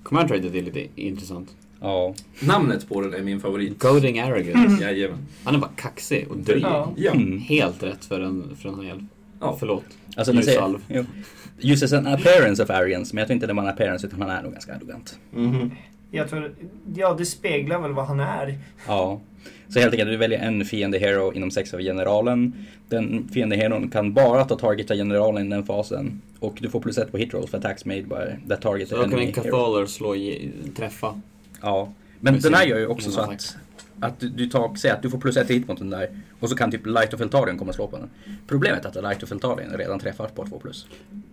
Command Trader är lite intressant.
Ja.
Namnet på den är min favorit.
Goading Arrogance.
Mm.
Jajamän.
Han är bara kaxig och dryg. Mm.
Ja.
Mm. Ja.
Mm.
Helt rätt för en, för en halv.
Ja.
Förlåt.
Alltså, den säger,
Ljusalv.
jo. uses an appearance of arrogance, men jag tror inte det var en appearance utan han är nog ganska arrogant.
Jag tror, ja, det speglar väl vad han är.
Ja. Så helt enkelt, du väljer en fiende hero inom sex av generalen. Den fiende heron kan bara ta target av generalen i den fasen. Och du får plus ett på hit rolls för attacks made by that target
Så då kan
enemy
en
hero.
Cathaler slå, i- träffa.
Ja. Men
Med
den här
sin-
gör ju också
sin
så
attack.
att, att du, du tar, säger att du får plus ett i hit mot den där. Och så kan typ Light of Eltarion komma och slå på den. Problemet är att Light of Eltarion redan träffar på 2 plus.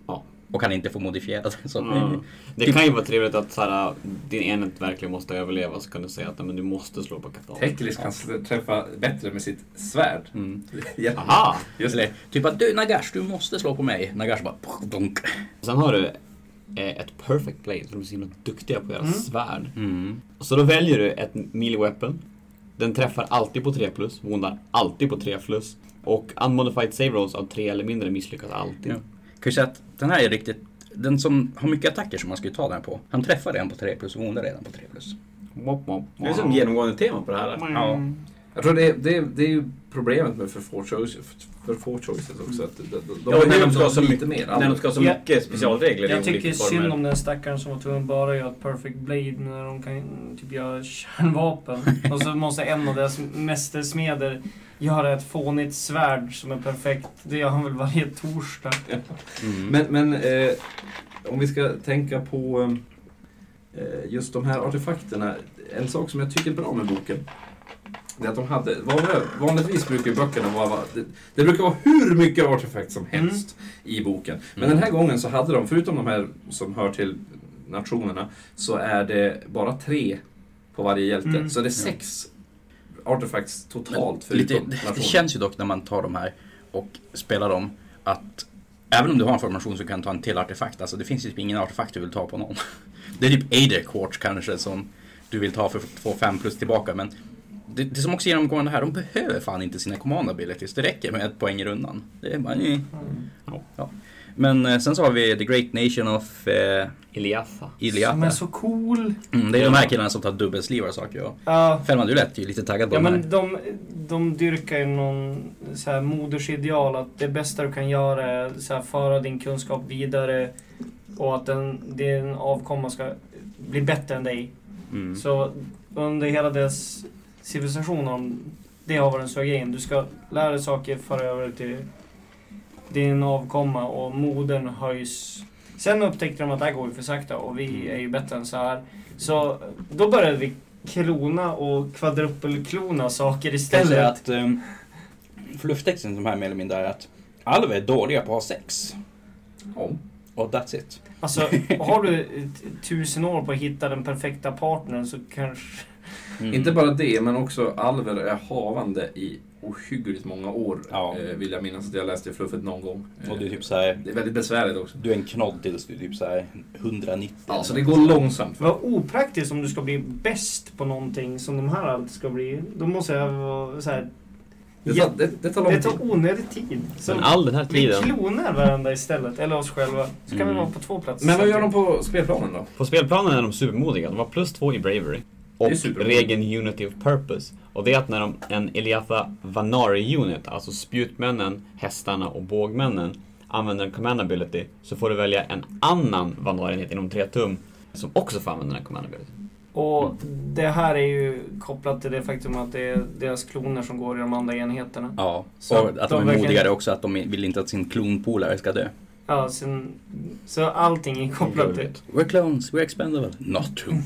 Ja.
Och kan inte få modifierad. Så,
Mm. Det kan ju vara trevligt att så här, din enhet verkligen måste överleva så kan du säga att "Nej, men du måste slå på Cathaler.
Teklis kan s- träffa bättre med sitt svärd.
Mm.
Ja.
Aha!
Just
Eller typ att du Nagash, du måste slå på mig. Nagash bara... pff, Dunk.
Sen har du eh, ett perfect blade, för de är så himla duktiga på att göra svärd.
Mm.
Och så då väljer du ett melee weapon. Den träffar alltid på 3 plus, vondar alltid på 3 plus. Och unmodified save rolls av 3 eller mindre misslyckas alltid.
Ja. kan ju säga att den här är riktigt, den som har mycket attacker som man skulle ta den här på, han träffar redan på 3 plus och hon är redan på 3 plus.
Mop, mop,
Det är som genomgående tema på det här.
Ja. Jag tror det, det, det är ju problemet med för få, choice, för få choices också. Att de, de, de
Ja, när
behöver
de ska ha så
lite
mycket-
mer.
när de ska ha så
Ja.
mycket specialregler i
Jag
olika
tycker
former.
synd om den stackaren som var tvungen att bara göra ett perfect blade när de kan typ göra kärnvapen. Och så måste en av deras mästersmeder göra ett fånigt svärd som är perfekt. Det gör han väl varje torsdag.
Mm.
Men, men eh, om vi ska tänka på eh, just de här artefakterna. En sak som jag tycker är bra med boken. Det är att de hade, vad var det? vanligtvis brukar ju böckerna vara, vara- det, det brukar vara hur mycket artefakt som
Mm.
helst i boken. Men
Mm.
den här gången så hade de, förutom de här som hör till nationerna, så är det bara tre på varje hjälte.
Mm.
Så det är sex artefakts totalt
Men lite,
förutom
det
nationerna.
känns ju dock när man tar de här och spelar dem att även om du har en formation så kan du ta en till artefakt. Alltså det finns ju typ ingen artefakt du vill ta på någon. Det är typ Ader Quartz kanske som du vill ta för att få fem plus tillbaka. Men det, det som också är genomgående här, de behöver fan inte sina command abilities. Det räcker med ett poäng i rundan. Det är bara, nej. Ja. Men eh, sen så har vi The Great Nation of eh,
Iliafa.
Som är så cool.
Mm, det är de här killarna som tar dubbelslivar och saker. Ja.
Ja.
Fällman, du lät ju lite taggad på
Ja
de här.
men de, de dyrkar ju någon så här modersideal att det bästa du kan göra är så här, föra din kunskap vidare och att den, din avkomma ska bli bättre än dig.
Mm.
Så under hela dess civilisation, har de- det har varit en stor grej. Du ska lära dig saker, föra över till din avkomma och modern höjs. Sen upptäckte de att det här går ju för sakta och vi är ju bättre än så här. Så då började vi klona och kvadrupelklona saker
Kanske
istället.
att um, flufftexten som här mer eller mindre är att Alve är dåliga på att ha sex.
Ja.
Och that's it.
Alltså, har du ett tusen år på att hitta den perfekta partnern så kanske...
Mm.
Inte bara det, men också Alver är havande i ohyggligt många år. Eh, vill jag minnas att jag läste i fluffet någon gång. Eh,
Och du är typ såhär...
Det är väldigt besvärligt också.
Du är en knodd tills du är typ såhär 190.
Ja, så Alltså, det går långsamt.
Vad opraktiskt om du ska bli bäst på någonting som de här alltid ska bli. Då måste jag vara så här...
Det tar- det- det tar lång
Det tar onödig tid. Så
Men all den här tiden-
Vi klonar varandra istället, eller oss själva. Så kan
Mm.
vi vara på två platser
Men vad gör de
samtidigt.
på spelplanen då?
På spelplanen är de supermodiga. De har plus två i Bravery. Och
Det är supermodigt.
regeln Unity of Purpose. Och det är att när de, en Eliatha Vanari Unit, alltså spjutmännen, hästarna och bågmännen, använder en command ability så får du välja en annan Vanari-enhet inom tre tum som också får använda den här command ability.
Och det här är ju kopplat till det faktum att det är deras kloner som går i de andra enheterna.
Ja,
Så
och att de, är
verkligen-
modigare också. Att de vill inte att sin klonpolare ska dö.
Ja, sen, så allting är kopplat till...
We're clones, we're expendable. Not to me.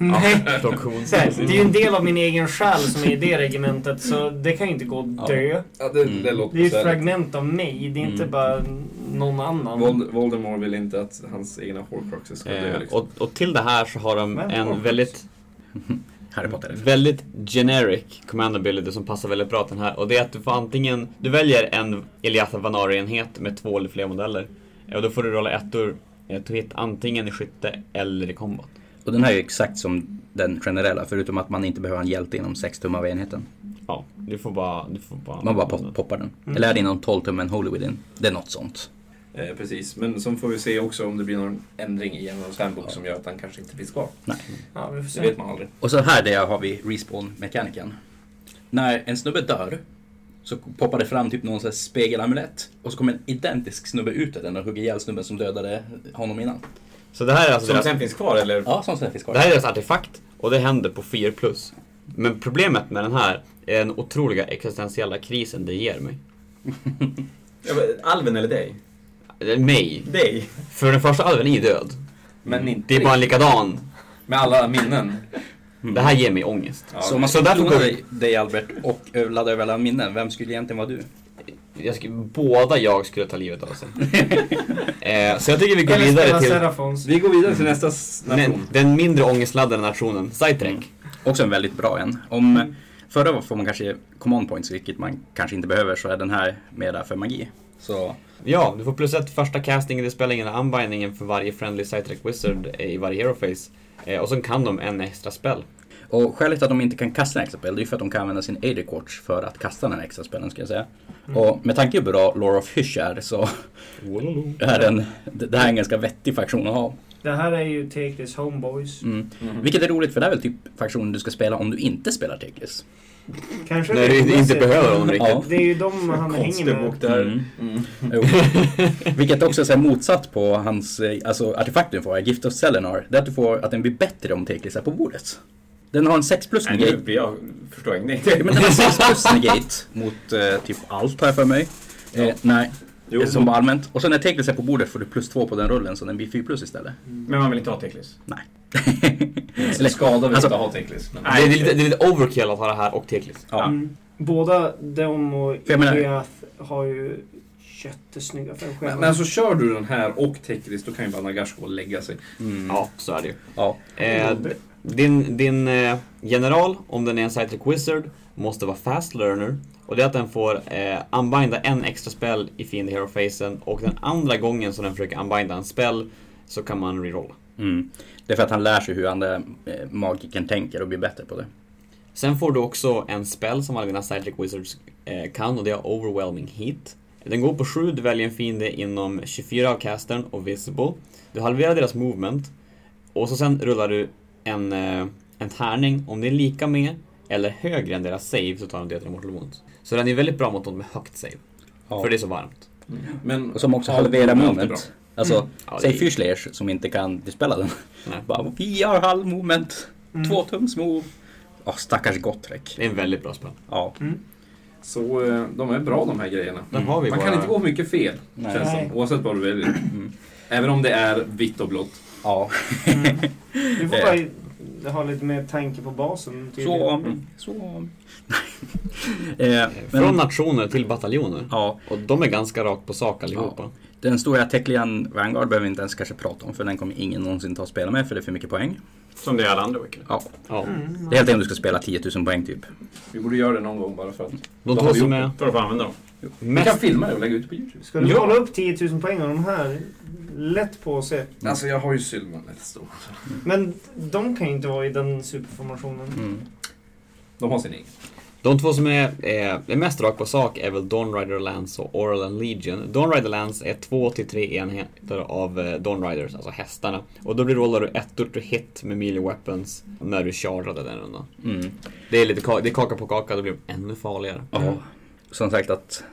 Nej.
Ja, coolt.
Så här, det är ju en del av min egen själ som är i det regementet så det kan ju inte gå att dö.
Ja, det, det låter
Det är ju ett
besvärligt.
fragment av mig, det är inte
Mm.
bara någon annan.
Vold, Voldemort vill inte att hans egna horcruxes ska dö.
Eh,
Liksom.
och, och till det här så har de
Men-
en
Orcus.
väldigt
Harry Potter.
Väldigt generic command ability som passar väldigt bra till den här och det är att du får antingen, du väljer en Eliatha Vanari-enhet med två eller fler modeller Eh, och då får du rolla ettor eh, to hit antingen i skytte eller i combat.
Och den här är ju exakt som den generella, förutom att man inte behöver ha en hjälte inom 6 tum av enheten.
Ja, du får bara... Du får bara
Man bara pop- poppar den.
Mm.
Eller är det inom 12 tum en Holy Within? Det är något sånt.
Eh, precis, men som får vi se också om det blir någon ändring i Generals Handbook som gör att han kanske inte finns kvar.
Nej.
Ja, vi får se.
Det vet man aldrig.
Och så här där har vi respawn-mekaniken. När en snubbe dör så poppar det fram typ någon sån här spegelamulett och så kommer en identisk snubbe ut ur den och hugger ihjäl snubben som dödade honom innan.
Så det här är alltså
Som
deras-
sen finns kvar, eller? Ja, som sen finns kvar.
Det här är deras artefakt och det händer på 4 plus. Men problemet med den här är den otroliga existentiella krisen det ger mig.
Alven eller dig?
Mig.
Dig.
För den första alven är ju död.
Men inte
det är bara en likadan.
Mm.
Med alla minnen.
Det här ger mig ångest.
så om man skulle klona dig, dig Albert och ö- ladda över alla minnen, vem skulle egentligen vara du?
Jag skulle, båda jag skulle ta livet av sig. eh, så jag tycker vi går
Eller spela
vidare till...
Serafons.
Vi går vidare till nästa
Den, den mindre ångestladdade nationen, Sidetrack.
Också en väldigt bra en. Om förra får man kanske command points, vilket man kanske inte behöver, så är den här mera för magi. Så
Ja, du får plus ett första castingen, det spelar ingen roll, unbindingen för varje friendly Sidetrack Wizard eh, i varje hero phase. Eh, och sen kan de en extra spell.
Och skälet till att de inte kan kasta en extra spel, det är ju för att de kan använda sin Ader Quartz för att kasta den här extra spelen, ska jag säga.
Mm.
Och med tanke på hur bra Lore of Hysh är så är den, det det här är en ganska vettig faktion att ha.
Det här är ju Teklis Homeboys.
Mm. Vilket är roligt för det är väl typ faktionen du ska spela om du inte spelar Teklis.
Kanske
När du inte behöver honom riktigt.
Det är ju de han hänger med.
Mm. Jo. Vilket också är så här motsatt på hans eh, alltså, artefakt du får, Gift of Selenar. Det är att du får att den blir bättre om teklisar på bordet. Den har en 6 plus
Nej, nu
negate.
blir jag, förstår jag ingenting.
Men den har 6 plus negate mot eh, typ allt har jag för mig. Eh, nej.
Jo.
Som bara allmänt. Och sen när teklis är på bordet får du plus 2 på den rullen så den blir 4 plus istället.
Men man vill inte ha Teklis.
Nej.
Eller skada vill
Alltså-
inte ha tekniskt. men-
Det är, lite, det är lite overkill att ha det här och teklis.
Ja.
Mm. Båda de och
För jag menar-
Iliath har ju jättesnygga färgscheman.
Men, men alltså kör du den här och Tekris, då kan ju bara Nagash gå och lägga sig.
Mm.
Ja, så är det ju.
Ja.
Eh, din din eh, general, om den är en Cytric Wizard, måste vara Fast Learner. Och det är att den får eh, unbinda en extra spell i Fiend Hero-facen och den andra gången som den försöker unbinda en spell så kan man rerolla.
Mm. Det är för att han lär sig hur andra eh, magiken tänker och blir bättre på det.
Sen får du också en spell som alla dina Cyclic Wizards eh, kan och det är Overwhelming Heat. Den går på 7, du väljer en fiende inom 24 av castern och visible. Du halverar deras movement och så sen rullar du en, eh, en tärning. Om det är lika med eller högre än deras save så tar den döden av mortal wounds. Så den är väldigt bra mot dem med högt save.
Ja.
För det är så varmt.
Men,
Och som också
Ja,
halverar
det är alltid
moment. Alltså,
Ja, det
säg
är-
Fyrslayers som inte kan dispela den.
Nej.
Bara, vi har halv moment,
Mm.
två tums move. Ja, stackars Gottrek.
Det är en väldigt bra
Mm.
spel.
Ja.
Så eh, de är bra de här grejerna.
Den har vi
Man
bara-
kan inte gå mycket fel,
Nej.
känns det
Nej.
som, Oavsett vad du väljer. Även om det är vitt och blått.
ja.
Du får
Eh.
bara ha lite mer tanke på basen. tydligen.
Så om, så om. eh,
Från
men,
nationer till bataljoner.
ja,
Och de är ganska rakt på sak allihopa.
den stora Teklian Vanguard behöver vi inte ens kanske prata om för den kommer ingen någonsin ta och spela med för det är för mycket poäng.
Som det är alla andra Wicked.
Ja.
Ja.
Mm.
Det är helt enkelt om du ska spela 10 000 poäng typ.
Vi borde göra det någon gång bara för att.
De
har
två
vi
som
gjort
är
För att få använda dem.
Vi kan
mest...
filma det och lägga ut det på Youtube.
Ska du
Ja.
hålla upp 10 000 poäng av de här? Lätt på sig.
Alltså jag har ju Sylvan ett stort.
Men de kan ju inte vara i den superformationen.
Mm.
De har sin egen.
De två som är, eh, är mest rakt på sak är väl Dawnrider Lance och Orlan Legion. Dawnrider Lance är två till tre enheter av eh, Dawnriders, alltså hästarna. Och då blir rollar du ettor till hit med melee weapons när du chargade den rundan.
Mm.
Det är lite ka- det är kaka på kaka, då blir de ännu farligare.
Ja,
Mm.
som sagt att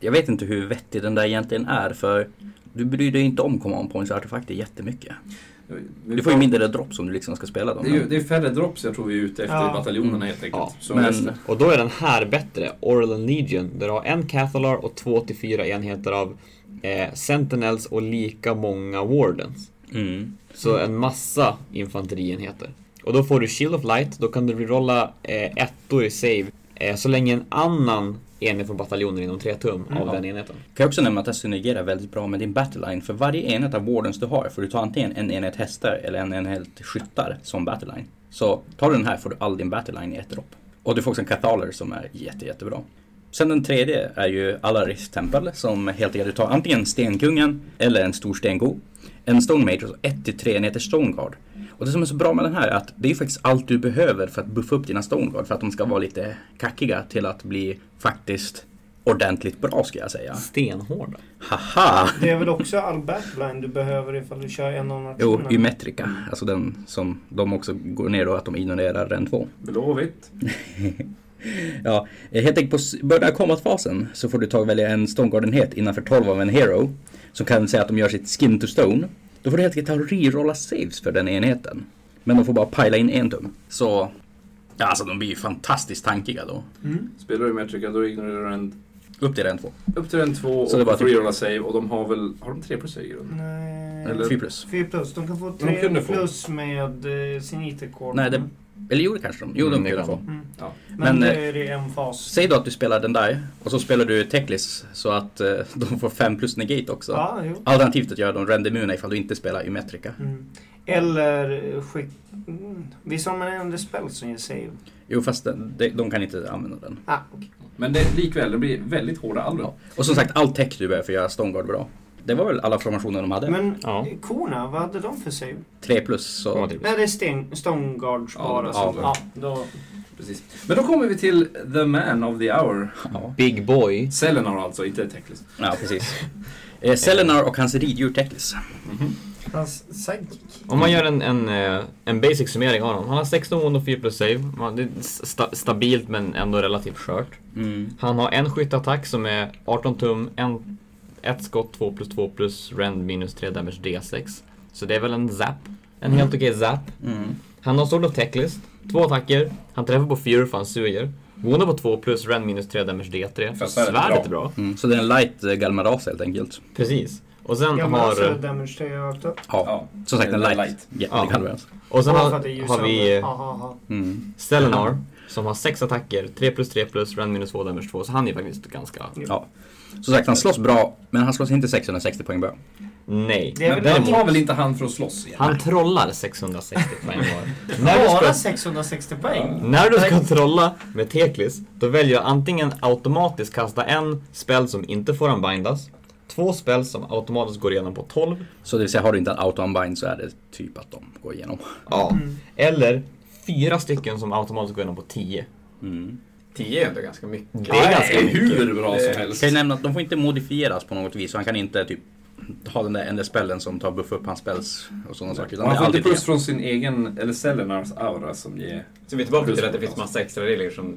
jag vet inte hur vettig den där egentligen är för du bryr dig inte om command points och artefakter jättemycket. Du får ju mindre drops om du liksom ska spela dem.
Det är, ju, det är färre drops jag tror vi är ute efter
Ja.
i bataljonerna
Mm.
helt enkelt.
Ja,
Så
men-
resten.
Och då är den här bättre, Orlan Legion, där du har en Cathalar och två till fyra enheter av eh, Sentinels och lika många Wardens.
Mm.
Så en massa infanterienheter. Och då får du Shield of Light, då kan du rerolla eh, ettor i save eh, så länge en annan enhet från bataljonen inom tre tum av den enheten.
Kan jag också nämna att det synergerar väldigt bra med din battleline. För varje enhet av wardens du har får du ta antingen en enhet hästar eller en enhet skyttar som battleline. Så tar du den här får du all din battleline i ett dropp. Och du får också en kataler som är jätte, jättebra. Sen den tredje är ju Alaris tempel som helt enkelt du tar antingen stenkungen eller en stor stengo. En stone mage och 1-3 enheter stone guard. Och det som är så bra med den här är att det är faktiskt allt du behöver för att buffa upp dina stone guard för att de ska vara lite kackiga till att bli faktiskt ordentligt bra ska jag säga.
Stenhårda.
Haha!
Det är väl också all backline du behöver ifall du kör en av
Jo,
nationerna?
Ymetrica. Alltså den som de också går ner och att de ignorerar ren 2.
Blåvitt.
Ja, eh, helt enkelt på s- början av combat-fasen så får du ta och välja en Stonegarden-het innanför 12 av en Hero. Som kan säga att de gör sitt skin to stone. Då får du helt enkelt ta och rerolla saves för den enheten. Men de får bara pila in en tum. Så, ja alltså de blir ju fantastiskt tankiga då.
Mm.
Spelar du med trycka då ignorerar du en...
Upp till ren 2.
Upp till en två och
Så det är bara
får du
typ-
göra save och de har väl... Har de tre plus i grunden?
Nej.
Eller-
4 plus.
4 plus. De kan få
De
3
kunde få.
plus med eh, sin IT-kod.
Nej, det- Eller gjorde kanske de? Jo,
Mm,
de
det
kunde
kan
få.
Men, eh,
men, eh,
det är det en fas.
Säg då att du spelar den där och så spelar du Teklis så att eh, de får 5 plus negate också.
Ja, jo.
Alternativt att göra dem rendemuna ifall du inte spelar Ymetrica.
Mm. Eller Eh, skick... Mm. Visst har man en spel som ger save?
Jo, fast de, de, de kan inte använda den.
Ah, okej.
Men det, likväl, det blir väldigt hårda allvar.
Ja. Och som sagt, all tech du behöver för att göra Stoneguard bra. Det var väl alla formationer de hade?
Men
Ja.
korna, vad hade de för save?
3 plus, så...
Nej, det är sten, Stone Guards
Ja,
bara.
de-
som-
ja.
ja, då,
Precis. Men då kommer vi till the man of the hour.
Ja,
Big boy.
Selenar alltså, inte Teklis.
ja precis. Eh, Selenar och hans riddjur Teklis.
Hans sidekick.
Om man gör en, en, eh, en basic summering av honom. Han har 16 wound och 4 plus save. Man- Det är sta, stabilt men ändå relativt skört.
Mm.
Han har en skyttattack som är 18 tum, en, ett skott 2 plus 2 plus rend minus 3 damage D6. Så det är väl en zap. En
Mm.
helt okej zap.
Mm.
Han har Sword of Techlist, två attacker. Han träffar på Fury för han suger. Woundar på 2 plus, rend minus 3 damage D3.
Fast
Svärdet är bra.
Mm. Så det är en light eh, Galmaras helt enkelt.
Precis. Och sen
Gamla
har...
har... alltså, damage 3 rakt upp.
Ja, som
Eh,
sagt en
Det är
light.
light.
Ja, det kan vi alltså.
Och sen
Bara
har,
för att det är
har vi
ljusander.
eh,
Aha, aha.
Mm.
Stellenar som har sex attacker, 3 plus 3 plus, rend minus 2 damage 2. Så han är faktiskt ganska...
Ja. Som sagt, han slåss bra, men han slåss inte 660 poäng bra.
Nej.
Det är
Men
väl
däremot-
Har väl inte han för att slåss? igen?
Han trollar 660 poäng var. När du ska,
Bara 660 poäng?
när du ska trolla med Teklis, då väljer jag antingen automatiskt kasta en spel som inte får unbindas, två spel som automatiskt går igenom på 12,
Så det vill säga, har du inte en auto-unbind så är det typ att de går igenom.
ja.
Mm.
eller fyra stycken som automatiskt går igenom på 10.
Mm.
10 är ändå ganska mycket.
Det är ganska mycket.
Hur bra
Eh,
som helst.
Kan jag nämna att de får inte modifieras på något vis. Så han kan inte typ ha den där enda spellen som tar buff upp hans spells och sådana saker.
Man
det är
får inte
alltid
plus från sin egen, eller Selenars aura som ger...
Så vi är tillbaka till att det finns massa extra regler som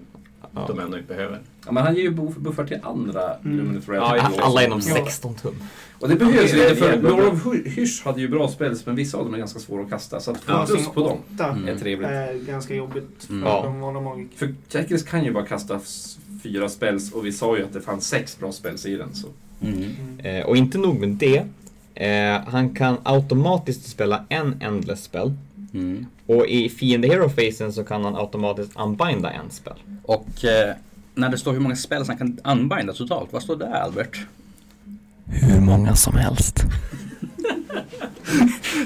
Ja.
de ändå inte behöver.
Ja, men han ger ju buff- buffar till andra
Mm.
Luminous Red.
Ja,
A- Alla inom
Ja.
16 tum.
Och det behövs
Ja, det
inte
är- det
för
är-
Lord of Hy- Hysh hade ju bra spells men vissa av dem är ganska svåra att kasta. Så att få
Ja,
plus
som
på dem
åtta.
är trevligt.
är ganska jobbigt för
Mm.
Mm. Ja.
de vanliga magikerna.
För Jackers kan ju bara kasta f- fyra spells och vi sa ju att det fanns sex bra spells i den. Så.
Mm.
Eh, och inte nog med det, eh, han kan automatiskt spela en Endless spel.
Mm.
Och i Fiende Hero-facen så kan han automatiskt unbinda en spel.
Och eh, när det står hur många spells han kan unbinda totalt, vad står det Albert?
Hur många som helst.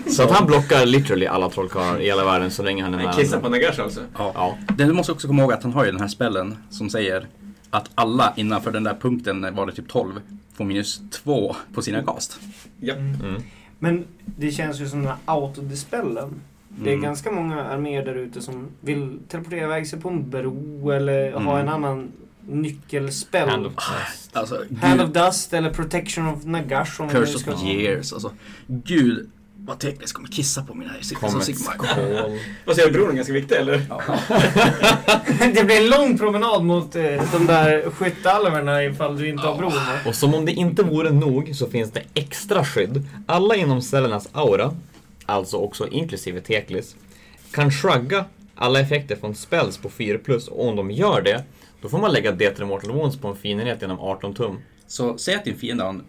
Så att han blockar literally alla trollkarlar i hela världen så länge han är
Men
med.
kissa på Nagash alltså?
Ja.
Det du måste också komma ihåg att han har ju den här spellen som säger att alla innanför den där punkten, var det typ 12, får minus 2 på sina kast.
Mm.
Men det känns ju som den här autodispellen. Det är
Mm.
ganska många arméer där ute som vill teleportera iväg sig på en bro eller ha
Mm.
en annan nyckelspel.
Hand of Christ.
Alltså,
Hand of
gud,
Dust eller Protection of Nagash om vi nu
curse
ska
of
ha.
years. Alltså, gud vad tekniskt kommer kissa på mina
Kommer
Sigma.
ett
Sigma.
skål.
Vad säger du, bron är ganska viktig eller?
Det blir en lång promenad mot eh, de där skyttealverna ifall du inte har bron. va?
Och som om det inte vore nog så finns det extra skydd. Alla inom cellernas aura, alltså också inklusive Teklis, kan shrugga alla effekter från spells på 4 plus och om de gör det, då får man lägga D3 Mortal Wounds på en fin enhet genom 18 tum.
Så säg att din fiende har en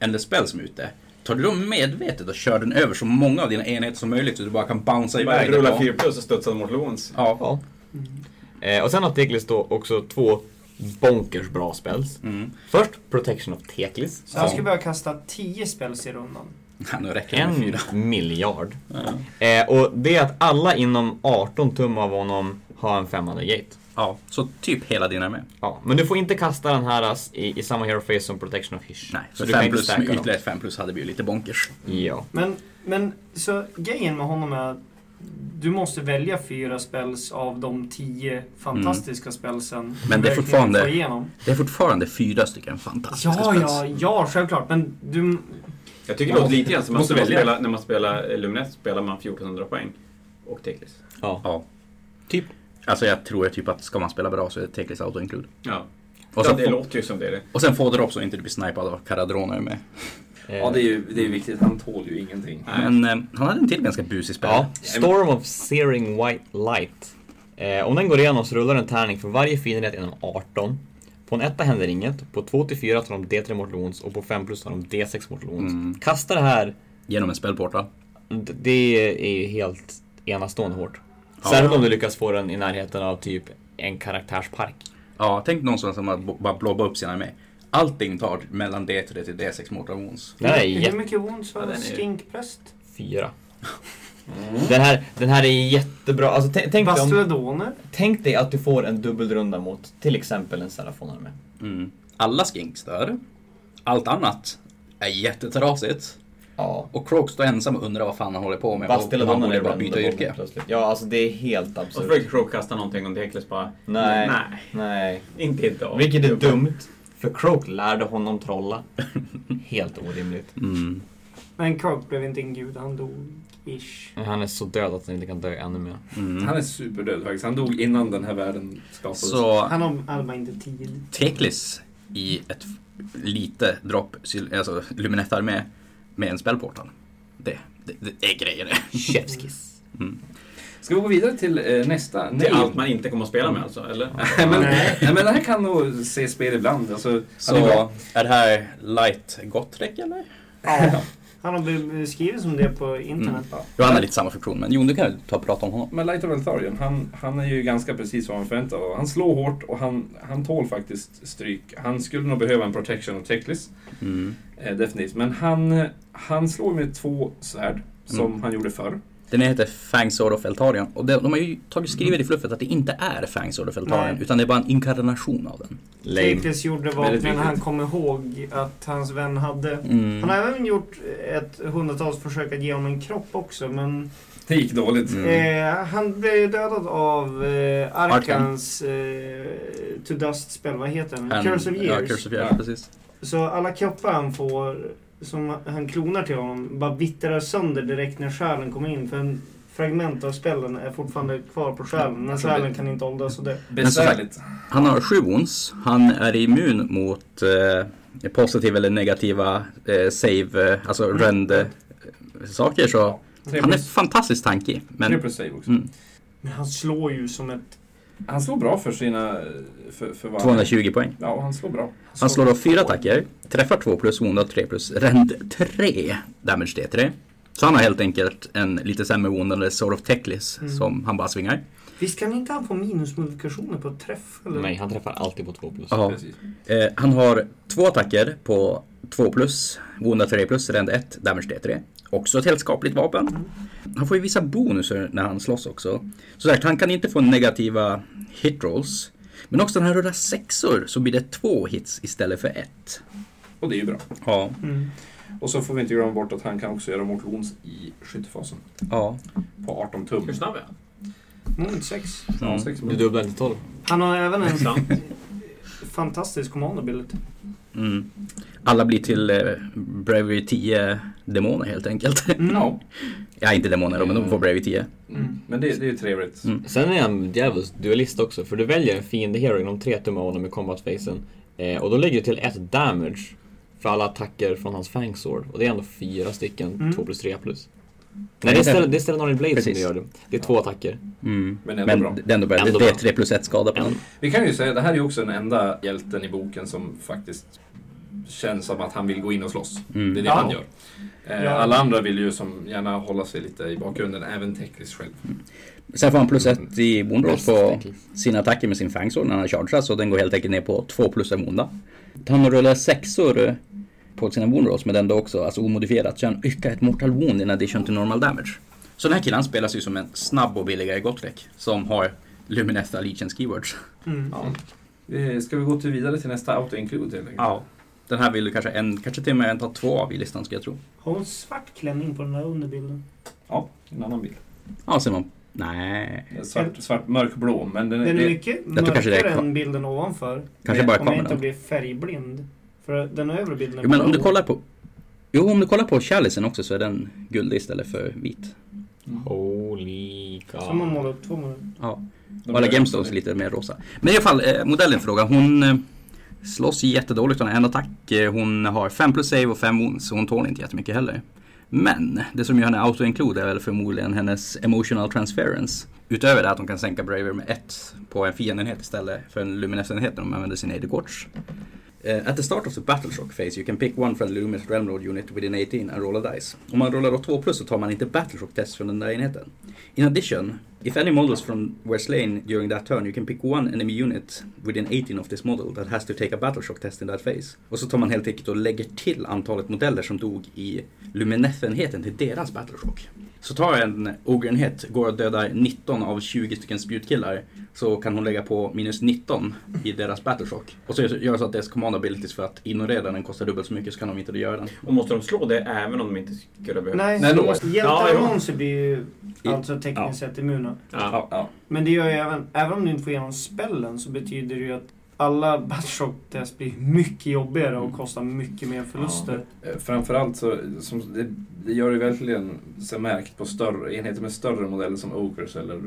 endless spell som är ute. Tar du då medvetet och kör den över så många av dina enheter som möjligt så du bara kan bouncea
Bara
iväg
rulla
därifrån.
4 plus och studsa mot Lons.
Ja.
Ja. Eh, och sen har Teklis då också två bonkers bra spells.
Mm.
Först Protection of Teklis.
Så han ska börja kasta 10 spells i rundan.
Ja, nu räcker det med
En
fyra.
miljard.
Ja.
Eh, och det är att alla inom 18 tum av honom har en 500 gate.
Ja, så typ hela din armé.
Ja, men du får inte kasta den här as- i, i samma hero face som Protection of Hish.
Nej,
så
så
du kan
5
inte
plus,
stacka
med
dem.
ytterligare 5 plus hade vi ju lite bonkers.
Ja.
Men, men så grejen med honom är att du måste välja fyra spells av de tio fantastiska spelsen. du
Mm. Men det är
verkligen
fortfarande-
får igenom.
Det är fortfarande fyra stycken fantastiska
Ja,
spells.
ja, ja, självklart. Men du...
Jag tycker det låter lite grann som att
måste
man
välja.
spelar, när man spelar Luminette spelar man 1400 poäng. Och Teklis.
ja.
Ja.
Typ.
Alltså jag tror ju typ att ska man spela bra så är det Teklis Auto Include.
Ja.
Och
ja,
sen,
det
få,
låter ju som det är det.
och sen få dropp så inte typ du blir snipad av Caradrona med.
Eh,
Ja, det är ju det är ju viktigt. Han tål ju ingenting.
Nej.
Men eh, han hade en till ganska busig spel.
Eh, ja. Storm of Searing White Light. Eh, om den går igenom så rullar en tärning för varje finenhet inom 18. På en etta händer inget, på 2 till 4 tar de D3 Mortal Wounds och på 5 plus tar de D6 Mortal Wounds.
Mm.
Kasta det här,
Genom en spelportal.
d- det är ju helt enastående hårt.
Ja.
Särskilt om du lyckas få den i närheten av typ en karaktärspark.
Ja, tänk någon som som har bo- bara blobbar upp sina med. Allting tar mellan D3 till D6 Mortal Wounds.
Det här är
Hur mycket wounds
Ja,
har
den är-
stinkpräst?
Fyra. Mm. Den, här, den här är jättebra. Alltså, t- tänk, dig om,
Bastuedoner?
tänk dig att du får en dubbelrunda mot till exempel en Serafonarmé.
Mm. Alla skinks dör. Allt annat är jättetrasigt.
Ja.
Och Croak står ensam och undrar vad fan han håller på med. och han
Bastuedonen
borde
är
bara byta
brända
yrke.
plötsligt. Ja, alltså det är helt
Och så
absurt.
försöker Croak kasta någonting om Teklis bara...
Nej.
Nej,
Nej.
inte idag.
Vilket är dumt. För Croak lärde honom trolla. Helt orimligt.
Mm.
Men Krog blev inte en gud, han dog. Ish.
Han är så död att han inte kan dö ännu mer.
mm.
Mm. Han är superdöd faktiskt. Han dog innan den här världen skapades.
Så-
Han har Alma inte tid.
Teklis i ett f- lite dropp, syl- alltså luminettarmé med en spellportal. Det, det, det är grejer det.
Chefskiss.
Mm.
Ska vi gå vidare till eh, nästa?
Det är allt man inte kommer att spela med alltså, eller?
Nej, men, nej. men det här kan nog se spel ibland. Alltså,
Så
han är bra.
är det här light Gottrek eller?
Ja. Han har beskrivit som det på internet.
Johan är lite samma funktion men Jon du kan ju ta och prata om honom.
Men Light of Eltharion, han, han är ju ganska precis vad man förväntar sig. Han slår hårt och han, han tål faktiskt stryk. Han skulle nog behöva en protection och checklist.
Mm.
Eh, definitivt. Men han, han slår med två svärd, som
Mm.
han gjorde förr.
Den heter Fang Sword of Eltarion och de, de har ju tagit skrivet i fluffet att det inte är Fang Sword of Eltarion
Nej.
utan det är bara en inkarnation av den.
Teklis gjorde
Väldigt
vapnen
viktigt.
han kom ihåg att hans vän hade.
Mm.
Han har även gjort ett hundratals försök att ge honom en kropp också men
Det gick dåligt.
Mm.
eh, han blev dödad av eh,
Arkan.
Arkans eh, To Dust-spel. Vad heter den?
Han-
Curse of Years.
Ja, Curse of Years,
Ja.
precis.
Så alla kroppar han får som han klonar till honom bara vittrar sönder direkt när själen kommer in. För en fragment av spelen är fortfarande kvar på själen. Men
Alltså,
själen
det-
kan inte åldras och dö.
Men som
Besvärligt.
sagt, han har sju wounds. Han är immun mot eh, positiva eller negativa eh, save, eh, alltså
Mm.
rend eh, saker. Så
Tre
han är
plus,
fantastiskt tankig.
tre
Men,
plus save också.
mm,
Men han slår ju som ett...
Han slår bra för sina... För, för vad han-
220 poäng.
Ja, och han slår bra.
Han slår då fyra attacker, träffar 2 plus, woundad 3 plus, rend 3, damage D3. Så han har helt enkelt en lite sämre woundande Sword of Teklis
Mm.
som han bara svingar.
Visst kan inte han få minusmodifikationer på träff? Eller?
Nej, han träffar alltid på 2 plus.
Ja.
Precis.
Eh, han har två attacker på 2 plus, woundad 3 plus, rend 1, damage D3. Också ett helt skapligt vapen. Han får ju vissa bonusar när han slåss också. Så sagt, han kan inte få negativa hit rolls. Men också när han rullar sexor så blir det två hits istället för ett.
Och det är ju bra.
Ja,
Mm.
Och så får vi inte glömma bort att han kan också göra mortal wounds i skyttefasen.
ja.
På 18 tum.
Hur snabb är han?
Mot sex.
Mm.
Ja, sex
Du
minuter.
dubblar till 12.
Han har även en
Sant.
fantastisk command ability.
Mm. Alla blir till eh, Bravery 10 demoner helt enkelt.
Ja.
ja, inte demoner då, men de får Bravery 10.
Mm. Men det, det är ju trevligt.
Mm.
Sen är han djävulskt duellist också, för du väljer en fiende hero inom tre tum av honom i combat-facen. Eh, och då lägger du till ett damage för alla attacker från hans fangsword. Och det är ändå fyra stycken,
Mm.
2 plus 3 plus. Nej, det är Stellan- det är Stellanari Blade som
Precis.
du gör det. Det är två attacker.
Mm.
Men
Men,
ändå bra.
det är ändå bra.
Ändå
det är
bra.
3 plus 1 skada på
Ändå.
den.
Vi kan ju säga, det här är ju också den enda hjälten i boken som faktiskt känns som att han vill gå in och slåss.
Mm.
Det är det
Ja.
han gör. Eh,
Ja.
Alla andra vill ju som gärna hålla sig lite i bakgrunden, även tekniskt själv.
Sen får han plus 1
Mm.
i wound rolls på
Teklis.
sina attacker med sin fangsword när han chargear, så den går helt enkelt ner på 2 plus en onda. Han rullar sexor eh, på sina wound rolls, men den då också, alltså omodifierat, så han yckar ett mortal wound in addition to normal damage. Så den här killen spelas ju som en snabb och billigare Gottrek som har Lumineth Allegiance keywords.
Mm.
Ja. Eh, Ska vi gå till vidare till nästa auto-include helt enkelt?
Ja. Den här vill du kanske en, kanske till och med en ta två av i listan ska jag tro.
Har hon svart klänning på den här underbilden?
Ja, en annan bild.
Ja, Simon. Nej.
Eh, Svart, svart mörkblå, men den,
Den
det-
är mycket
tror kanske det är
mörkare
kvar-
än bilden ovanför.
Kanske bara
Om jag
kameran.
inte blir färgblind. För den övre bilden är
Jo, men om
blå.
du kollar på... Jo, om du kollar på chalissen också så är den guldig istället för vit.
Holy
Så man
god.
målar upp två månader.
Ja.
de
Och alla
är-
gemstones är lite mer rosa. Men i alla fall, eh, modellen i fråga. Hon eh, slåss jättedåligt. Hon har en attack. Eh, Hon har 5 plus save och 5 wounds. Så hon tål inte jättemycket heller. Men det som gör henne auto-include är väl förmodligen hennes emotional transference. Utöver det att hon kan sänka Braver med 1 på en fiendenhet istället för en luminous-enhet när de använder sina AD-korts. Eh, at the start of the Battleshock phase you can pick one from the Luminous Realm Lord unit within 18 and roll a dice. Om man rullar då 2 plus så tar man inte Battleshock test från den där enheten. In addition, if any models from were slain during that turn you can pick one enemy unit within 18 of this model that has to take a Battleshock test in that phase. Och så tar man helt enkelt och lägger till antalet modeller som dog i Lumineth-enheten till deras Battleshock. Så tar jag en ogrenhet, går och dödar 19 av 20 stycken spjutkillar så kan hon lägga på minus 19 i deras battleshock. Och så gör så att deras command abilities för att ignorera den kostar dubbelt så mycket så kan de inte göra den.
Och måste de slå det även om de inte skulle behöva?
Nej,
Nej,
Nej
då-
Ja,
hjältar
jo.
och monster blir ju alltså
ja.
tekniskt sett immuna.
Ja.
Ja, ja.
Men det gör ju även, även om du inte får igenom spellen så betyder det ju att alla Batshock test blir mycket jobbigare och kostar mycket mer förluster.
Eh, Framförallt så som, det, det gör det verkligen sig märkt på större, enheter med större modeller som Ogres eller eh,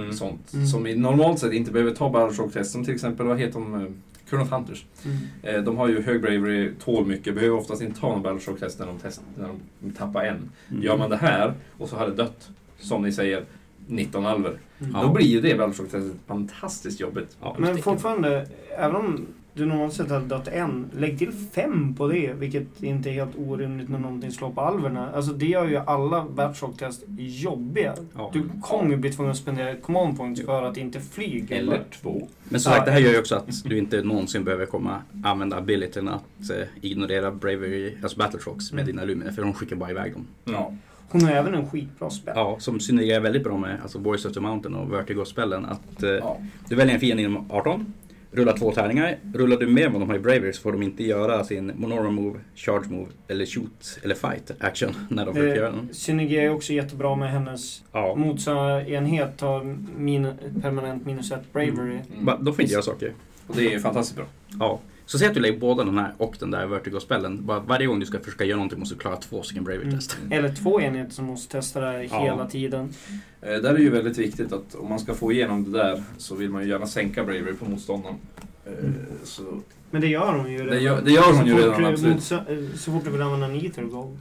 Mm.
sånt.
Mm.
Som i normalt sett inte behöver ta Bioshock-test. Som till exempel, vad heter de? eh, Crown of Hunters.
Mm.
Eh, De har ju hög bravery, tål mycket, behöver oftast inte ta någon Bioshock-test när de, test, när de tappar en.
Mm.
Gör man det här och så har det dött, som ni säger, 19 alver.
Mm.
Då blir ju det Bioshock-testet fantastiskt jobbigt.
Men fortfarande, även om du normalt hade dött en, lägg till fem på det, vilket inte är helt orimligt när någonting slår på alverna. Alltså det gör ju alla Batshock-test jobbiga.
Ja.
Du kommer ju bli tvungen att spendera ett command points för att inte flyga.
Eller
två.
Men som
Ja.
sagt, det här gör ju också att du inte någonsin behöver komma använda abilityn att eh, ignorera Bravery, alltså Battle Shocks med
Mm.
dina Lumina, för de skickar bara iväg dem.
Ja.
Hon har även en skitbra spel.
Ja, som synergerar väldigt bra med alltså Voice of the Mountain och Vertigo-spelen. Att eh,
Ja.
du väljer en fiende inom 18, rullar två tärningar. Rullar du med vad de har i Bravery så får de inte göra sin Monora Move, Charge Move eller Shoot eller Fight action när de försöker göra den.
Det synergerar ju också jättebra med hennes
Ja.
motståndarenhet har min, permanent minus ett bravery.
Bara, De får inte göra saker.
Mm. Och det är ju fantastiskt bra.
Ja. Så säg att du lägger båda den här och den där Vertigo-spellen. Bara Varje gång du ska försöka göra någonting måste du klara två stycken Bravery-test.
Eller två enheter som måste testa det här
Ja.
hela tiden.
Eh, Där är det ju väldigt viktigt att om man ska få igenom det där så vill man ju gärna sänka bravery på motståndaren. Eh, Så
Men det gör hon ju redan.
Det gör- det gör hon
Så
ju
fort
redan,
du-
absolut.
motsa- Så fort du vill använda en ether gold.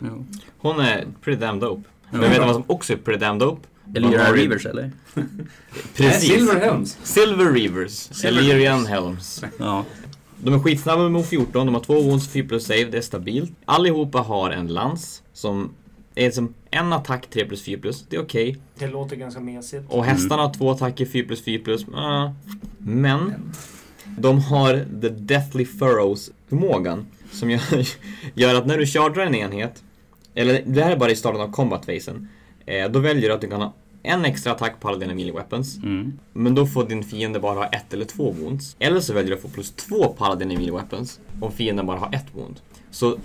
Hon är pretty damn dope. Men
Ja.
vet du vad som också är pretty damn dope?
Eller
Man
göra
har ju-
Reavers eller?
Precis.
Nej, Silver Helms.
Silver Reavers.
Silver
Illyrian Helms.
Ja.
De är skitsnabba med O14, de har två wounds, 4 plus save, det är stabilt. Allihopa har en lans som är som en attack 3 plus 4 plus, det är okej.
Det låter ganska mesigt.
Och hästarna har två attacker 4 plus 4 plus, äh. Men de har the deathly furrows förmågan som gör, gör att när du chargear en enhet, eller det här är bara i starten av combat phasen, eh, då väljer du att du kan ha en extra attack på alla dina melee weapons.
Mm.
Men då får din fiende bara ha ett eller två wounds. Eller så väljer du att få plus två på alla dina melee weapons om fienden bara har ett wound. Så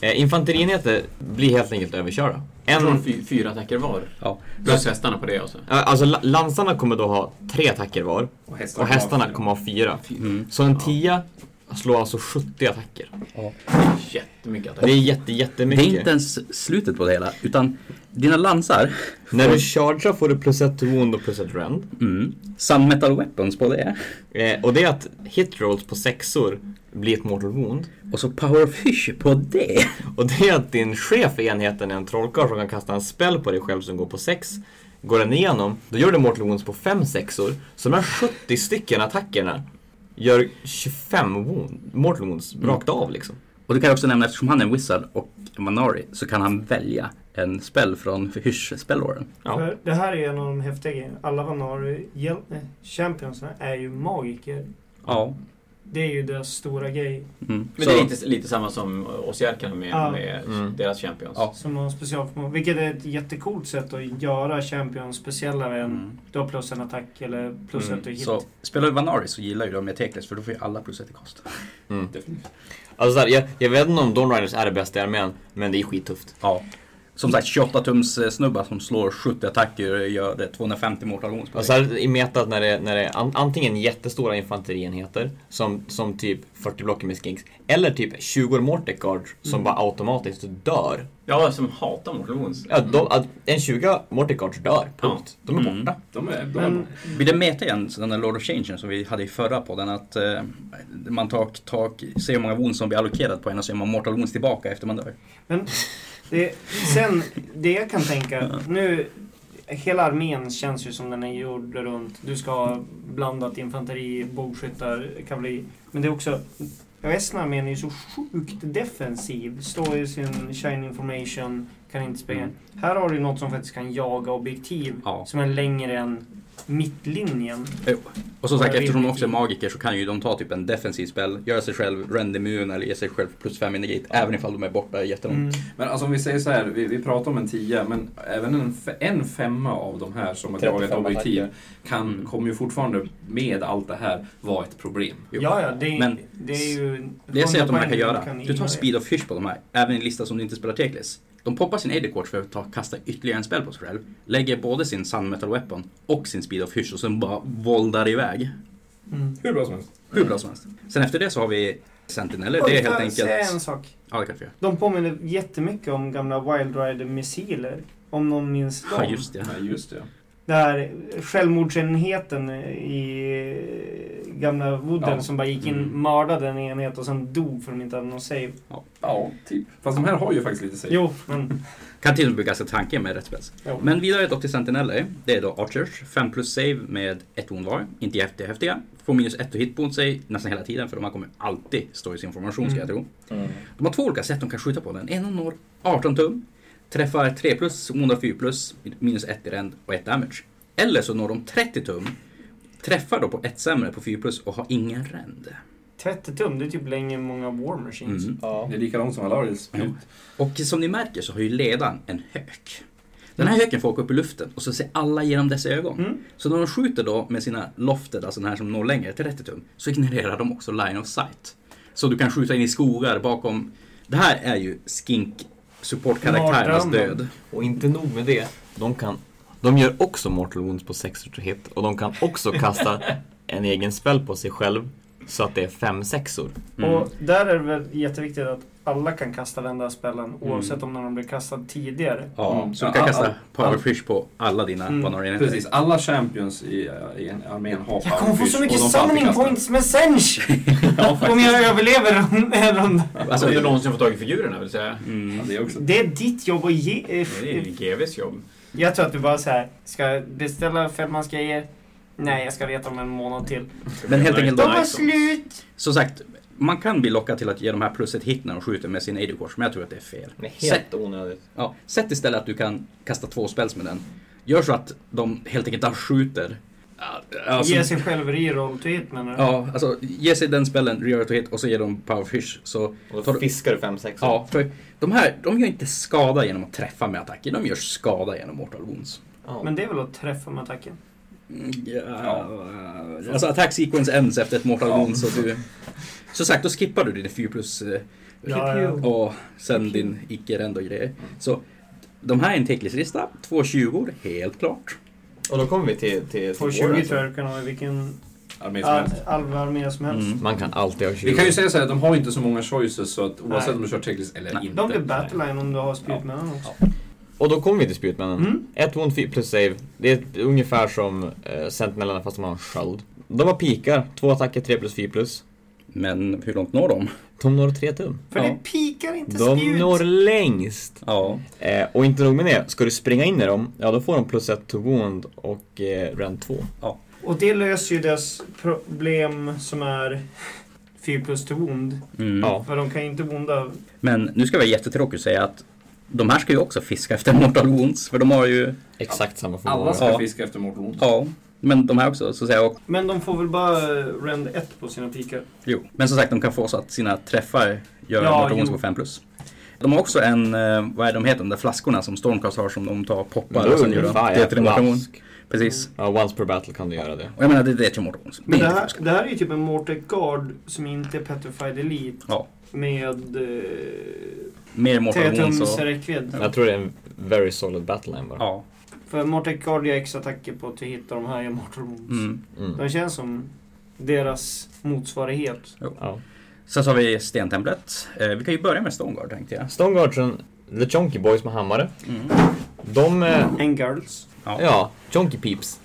eh, infanterienheter blir helt enkelt överkörda.
Jag tror
En,
fy, fyra attacker var.
Ja.
Plus hästarna på det också.
Ja, Alltså la- lansarna kommer då ha tre attacker var
Och
och
hästarna
hästarna,
kommer ha
kommer ha fyra.
Mm.
Så en tia slår alltså 70 attacker.
Jättemycket
Det är
attacker.
jätte,
Det
jättemycket.
är inte ens slutet på det hela, utan dina lansar
När du chargear får du plus ett to wound och plus ett rend.
Mm. Sun metal weapons på det.
Eh, och det är att hit rolls på sexor blir ett mortal wound.
Och så power fish på det.
Och det är att din chef i enheten är en trollkarl som kan kasta en spell på dig själv som går på sex. Går den igenom, då gör du mortal wounds på fem sexor. Så de här 70 stycken attackerna gör 25 wound, mortal wounds rakt av liksom.
Och det kan jag också nämna eftersom han är en wizard och en manari så kan han välja en spell från hysch-spellåren.
Ja.
För det här är en av de häftiga grejerna. Alla Vanari hjäl- nej, championsarna är ju magiker.
Ja.
Det är ju deras stora grej.
Mm.
Men
så,
det är lite, lite samma som Ossiark kan ha med,
Ja.
med
Mm.
deras champions.
Ja.
Som har specialförmåga. Vilket är ett jättecoolt sätt att göra champions speciellare än
Mm.
du har plus en attack eller plus
Mm.
ett och hit.
så spelar du Vanari så gillar ju de med Tekles för då får ju alla plus ett i kost.
Mm. Alltså såhär, jag, jag vet inte om Dawn Riders är det bästa i armén, men det är skittufft.
Ja. Som sagt 28 tums eh, snubbar som slår 70 attacker och gör det 250 mortal wounds på
Alltså
dig.
här i metat när det, när det är an, antingen jättestora infanterienheter, som, som typ 40 blocker med skinks, eller typ 20 Mortec Guards som
Mm.
bara automatiskt dör.
Ja, som hatar Mortal Wounds.
Ja, de, att en 20 Mortec Guards dör, punkt. De är
Mm.
borta.
de är bra.
Men
Blir det meta igen, så den där Lord of Change som vi hade i förra podden, att eh, man tar, tar, ser hur många wounds som blir allokerat på en och så gör man mortal wounds tillbaka efter man dör?
Det, sen, det jag kan tänka, nu... Hela armén känns ju som den är gjord runt. Du ska ha blandat infanteri, bågskyttar, kavalleri. Men det är också... Resten av armén är ju så sjukt defensiv. Står i sin shiny information, kan inte springa.
Mm.
Här har du något som faktiskt kan jaga objektiv.
Ja.
Som är längre än mittlinjen.
Och som sagt,
Bara
eftersom de
rimligt.
också är magiker så kan ju de ta typ en defensiv spell, göra sig själv rend immun eller ge sig själv plus 5 negate, även ifall de är borta jättelångt.
Mm.
Men alltså om vi säger så här, vi, vi pratar om en tia, men även en, fe- en femma av de här som har dragit
35
objektiv
attacker.
kan,
Mm.
kommer ju fortfarande med allt det här vara ett problem.
Jo.
Ja, ja, det,
Men
det är ju...
Det jag säger att de här kan
100
göra,
poäng
du tar
ignorera.
speed of fish på de här, även i en lista som du inte spelar Teklis. De poppar sin Edicorch för att ta, kasta ytterligare en spel på sig själv, lägger både sin Sun Metal Weapon och sin Speed of Fish och sen bara våldar iväg.
Mm.
Hur bra som helst.
Hur bra som helst. Sen efter det så har vi Sentineller.
Oj,
Det är
får
helt
jag
enkelt...
säga en sak?
Ja, det kanske jag
De påminner jättemycket om gamla Wild Rider-missiler. Om någon minns dem.
Ja, just det.
Ja, just det.
Där självmordsenheten i gamla Wooden
Ja.
som bara gick in,
Mm.
mördade en enhet och sen dog för de inte hade någon save.
Ja, typ. Fast de här har ju faktiskt lite sig.
Jo, men...
Kan till och med bli ganska tanke med rätt spets.
Jo.
Men vidare då till Sentinelle. Det är då Archers. 5 plus save med ett horn var. Inte jättehäftiga. Får minus ett och hit på sig nästan hela tiden för de här kommer alltid stå i sin formation ska jag tro.
Mm.
De har två olika sätt de kan skjuta på den. En når 18 tum, träffar 3 plus, ondar 4 plus, minus 1 i rend och 1 damage. Eller så når de 30 tum, träffar då på 1 sämre på 4 plus och har ingen rend.
30 tum, det är typ längre än många War Machines.
Mm.
Det är likadant som alla Ariels.
Ja. Och som ni märker så har ju ledaren en hök. Den
Mm.
här höken får åka upp i luften och så ser alla genom dess ögon. Så när de skjuter då med sina lofted, alltså den här som når längre till 30 tum, så ignorerar de också line of sight. Så du kan skjuta in i skogar bakom. Det här är ju skink supportkaraktärernas
Mardrömmen.
död.
Och inte nog med det, de kan... De gör också mortal wounds på 6 to hit och de kan också kasta en egen spell på sig själv så att det är fem sexor.
Mm.
Och där är det väl jätteviktigt att alla kan kasta den där spellen oavsett om när de blir kastad tidigare.
Ja,
Mm.
Så du kan
Ja,
kasta
all-
powerfish på alla dina
Mm.
mm.
Precis, alla champions i, eh, i armén har
Jag kommer få
Fish,
så
och
mycket
de får alltid
summoning
kasta.
points med Sench! om jag överlever en runda.
Alltså om du någonsin får tag i figurerna vill säga.
Mm.
Ja, det är också.
Det är ditt jobb att ge... eh,
Det är GVs jobb.
Jag tror att du bara så här, ska jag beställa femmansgrejer? Nej, jag ska veta om en månad till.
Men helt enkelt,
De
de
var
liksom.
slut!
som sagt, man kan bli lockad till att ge de här plus ett hit när de skjuter med sin Aidocors, men jag tror att det är fel.
Det är
Sätt-
helt onödigt.
Ja, sätt istället att du kan kasta två spells med den. Gör så att de helt enkelt bara skjuter. Ja, Alltså,
ge sig själv reroll till hit menar du?
Ja, alltså ge sig den spellen, rör ett hit och så ger de powerfish. Så
Och
tar
då
du-
fiskar du fem sexor.
Ja, för de här, de gör inte skada genom att träffa med attacker, de gör skada genom mortal wounds.
Ja.
Men det är väl att träffa med attacken?
Mm, Ja. Alltså attack sequence ends efter ett mortal wounds och du... Som sagt, då skippar du din 4 plus eh,
Ja, ja.
och sen din icke-rend och grejer. Så de här är en tecklislista, två 20 helt klart.
Och då kommer vi till... till, till
På
vår,
20
alltså.
tror jag du kan ha i vilken
Armé som helst.
alvarmé som helst.
Mm.
Man kan alltid ha 20.
Vi kan ju säga så här, de har ju inte så många choices så att oavsett
Nej.
om du kör Teglis eller
Nej.
inte.
De blir battleline om du har spjut med honom också.
Och då kommer vi till Spjutmännen.
Mm.
Ett wound fi- plus save. Det är ungefär som eh, Sentinellerna fast de har en sköld. De har pikar. Två attacker, 3 plus 4 plus.
Men hur långt når de?
De når 3 tum.
För
Ja.
det pikar inte
De
spjut!
når längst.
Ja.
Eh, och inte nog med det, ska du springa in i dem, ja då får de plus 1 to wound och eh, rend 2.
Och det löser ju deras problem som är 4 plus till wound.
Mm.
Ja.
För de kan ju inte bonda.
Men nu ska jag vara jättetråkig och säga att de här ska ju också fiska efter mortal wounds, för de har ju...
Exakt samma förmåga.
Alla ska
Ja.
fiska efter Mortal Wounds.
Ja, men de här också, så att säga. Och,
Men de får väl bara eh, rend 1 på sina pikar.
jo. Men som sagt, de kan få så att sina träffar gör
Ja,
mortal wounds
jo.
på 5 plus. De har också en, eh, vad är de heter, de där flaskorna som Stormcast har som de tar och poppar
Oh,
och sen gör de det till mortal wounds. Precis.
Ja, once per battle kan du göra det.
Och jag menar, det, det är till mortal wounds. Det
Men
är
det
inte
här,
flaskor.
det här är ju typ en Mortec Guard som inte är Petrified Elite
Ja,
med eh,
mer mortal wounds
3-tums
och...
räckvidd.
Jag tror det är en very solid battleline bara.
Ja.
För Mortec Guard gör extra attacker på att hitta de här i Mortal Wounds.
Mm.
Mm.
De känns som deras motsvarighet.
Ja.
Sen så har vi stentemplet. Eh, vi kan ju börja med Stoneguard tänkte jag.
Stoneguardsen, The Chonky Boys med hammare.
Mm.
De, eh,
And Girls.
ja, Chonky Peeps.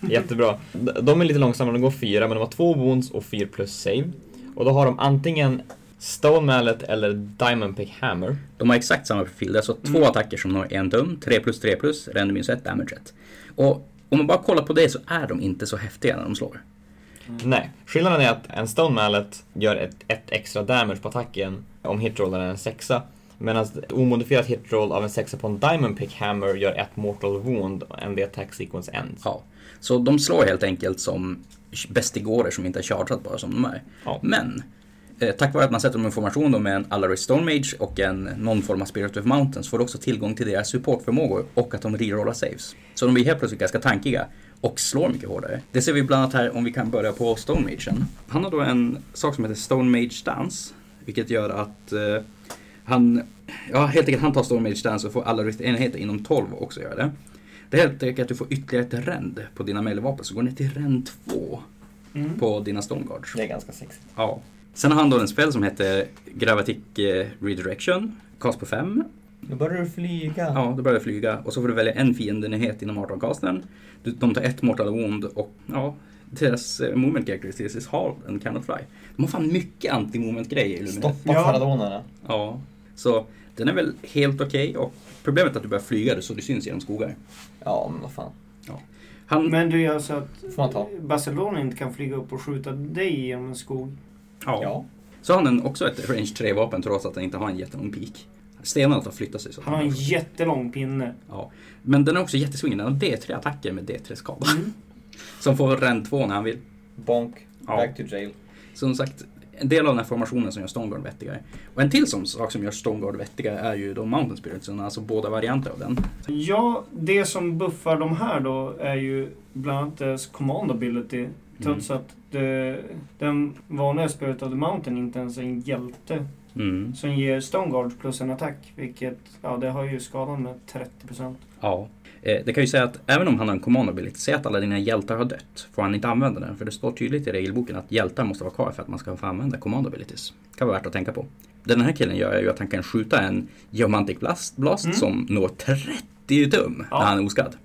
Jättebra. D- De är lite långsammare, de går fyra, men de har två wounds och 4 plus save. Och då har de antingen Stone Mallet eller Diamond Pick Hammer.
De har exakt samma profil. Det är alltså två attacker som har en dum, 3 plus 3 plus, render minus 1, damage 1. Och om man bara kollar på det så är de inte så häftiga när de slår.
Nej, skillnaden är att en Stone Mallet gör ett, ett extra damage på attacken om hitrollen är en sexa. Medan ett omodifierat hitroll av en sexa på en Diamond Pick Hammer gör ett Mortal Wound and the attack sequence ends.
Ja. Så de slår helt enkelt som bestigorer som inte är chargeat bara som de är.
Ja.
Men eh, tack vare att man sätter dem i formation då med en Alaris Stone Mage och en någon form av Spirit of Mountains får du också tillgång till deras supportförmågor och att de rerollar saves. Så de blir helt plötsligt ganska tankiga och slår mycket hårdare. Det ser vi bland annat här om vi kan börja på Stone Magen. Han har då en sak som heter Stone Mage Dance, vilket gör att eh, han, ja helt enkelt han tar Stone Mage Dance och får alla enheter inom 12 också göra det. Det är helt enkelt att du får ytterligare ett rend på dina medelvapen, så går ner till rend 2.
Mm.
på dina Stormguards.
Det är ganska sexigt.
Ja. Sen har han då en spel som heter Gravatic eh, Redirection, kast på 5.
Då börjar du flyga.
Ja, då börjar du flyga och så får du välja en fiendenhet inom 18-kasten. Du- De tar ett mortal wound och ja, deras eh, movement characteristics har en cannot fly. De har fan mycket anti-movement grejer. i Luminet.
Stoppa ja. faradonerna.
Ja, så den är väl helt okej och problemet är att du börjar flyga så du syns genom skogar.
Ja, men vad fan.
Ja. Han,
Men du gör så att
Får man ta?
Barcelona inte kan flyga upp och skjuta dig genom en skog.
ja. Så har han en- också ett range 3-vapen trots att han inte har en jättelång peak. Stenarna tar flyttat sig. Så att
Han har en jättelång pinne.
Ja. Men den är också jättesvingen. Den har D3 attacker med D3 skada.
Mm.
Som får rend 2 när han vill.
Bonk.
Ja.
Back to jail.
Som sagt, en del av den här formationen som gör Stoneguard vettigare. Och en till som, sak som gör Stoneguard vettigare är ju de Mountain Spiritsen, alltså båda varianter av den.
Ja, det som buffar de här då är ju bland annat deras command ability. Trots
Mm.
att det, den vanliga Spirit of the Mountain inte ens är en hjälte.
Mm.
Som ger Stoneguard plus en attack. Vilket, ja det har ju skadan med 30%.
Ja. Eh, Det kan ju säga att även om han har en command ability, säg att alla dina hjältar har dött, får han inte använda den. För det står tydligt i regelboken att hjältar måste vara kvar för att man ska få använda command abilities. kan vara värt att tänka på. Det den här killen gör är ju att han kan skjuta en Geomantic Blast, blast
Mm.
som når 30 tum
Ja.
när han är oskadd.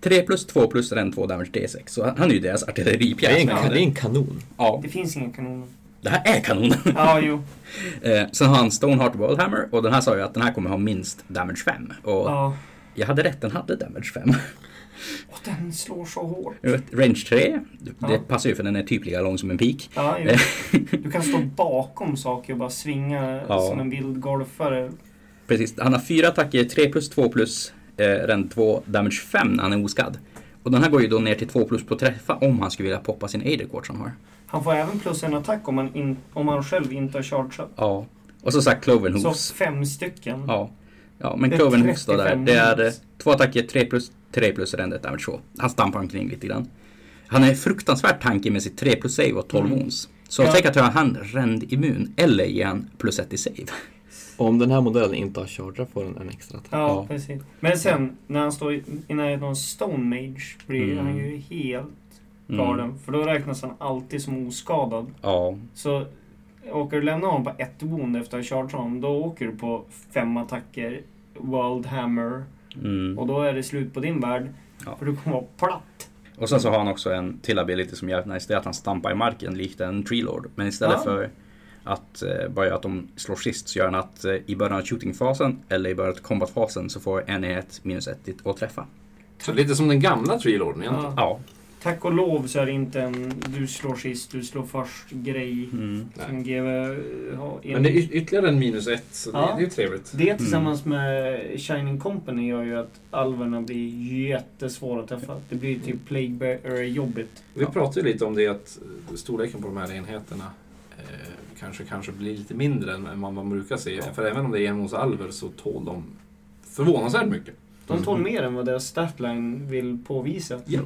3 plus 2 plus ren 2 damage D6. Så han är ju deras artilleripjäs.
Det är en ka- det är en kanon.
Ja,
Det finns inga kanoner.
det här är kanonen.
Ja, jo.
Eh, sen har han Stoneheart Worldhammer och den här sa ju att den här kommer ha minst damage 5. Och
Ja.
jag hade rätt, den hade damage 5.
Och den slår så hårt.
Range 3, det
Ja.
passar ju för den är typ lika lång som en pik.
Ja, jo. Du kan stå bakom saker och bara svinga
Ja.
som en vild golfare.
Precis, han har fyra attacker, 3 plus 2 plus eh, rend 2, damage 5 när han är oskadd. Och den här går ju då ner till 2 plus på träffa om han skulle vilja poppa sin Aidercourt som han har.
Han får även plus en attack om han, in, om han själv inte har chargeat.
Ja. Och så sagt Clovenhoofs.
Så fem stycken.
Ja. ja, men
Det är
Clovenhoofs då där.
35
Det är eh,
minus.
två attacker, 3 plus, 3 plus rendet damage 2. Han stampar omkring lite grann. Han är fruktansvärt tankig med sitt 3 plus save och 12
Mm.
wounds. Så
Ja.
tänk att göra han rend immun eller ge han plus 1 i save.
Om den här modellen inte har chargeat får den en extra attack.
Ja,
Ja.
precis. Men sen när han står i i närheten av en Stone Mage blir
Mm.
han ju helt
Mm.
galen. För då räknas han alltid som oskadad.
Ja,
Så åker du lämna honom på ett wound efter att ha chargeat honom, då åker du på fem attacker, World Hammer.
mm.
Och då är det slut på din värld.
Ja.
För du kommer vara platt.
Och sen så har han också en till ability som är jävligt nice. Det är att han stampar i marken likt en tree lord. Men istället
Ja.
för att eh, bara göra att de slår sist så gör han att eh, i början av shooting-fasen eller i början av combat-fasen så får en enhet minus ett dit och träffa.
Så lite som den gamla Treelorden egentligen.
Ja.
Ja.
Tack och lov så är det inte en du slår sist, du slår först grej.
Mm.
Som GW eh, har.
Men det är yt- ytterligare en minus ett, så det,
Ja.
det är ju trevligt.
Det
Mm.
tillsammans med Shining Company gör ju att alverna blir jättesvåra att träffa. Det blir typ Plague Bearer-jobbigt.
Vi pratade ju lite om det att eh, storleken på de här enheterna eh, kanske, kanske blir lite mindre än än vad man brukar se. För även om det är envåldsalver så tål de förvånansvärt mycket.
De tål
Mm.
mer än vad deras startline vill påvisa.
Ja.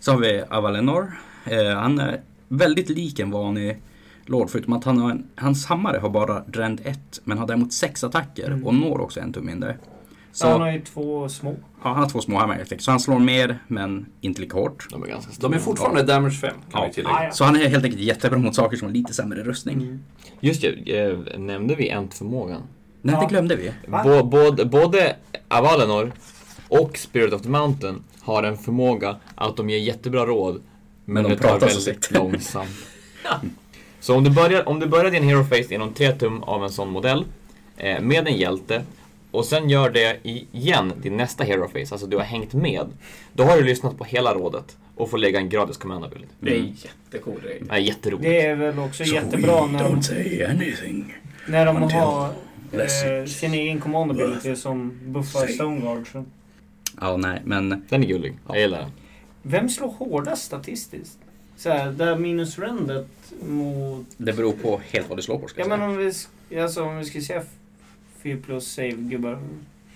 Så har vi Avalenor. Eh, han är väldigt lik en vanlig lord förutom att han har en, hans hammare har bara rend 1 men har däremot sex attacker
Mm.
och når också en tum mindre. Så
Han har ju två små.
ja, han har två små hammare så han slår mer men inte lika hårt.
De är ganska stora.
De är fortfarande damage 5 kan vi tillägga.
Ah, ja. Mm.
Så han är helt enkelt jättebra mot saker som har lite sämre rustning.
Just det, eh, nämnde vi ent-förmågan?
Nej,
Ja.
det glömde vi.
Va?
Bå- både, både Avalanor och Spirit of the Mountain har en förmåga att de ger jättebra råd, men,
Men de
det tar
pratar så
väldigt
segt.
långsamt. Mm. Så om du börjar, om du börjar din Hero Face inom 3 tum av en sån modell, eh, med en hjälte, och sen gör det igen din nästa Hero Face, alltså du har hängt med, då har du lyssnat på hela rådet och får lägga en gratis command ability.
Det
Mm.
är en jättecool grej.
Det är jätteroligt.
Det är väl också jättebra när de,
say anything.
när de
until
har eh,
blessed.
sin egen command ability som buffar
Say.
Stoneguard. Så-
Ja, nej, men
Den är gullig. Jag gillar den.
Vem slår hårdast statistiskt? Så här, där minus rendet mot...
det beror på helt vad du slår på. Ska
Ja
jag
men
säga.
om vi, sk- alltså, om vi ska säga 4 plus save-gubbar.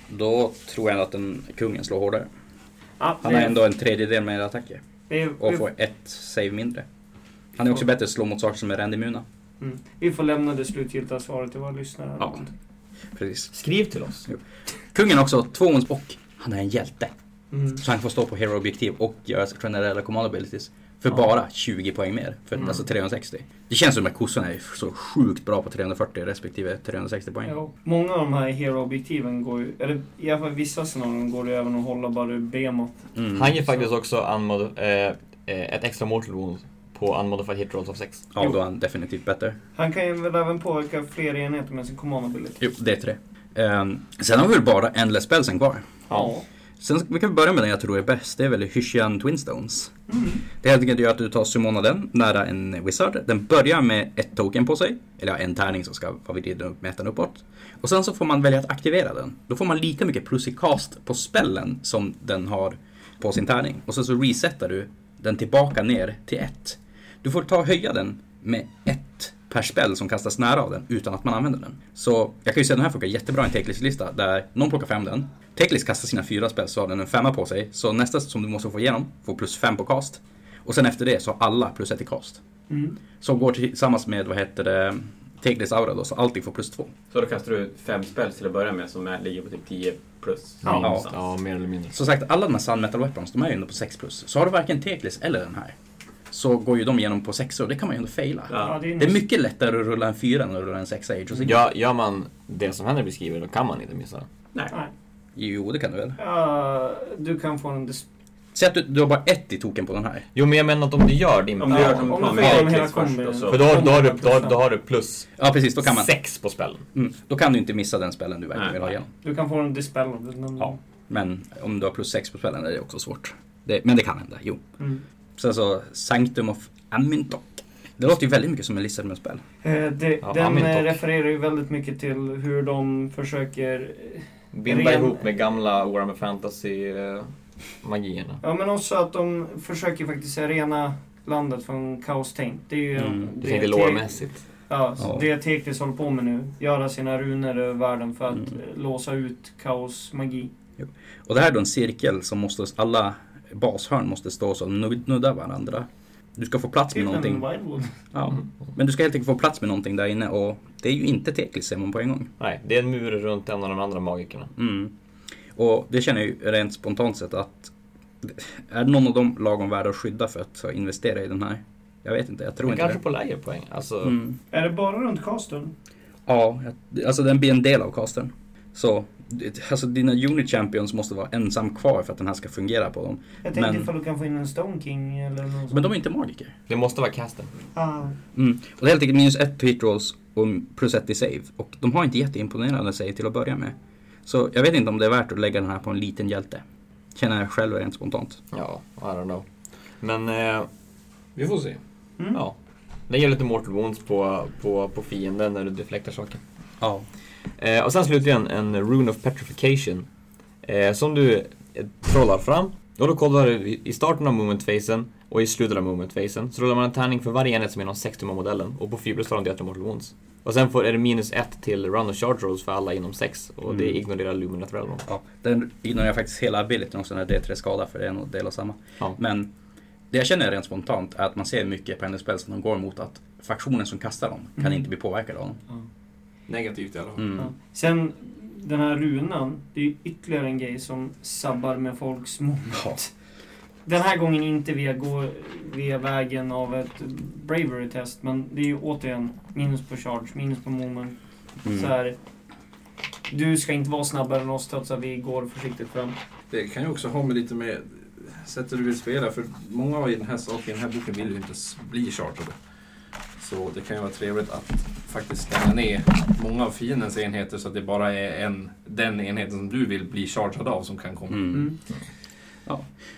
Då tror jag att den, kungen slår hårdare.
Ja,
Han
det-
har ändå en tredjedel mer attacker
Vi,
och
vi,
får ett save mindre. Han är också bättre att slå mot saker som är randimmuna.
mm, vi får lämna det slutgiltiga svaret till våra lyssnare.
Ja. Precis.
Skriv till oss.
Kungen har också två ons och han är en hjälte.
Mm.
Så han får stå på hero-objektiv och göra generella command abilities. För bara 20 poäng mer. För
Mm.
alltså 360. Det känns som att kossorna är så sjukt bra på 340 respektive 360 poäng.
Ja. Många av de här hero-objektiven går ju, eller i alla fall vissa scenarion går det även att hålla bara BMOT.
Mm.
Han ger faktiskt också unmod, eh, eh, ett extra mortal wound på unmodified hit rolls of 6.
Ja, då är han definitivt bättre.
Han kan ju väl även påverka fler enheter med sin command ability.
Jo, det är tre. Ehm, sen har vi väl bara Endless Spelsen kvar.
Ja.
Sen ska- vi kan börja med den jag tror är bäst. Det är väl Hyshian Twinstones. Det helt enkelt gör att du tar Sumona den nära en wizard. Den börjar med ett token på sig. Eller ja, en tärning som ska vara vid mätaren uppåt. Och sen så får man välja att aktivera den. Då får man lika mycket plus i cast på spellen som den har på sin tärning. Och sen så resetar du den tillbaka ner till ett. Du får ta och höja den med ett per spell som kastas nära av den utan att man använder den. Så jag kan ju säga att den här funkar jättebra i en Teklis-lista där någon plockar fram den. Teklis kastar sina fyra spel så har den en femma på sig. Så nästa som du måste få igenom får plus fem på cast. Och sen efter det så har alla plus ett i cast.
Mm.
Som går tillsammans med, vad heter det, Teklis aura då, så allting får plus två.
Så då kastar du fem spel till att börja med som är, ligger på typ 10 plus.
Ja.
någonstans.
Ja,
mer eller mindre.
Som sagt, alla de här Sun Metal Weapons, de är ju ändå på 6 plus. Så har du varken Teklis eller den här, så går ju de igenom på 6 och det kan man ju ändå faila.
Ja, det
det,
är
är
nyss.
mycket lättare att rulla en 4 än att rulla en 6 Age of Sigmar.
Ja, gör man det som Henry beskriver, då kan man inte missa.
Nej.
Nej.
Jo, det kan du väl?
Ja, du kan få en... dis-
Säg att du, du har bara ett i token på den här.
Jo, men jag menar att om du gör din...
Om du gör som
om
du
du
tar
får igenom
med
hela
Eklis först
kombin.
och så...
För då, då, har du, då, har- då har du plus
Ja, precis. Då kan man.
sex på spellen.
Mm, då kan du inte missa den spelen du verkligen
Nej.
vill ha igenom.
Du kan få en dispel. om du-
Ja. Men om du har plus 6 på spelen är det också svårt. Det, men det kan hända, jo.
Mm.
Sen så, alltså, Sanctum of Amintok. Det låter ju väldigt mycket som en lista med spel.
Eh, Det,
Ja,
den
Amin
eh,
dock.
refererar ju väldigt mycket till hur de försöker... eh,
Binda
ren-
ihop med gamla Warhammer Fantasy-magierna.
Ja, men också att de försöker faktiskt rena landet från kaostänk. Det är ju...
Mm,
Du
det
tänkte
är
lårmässigt.
Ja, så
Ja.
det Teklis håller på med nu. Göra sina runor över världen för att
Mm.
eh, låsa ut kaos, magi.
Och det här är då en cirkel som måste, alla bashörn måste stå så nud- nudda varandra. Du ska få plats med
Typ en
någonting.
Wildwood.
Ja. Men du ska helt enkelt få plats med någonting där inne och det är ju inte teklis ser man på en gång.
Nej, det är en mur runt en av de andra magikerna.
Mm. Och det känner jag ju rent spontant sett att är någon av dem lagom värda att skydda för att investera i den här? Jag vet inte, jag tror
Men
inte
kanske
det.
på lägre poäng. Alltså,
Mm.
Är det bara runt casten?
Ja, jag- alltså den blir en del av casten. Så det- alltså dina unit champions måste vara ensam kvar för att den här ska fungera på dem.
Jag tänkte
Men-
ifall du kan få in en Stone King eller något sånt.
Men de är inte magiker.
Det måste vara casten.
Ah.
Mm. Och det är helt enkelt minus ett på hit rolls och plus ett i save. Och de har inte jätteimponerande save till att börja med. Så jag vet inte om det är värt att lägga den här på en liten hjälte. Känner jag själv rent spontant.
Ja, I don't know. Men, eh,
Vi får se.
Mm.
ja. Det ger lite mortal wounds på, på, på fienden när du deflektar saker.
Ja.
Eh, och sen slutligen en Rune of Petrification. Eh, som du eh, trollar fram. Och då kollar du i- i starten av movementfasen och i slutet av movementfasen. Så rullar man en tärning för varje enhet som är inom 6 av modellen. Och på 4 plus tar de D8 mortal wounds. Och sen får, är det minus 1 till run och charge rolls för alla inom 6. Och det
Mm.
ignorerar Luminat Realm.
ja. Den ignorerar jag faktiskt hela abilityn också, den här D3-skada, för det är nog del av samma.
Ja.
Men det jag känner rent spontant är att man ser mycket på hennes spel som de går mot att faktionen som kastar dem kan
Mm.
inte bli påverkad av dem.
Negativt i alla fall.
Mm.
Ja. Sen den här runan, det är ju ytterligare en grej som sabbar med folks mod.
Ja.
Den här gången inte via, gå, via vägen av ett bravery-test, men det är ju återigen minus på charge, minus på moment.
Mm.
Så här, du ska inte vara snabbare än oss trots att vi går försiktigt fram.
Mm.
Det kan ju också ha med lite med sättet du vill spela. För många av den här saken, i den här boken vill ju inte s- bli chartade. Så det kan ju vara trevligt att faktiskt stänga ner många av fiendens enheter så att det bara är en, den enheten som du vill bli chartad av som kan komma.
Mm.
Mm.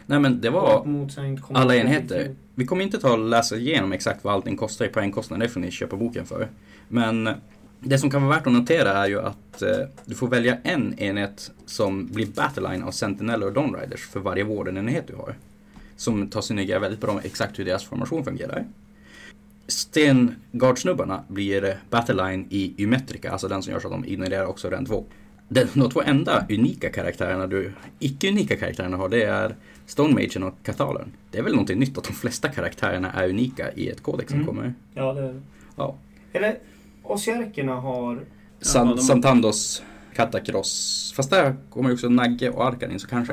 Nej men det
Och
var
mot sig inte kommer-
alla enheter. Vi kommer inte ta och läsa igenom exakt vad allting kostar i poängkostnad, det får ni köpa boken för. Men eh, det som kan vara värt att notera är ju att eh, du får välja en enhet som blir Battleline av Sentinel och Dawnriders för varje vårdenenhet du har. Som tar synergier väldigt bra med exakt hur deras formation fungerar. Stengardsnubbarna blir Battleline i Ymetrica, alltså den som gör så att de ignorerar också den 2. Den- De två enda unika karaktärerna du, icke-unika karaktärerna har, det är Stone Magen och Katalen. Det är väl någonting nytt att de flesta karaktärerna är unika i ett kodex som
Mm.
kommer.
Ja, det är det.
Ja.
Eller, osierkerna har...
San,
Ja, de-
Santandos, Katakross. Fast där kommer ju också Nagge och Arkan in så kanske.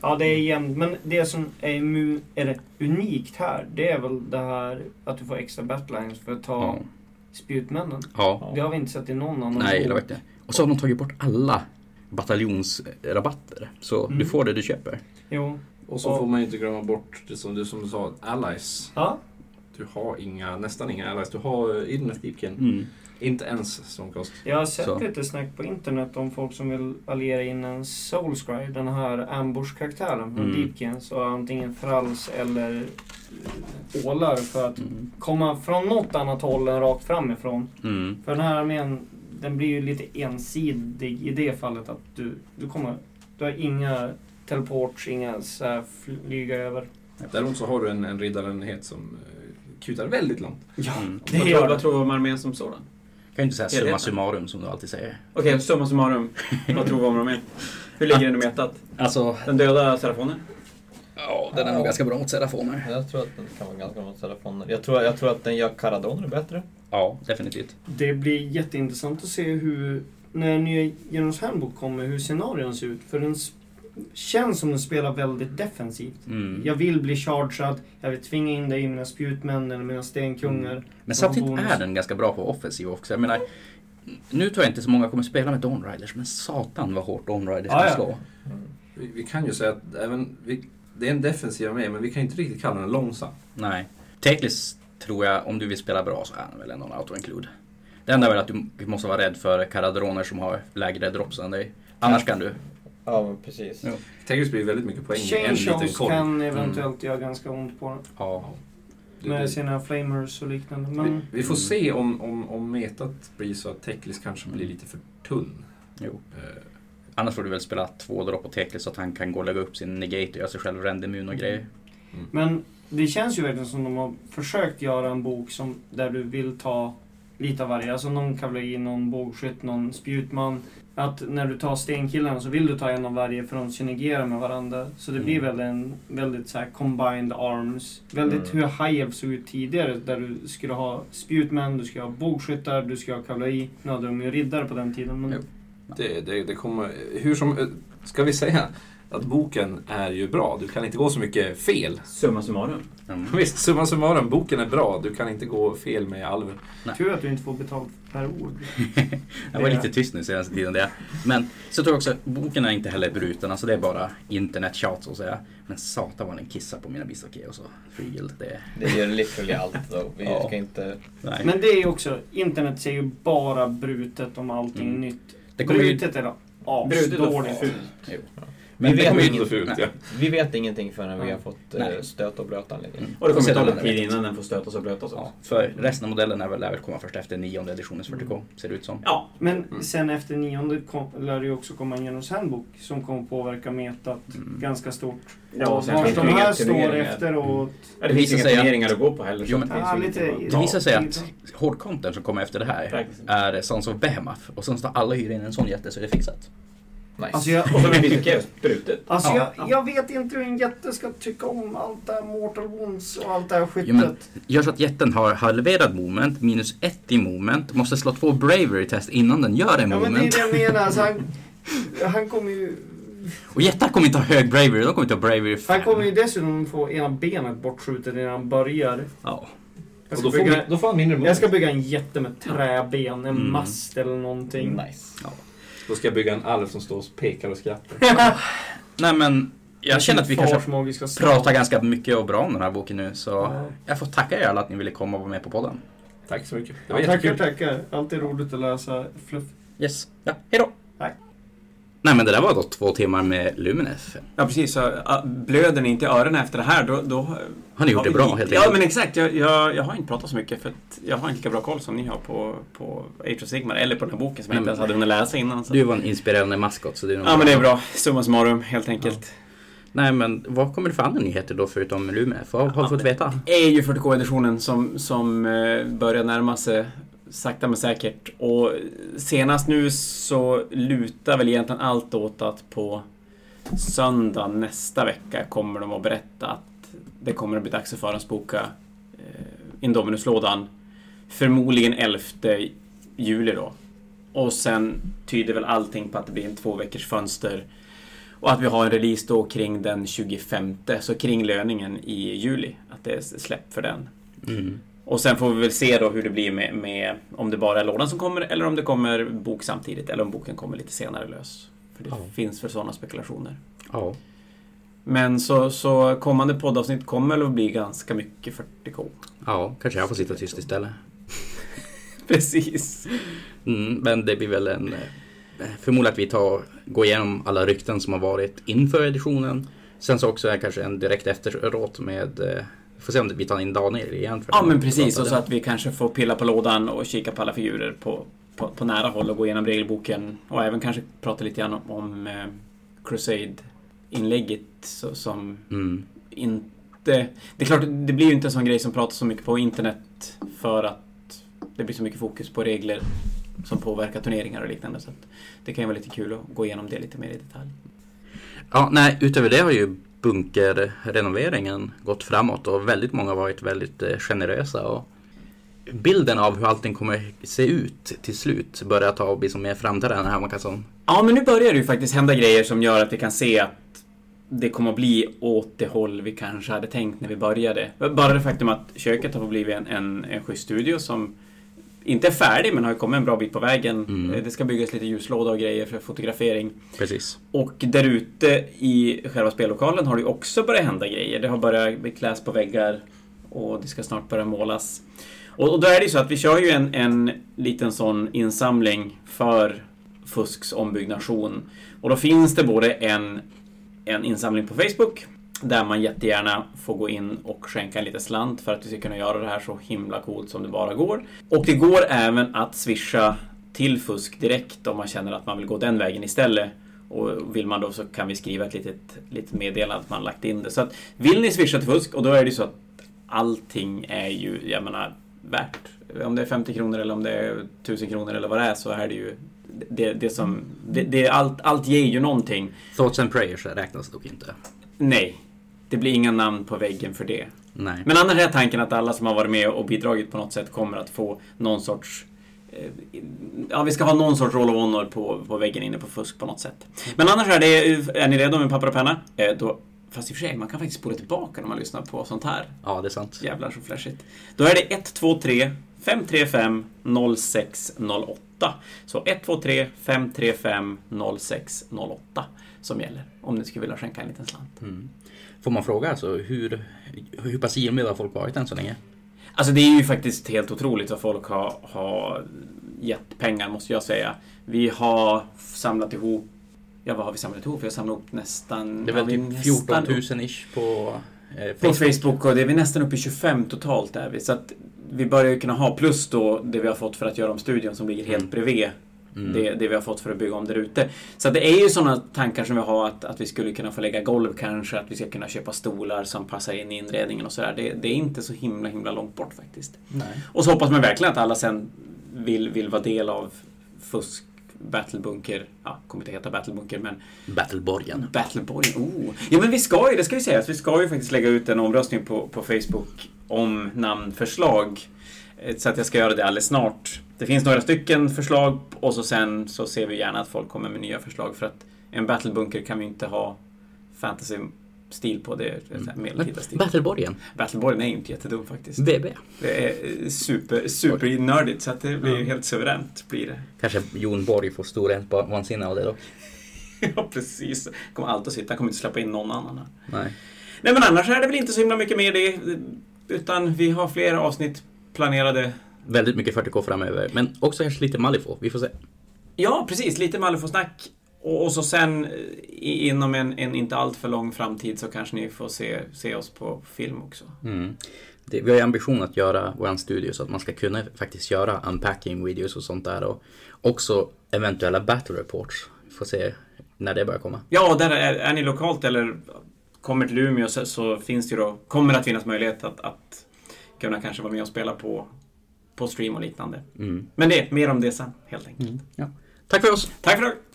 Ja, det är jämnt. Men det som är, mu- är det unikt här, det är väl det här att du får extra battlelines för att ta spjutmännen.
Ja.
Det har vi inte sett i någon annan
Nej,
bok.
jag vet inte. Och så har de tagit bort alla bataljonsrabatter. Så
Mm.
du får det du köper.
Jo.
Och så får man ju inte glömma bort det som du, som du sa, allies.
Ja.
Du har inga, nästan inga allies. Du har eh, Inner Deepkin.
Mm.
Inte ens Stormcast.
Jag har sett
Så.
lite snack på internet om folk som vill alliera in en Soulscry, den här ambush-karaktären från
Mm.
Deepkin. Så antingen frals eller eh, ålar för att komma från något annat håll än rakt framifrån.
Mm.
För den här armén, den blir ju lite ensidig i det fallet att du, du kommer... Du har inga teleports, inga så här flyga över.
Däremot så har du en, en riddarenhet som eh, kutar väldigt långt.
Ja,
Mm.
Vad tror, vad tror du om armén som sådan?
Kan ju inte säga summa
Helheten.
summarum som du alltid säger.
Okej, summa summarum. Vad tror vi om armén? Hur ligger den i metat?
Alltså,
Den döda Serafonen?
Ja, den är nog ganska bra mot Serafoner.
Jag tror att den kan vara ganska bra mot Serafoner. Jag tror, jag tror att den gör Karadoner bättre.
Ja, definitivt.
Det blir jätteintressant att se hur, när nya Genos Handbook kommer, hur scenarion ser ut. För den s- känns som den spelar väldigt defensivt.
Mm.
Jag vill bli chargead, jag vill tvinga in dig i mina spjutmän eller mina stenkungar.
Mm.
Men
Och
samtidigt
bonus.
är den ganska bra på offensiv också. Jag menar, nu tror jag inte så många kommer spela med Dawnriders, men satan vad hårt Dawnriders
Ja,
kan
ja.
slå.
Mm.
Vi, vi kan ju säga att även, vi, det är en defensiv med, men vi kan inte riktigt kalla den långsam.
Nej. Teklis tror jag, om du vill spela bra så är han väl ändå en auto-include. Det enda är väl att du måste vara rädd för karadroner som har lägre drops än dig. Annars kan du.
Ja, men precis.
Ja.
Tegris blir väldigt mycket poäng i en
Chain
liten
shows
korv.
kan eventuellt göra ganska ont på den.
Ja.
Det- det-
Med sina flamers och liknande. Men...
Vi, vi får se om, om, om metat blir så att Teklis kanske blir lite för tunn. Eh,
Jo. Annars får du väl spela två dropp på Teklis så att han kan gå och lägga upp sin negate och göra sig själv rendemun och grejer.
mm.
Men det känns ju verkligen som de har försökt göra en bok som, där du vill ta lite av varje. Alltså någon kavalleri, någon bågskytt, någon spjutman. Att när du tar stenkillarna så vill du ta en av varje för de synergerar med varandra. Så det blir väl en väldigt så här combined arms. Väldigt
Mm.
hur Hive såg ut tidigare där du skulle ha spjutmän, du skulle ha bågskyttar, du skulle ha kavalleri. Nu hade de ju riddare på den tiden. Men...
Det, det, det kommer, hur som, eh, ska vi säga att boken är ju bra. Du kan inte gå så mycket fel.
Summa summarum.
Mm.
Visst, summa summarum, boken är bra. Du kan inte gå fel med Alver.
Tur att du inte får betalt per ord.
Jag var
Det-
lite tyst nu senaste tiden. Det. Men så tror jag också att boken är inte heller bruten. Alltså det är bara internettjat så att säga. Men satan vad den kissar på mina bistaké och så. Frigild. Det.
Det gör literally allt då. Vi
Ja.
ska inte...
Nej.
Men det är ju också, internet ser ju bara brutet om allting
Mm.
nytt.
Det kommer ju-
brutet är då
Brutet och
asdåligt.
fult.
Jo.
Men
Vi
det kommer
vet,
ju
inget,
inte ut, ja.
vi vet ingenting förrän vi har fått eh,
Nej.
stöt och blöta anledningen.
Mm.
Och det kommer
Sedan
ta
är
lite
det
tid
rätt.
innan den får stötas och blötas också.
För resten av modellen är väl, lär väl komma först efter nionde editionens 40K. Ser det ut som.
Ja.
Men sen efter nionde kom, lär det ju också komma en Genos handbok som kommer påverka metat
Mm.
ganska stort.
Ja,
och
och sen
vart
finns det
de
ju
här
inga
står
turneringar.
efteråt.
Ja, det finns
visar
inga
sig att-
turneringar att gå på heller. Så
Jo,
det
men-
finns
Ah,
ju
lite-
inget att
Det
ta.
visar sig att hårdconten som kommer efter det här är Sons of Behemoth. Och sen ska alla hyra in en sån jätte så är det fixat.
Nice.
Alltså jag,
Och så blir mycket brutet.
alltså
Ja.
jag, jag vet inte hur en jätte ska tycka om allt det här Mortal Wounds och allt det här skyttet.
Ja, men, gör så att jätten har halverad moment, minus ett i moment, måste slå två bravery test innan den gör en
Ja, men det är
moment.
det jag menar. Alltså, han, han kommer ju...
Och jättar kommer inte ha hög bravery, de kommer inte ha bravery
Han
fem.
kommer ju dessutom få ena benet bortskjutet innan han börjar.
Ja.
Jag
Och
ska,
då, får,
bygga,
vi- då får han mindre
jag
bonus.
ska bygga en jätte med träben, en
Mm.
mast eller någonting.
Nice.
Då ska jag bygga en Alver som står och pekar och skrattar.
Nej men, jag känner att vi kanske
magiska
pratar ganska mycket och bra om den här boken nu så
Ja.
jag får tacka er alla att ni ville komma och vara med på podden.
Tack så mycket. Det var
Ja,
jättekul.
tackar, tackar. Alltid roligt att läsa fluff.
Yes, ja, hejdå!
Tack.
Nej men det där var då två timmar med Luminef.
Ja precis, så, äh, blöder ni inte i öronen efter det här då... då
Har ni gjort
Ja,
det bra,
vi-
helt
Ja
enkelt?
men exakt, jag, jag, jag har inte pratat så mycket för att jag har inte lika bra koll som ni har på, på Age of Sigmar eller på den här boken som jag
Nej,
inte ens
men-
hade hunnit läsa innan. Så.
Du var en inspirerande maskot så det är nog
Ja men det är bra, summa summarum helt enkelt.
Nej men vad kommer det för andra nyheter då förutom Luminef? Vad har du fått veta?
är ju 40K-editionen som, som eh, börjar närma sig sakta men säkert. Och senast nu så lutar väl egentligen allt åt att på söndag nästa vecka kommer de att berätta att det kommer att bli dags att förhandsboka eh, Indominus-lådan. Förmodligen 11 juli då. Och sen tyder väl allting på att det blir en två veckors fönster Och att vi har en release då kring den 25, så kring löningen i juli. Att det är släpp för den.
Mm.
Och sen får vi väl se då hur det blir med, med om det bara är lådan som kommer eller om det kommer bok samtidigt eller om boken kommer lite senare lös. För det
Ja.
finns för sådana spekulationer.
Ja.
Men så, så kommande poddavsnitt kommer väl att bli ganska mycket 40K.
Ja, kanske jag får sitta tyst istället.
Precis.
Mm, men det blir väl en... eh, Förmodligen att vi tar, går igenom alla rykten som har varit inför editionen. Sen så också är kanske en direkt efteråt med... eh, Får se om vi tar in Daniel igen. för
Ja
att
men
prata
precis, och
om
så
Typ det.
att vi kanske får pilla på lådan och kika på alla figurer på, på, på nära håll och gå igenom regelboken och även kanske prata lite grann om, om eh, Crusade-inlägget så- som
Mm.
inte... Det är klart, det blir ju inte en sån grej som pratas så mycket på internet för att det blir så mycket fokus på regler som påverkar turneringar och liknande. Så att det kan ju vara lite kul att gå igenom det lite mer i detalj.
Ja, nej, utöver det har ju bunkerrenoveringen gått framåt och väldigt många har varit väldigt eh, generösa. Och bilden av hur allting kommer se ut till slut börjar ta och bli som mer framträdande här. Man kan som,
Ja, men nu börjar det ju faktiskt hända grejer som gör att vi kan se att det kommer att bli åt det håll vi kanske hade tänkt när vi började. Bara det faktum att köket har blivit en, en, en schysst studio som inte är färdig men har ju kommit en bra bit på vägen.
Mm.
Det ska byggas lite ljuslåda och grejer för fotografering.
precis.
Och där ute i själva spellokalen har det ju också börjat hända grejer. Det har börjat bli kläs på väggar och det ska snart börja målas. Och, och då är det ju så att vi kör ju en, en liten sån insamling för Fusks ombyggnation. Och då finns det både en, en insamling på Facebook där man jättegärna får gå in och skänka en liten slant för att vi ska kunna göra det här så himla coolt som det bara går. Och det går även att swisha till fusk direkt om man känner att man vill gå den vägen istället. Och vill man då så kan vi skriva ett litet, litet meddelande att man lagt in det. Så att vill ni swisha till fusk och då är det ju så att allting är ju, jag menar, värt. Om det är 50 kronor eller om det är 1000 kronor eller vad det är så är det ju det, det som, det, det, allt, allt ger ju någonting.
Thoughts and prayers räknas dock inte.
Nej, det blir inga namn på väggen för det.
Nej.
Men annars är tanken att alla som har varit med och bidragit på något sätt kommer att få någon sorts... eh, Ja, vi ska ha någon sorts roll of honor på, på väggen inne på fusk på något sätt. Men annars är det... Är ni redo med papper och penna? Eh, Då, fast i och för sig, man kan faktiskt spola tillbaka när man lyssnar på sånt här.
Ja, det är sant.
Jävlar så flashigt. Då är det 123 535 0608. Så 123 535 0608 som gäller. Om ni skulle vilja skänka en liten slant.
Mm. Får man fråga alltså hur, hur pass givmilda har folk varit än så länge?
Alltså det är ju faktiskt helt otroligt vad folk har, har gett pengar måste jag säga. Vi har samlat ihop, ja vad har vi samlat ihop? Vi har samlat ihop nästan...
Det var
har vi
typ
nästan
14 000 ish på eh,
på
Facebook.
Facebook och det är vi nästan uppe i 25 totalt där vi. Så att vi börjar ju kunna ha plus då det vi har fått för att göra om studion som ligger helt bredvid.
Mm.
Det, det vi har fått för att bygga om där ute. Så att det är ju sådana tankar som vi har att, att vi skulle kunna få lägga golv kanske, att vi ska kunna köpa stolar som passar in i inredningen och sådär. Det, det är inte så himla himla långt bort faktiskt.
Nej.
Och så hoppas man verkligen att alla sen vill, vill vara del av fusk, battlebunker, ja, kommer inte heta battlebunker men
Battleborgen.
Battleborgen, oh. Ja men vi ska ju, det ska ju sägas, vi ska ju faktiskt lägga ut en omröstning på, på Facebook om namnförslag. Eh, Så att jag ska göra det alldeles snart. Det finns några stycken förslag och så sen så ser vi gärna att folk kommer med nya förslag för att en battlebunker kan vi inte ha fantasy-stil på, det är så
Mm.
här medeltida stil.
Battleborgen.
Battleborgen är ju inte jättedum faktiskt.
BB.
Det är eh, super, supernördigt så att det blir ju helt suveränt. Blir det.
Kanske Jon Borg får stor vansinne av det då.
Ja precis. Kommer allt att sitta, kommer inte släppa in någon annan här.
Nej.
Nej men annars är det väl inte så himla mycket mer det. Utan vi har flera avsnitt planerade.
Väldigt mycket 40K framöver, men också kanske lite Malifaux. Vi får se.
Ja precis, lite Malifaux-snack. Och, och så sen eh, i- inom en, en inte alltför lång framtid så kanske ni får se, se oss på film också.
Mm. Det, vi har ju ambition att göra vår studio så att man ska kunna faktiskt göra unpacking videos och sånt där och också eventuella battle reports. Vi får se när det börjar komma.
Ja, och där är, är ni lokalt eller kommer till Umeå så, så finns det ju då, kommer att finnas möjlighet att, att kunna kanske vara med och spela på, på stream och liknande.
Mm.
Men det, mer om det sen helt enkelt.
Ja. Tack för oss!
Tack för idag!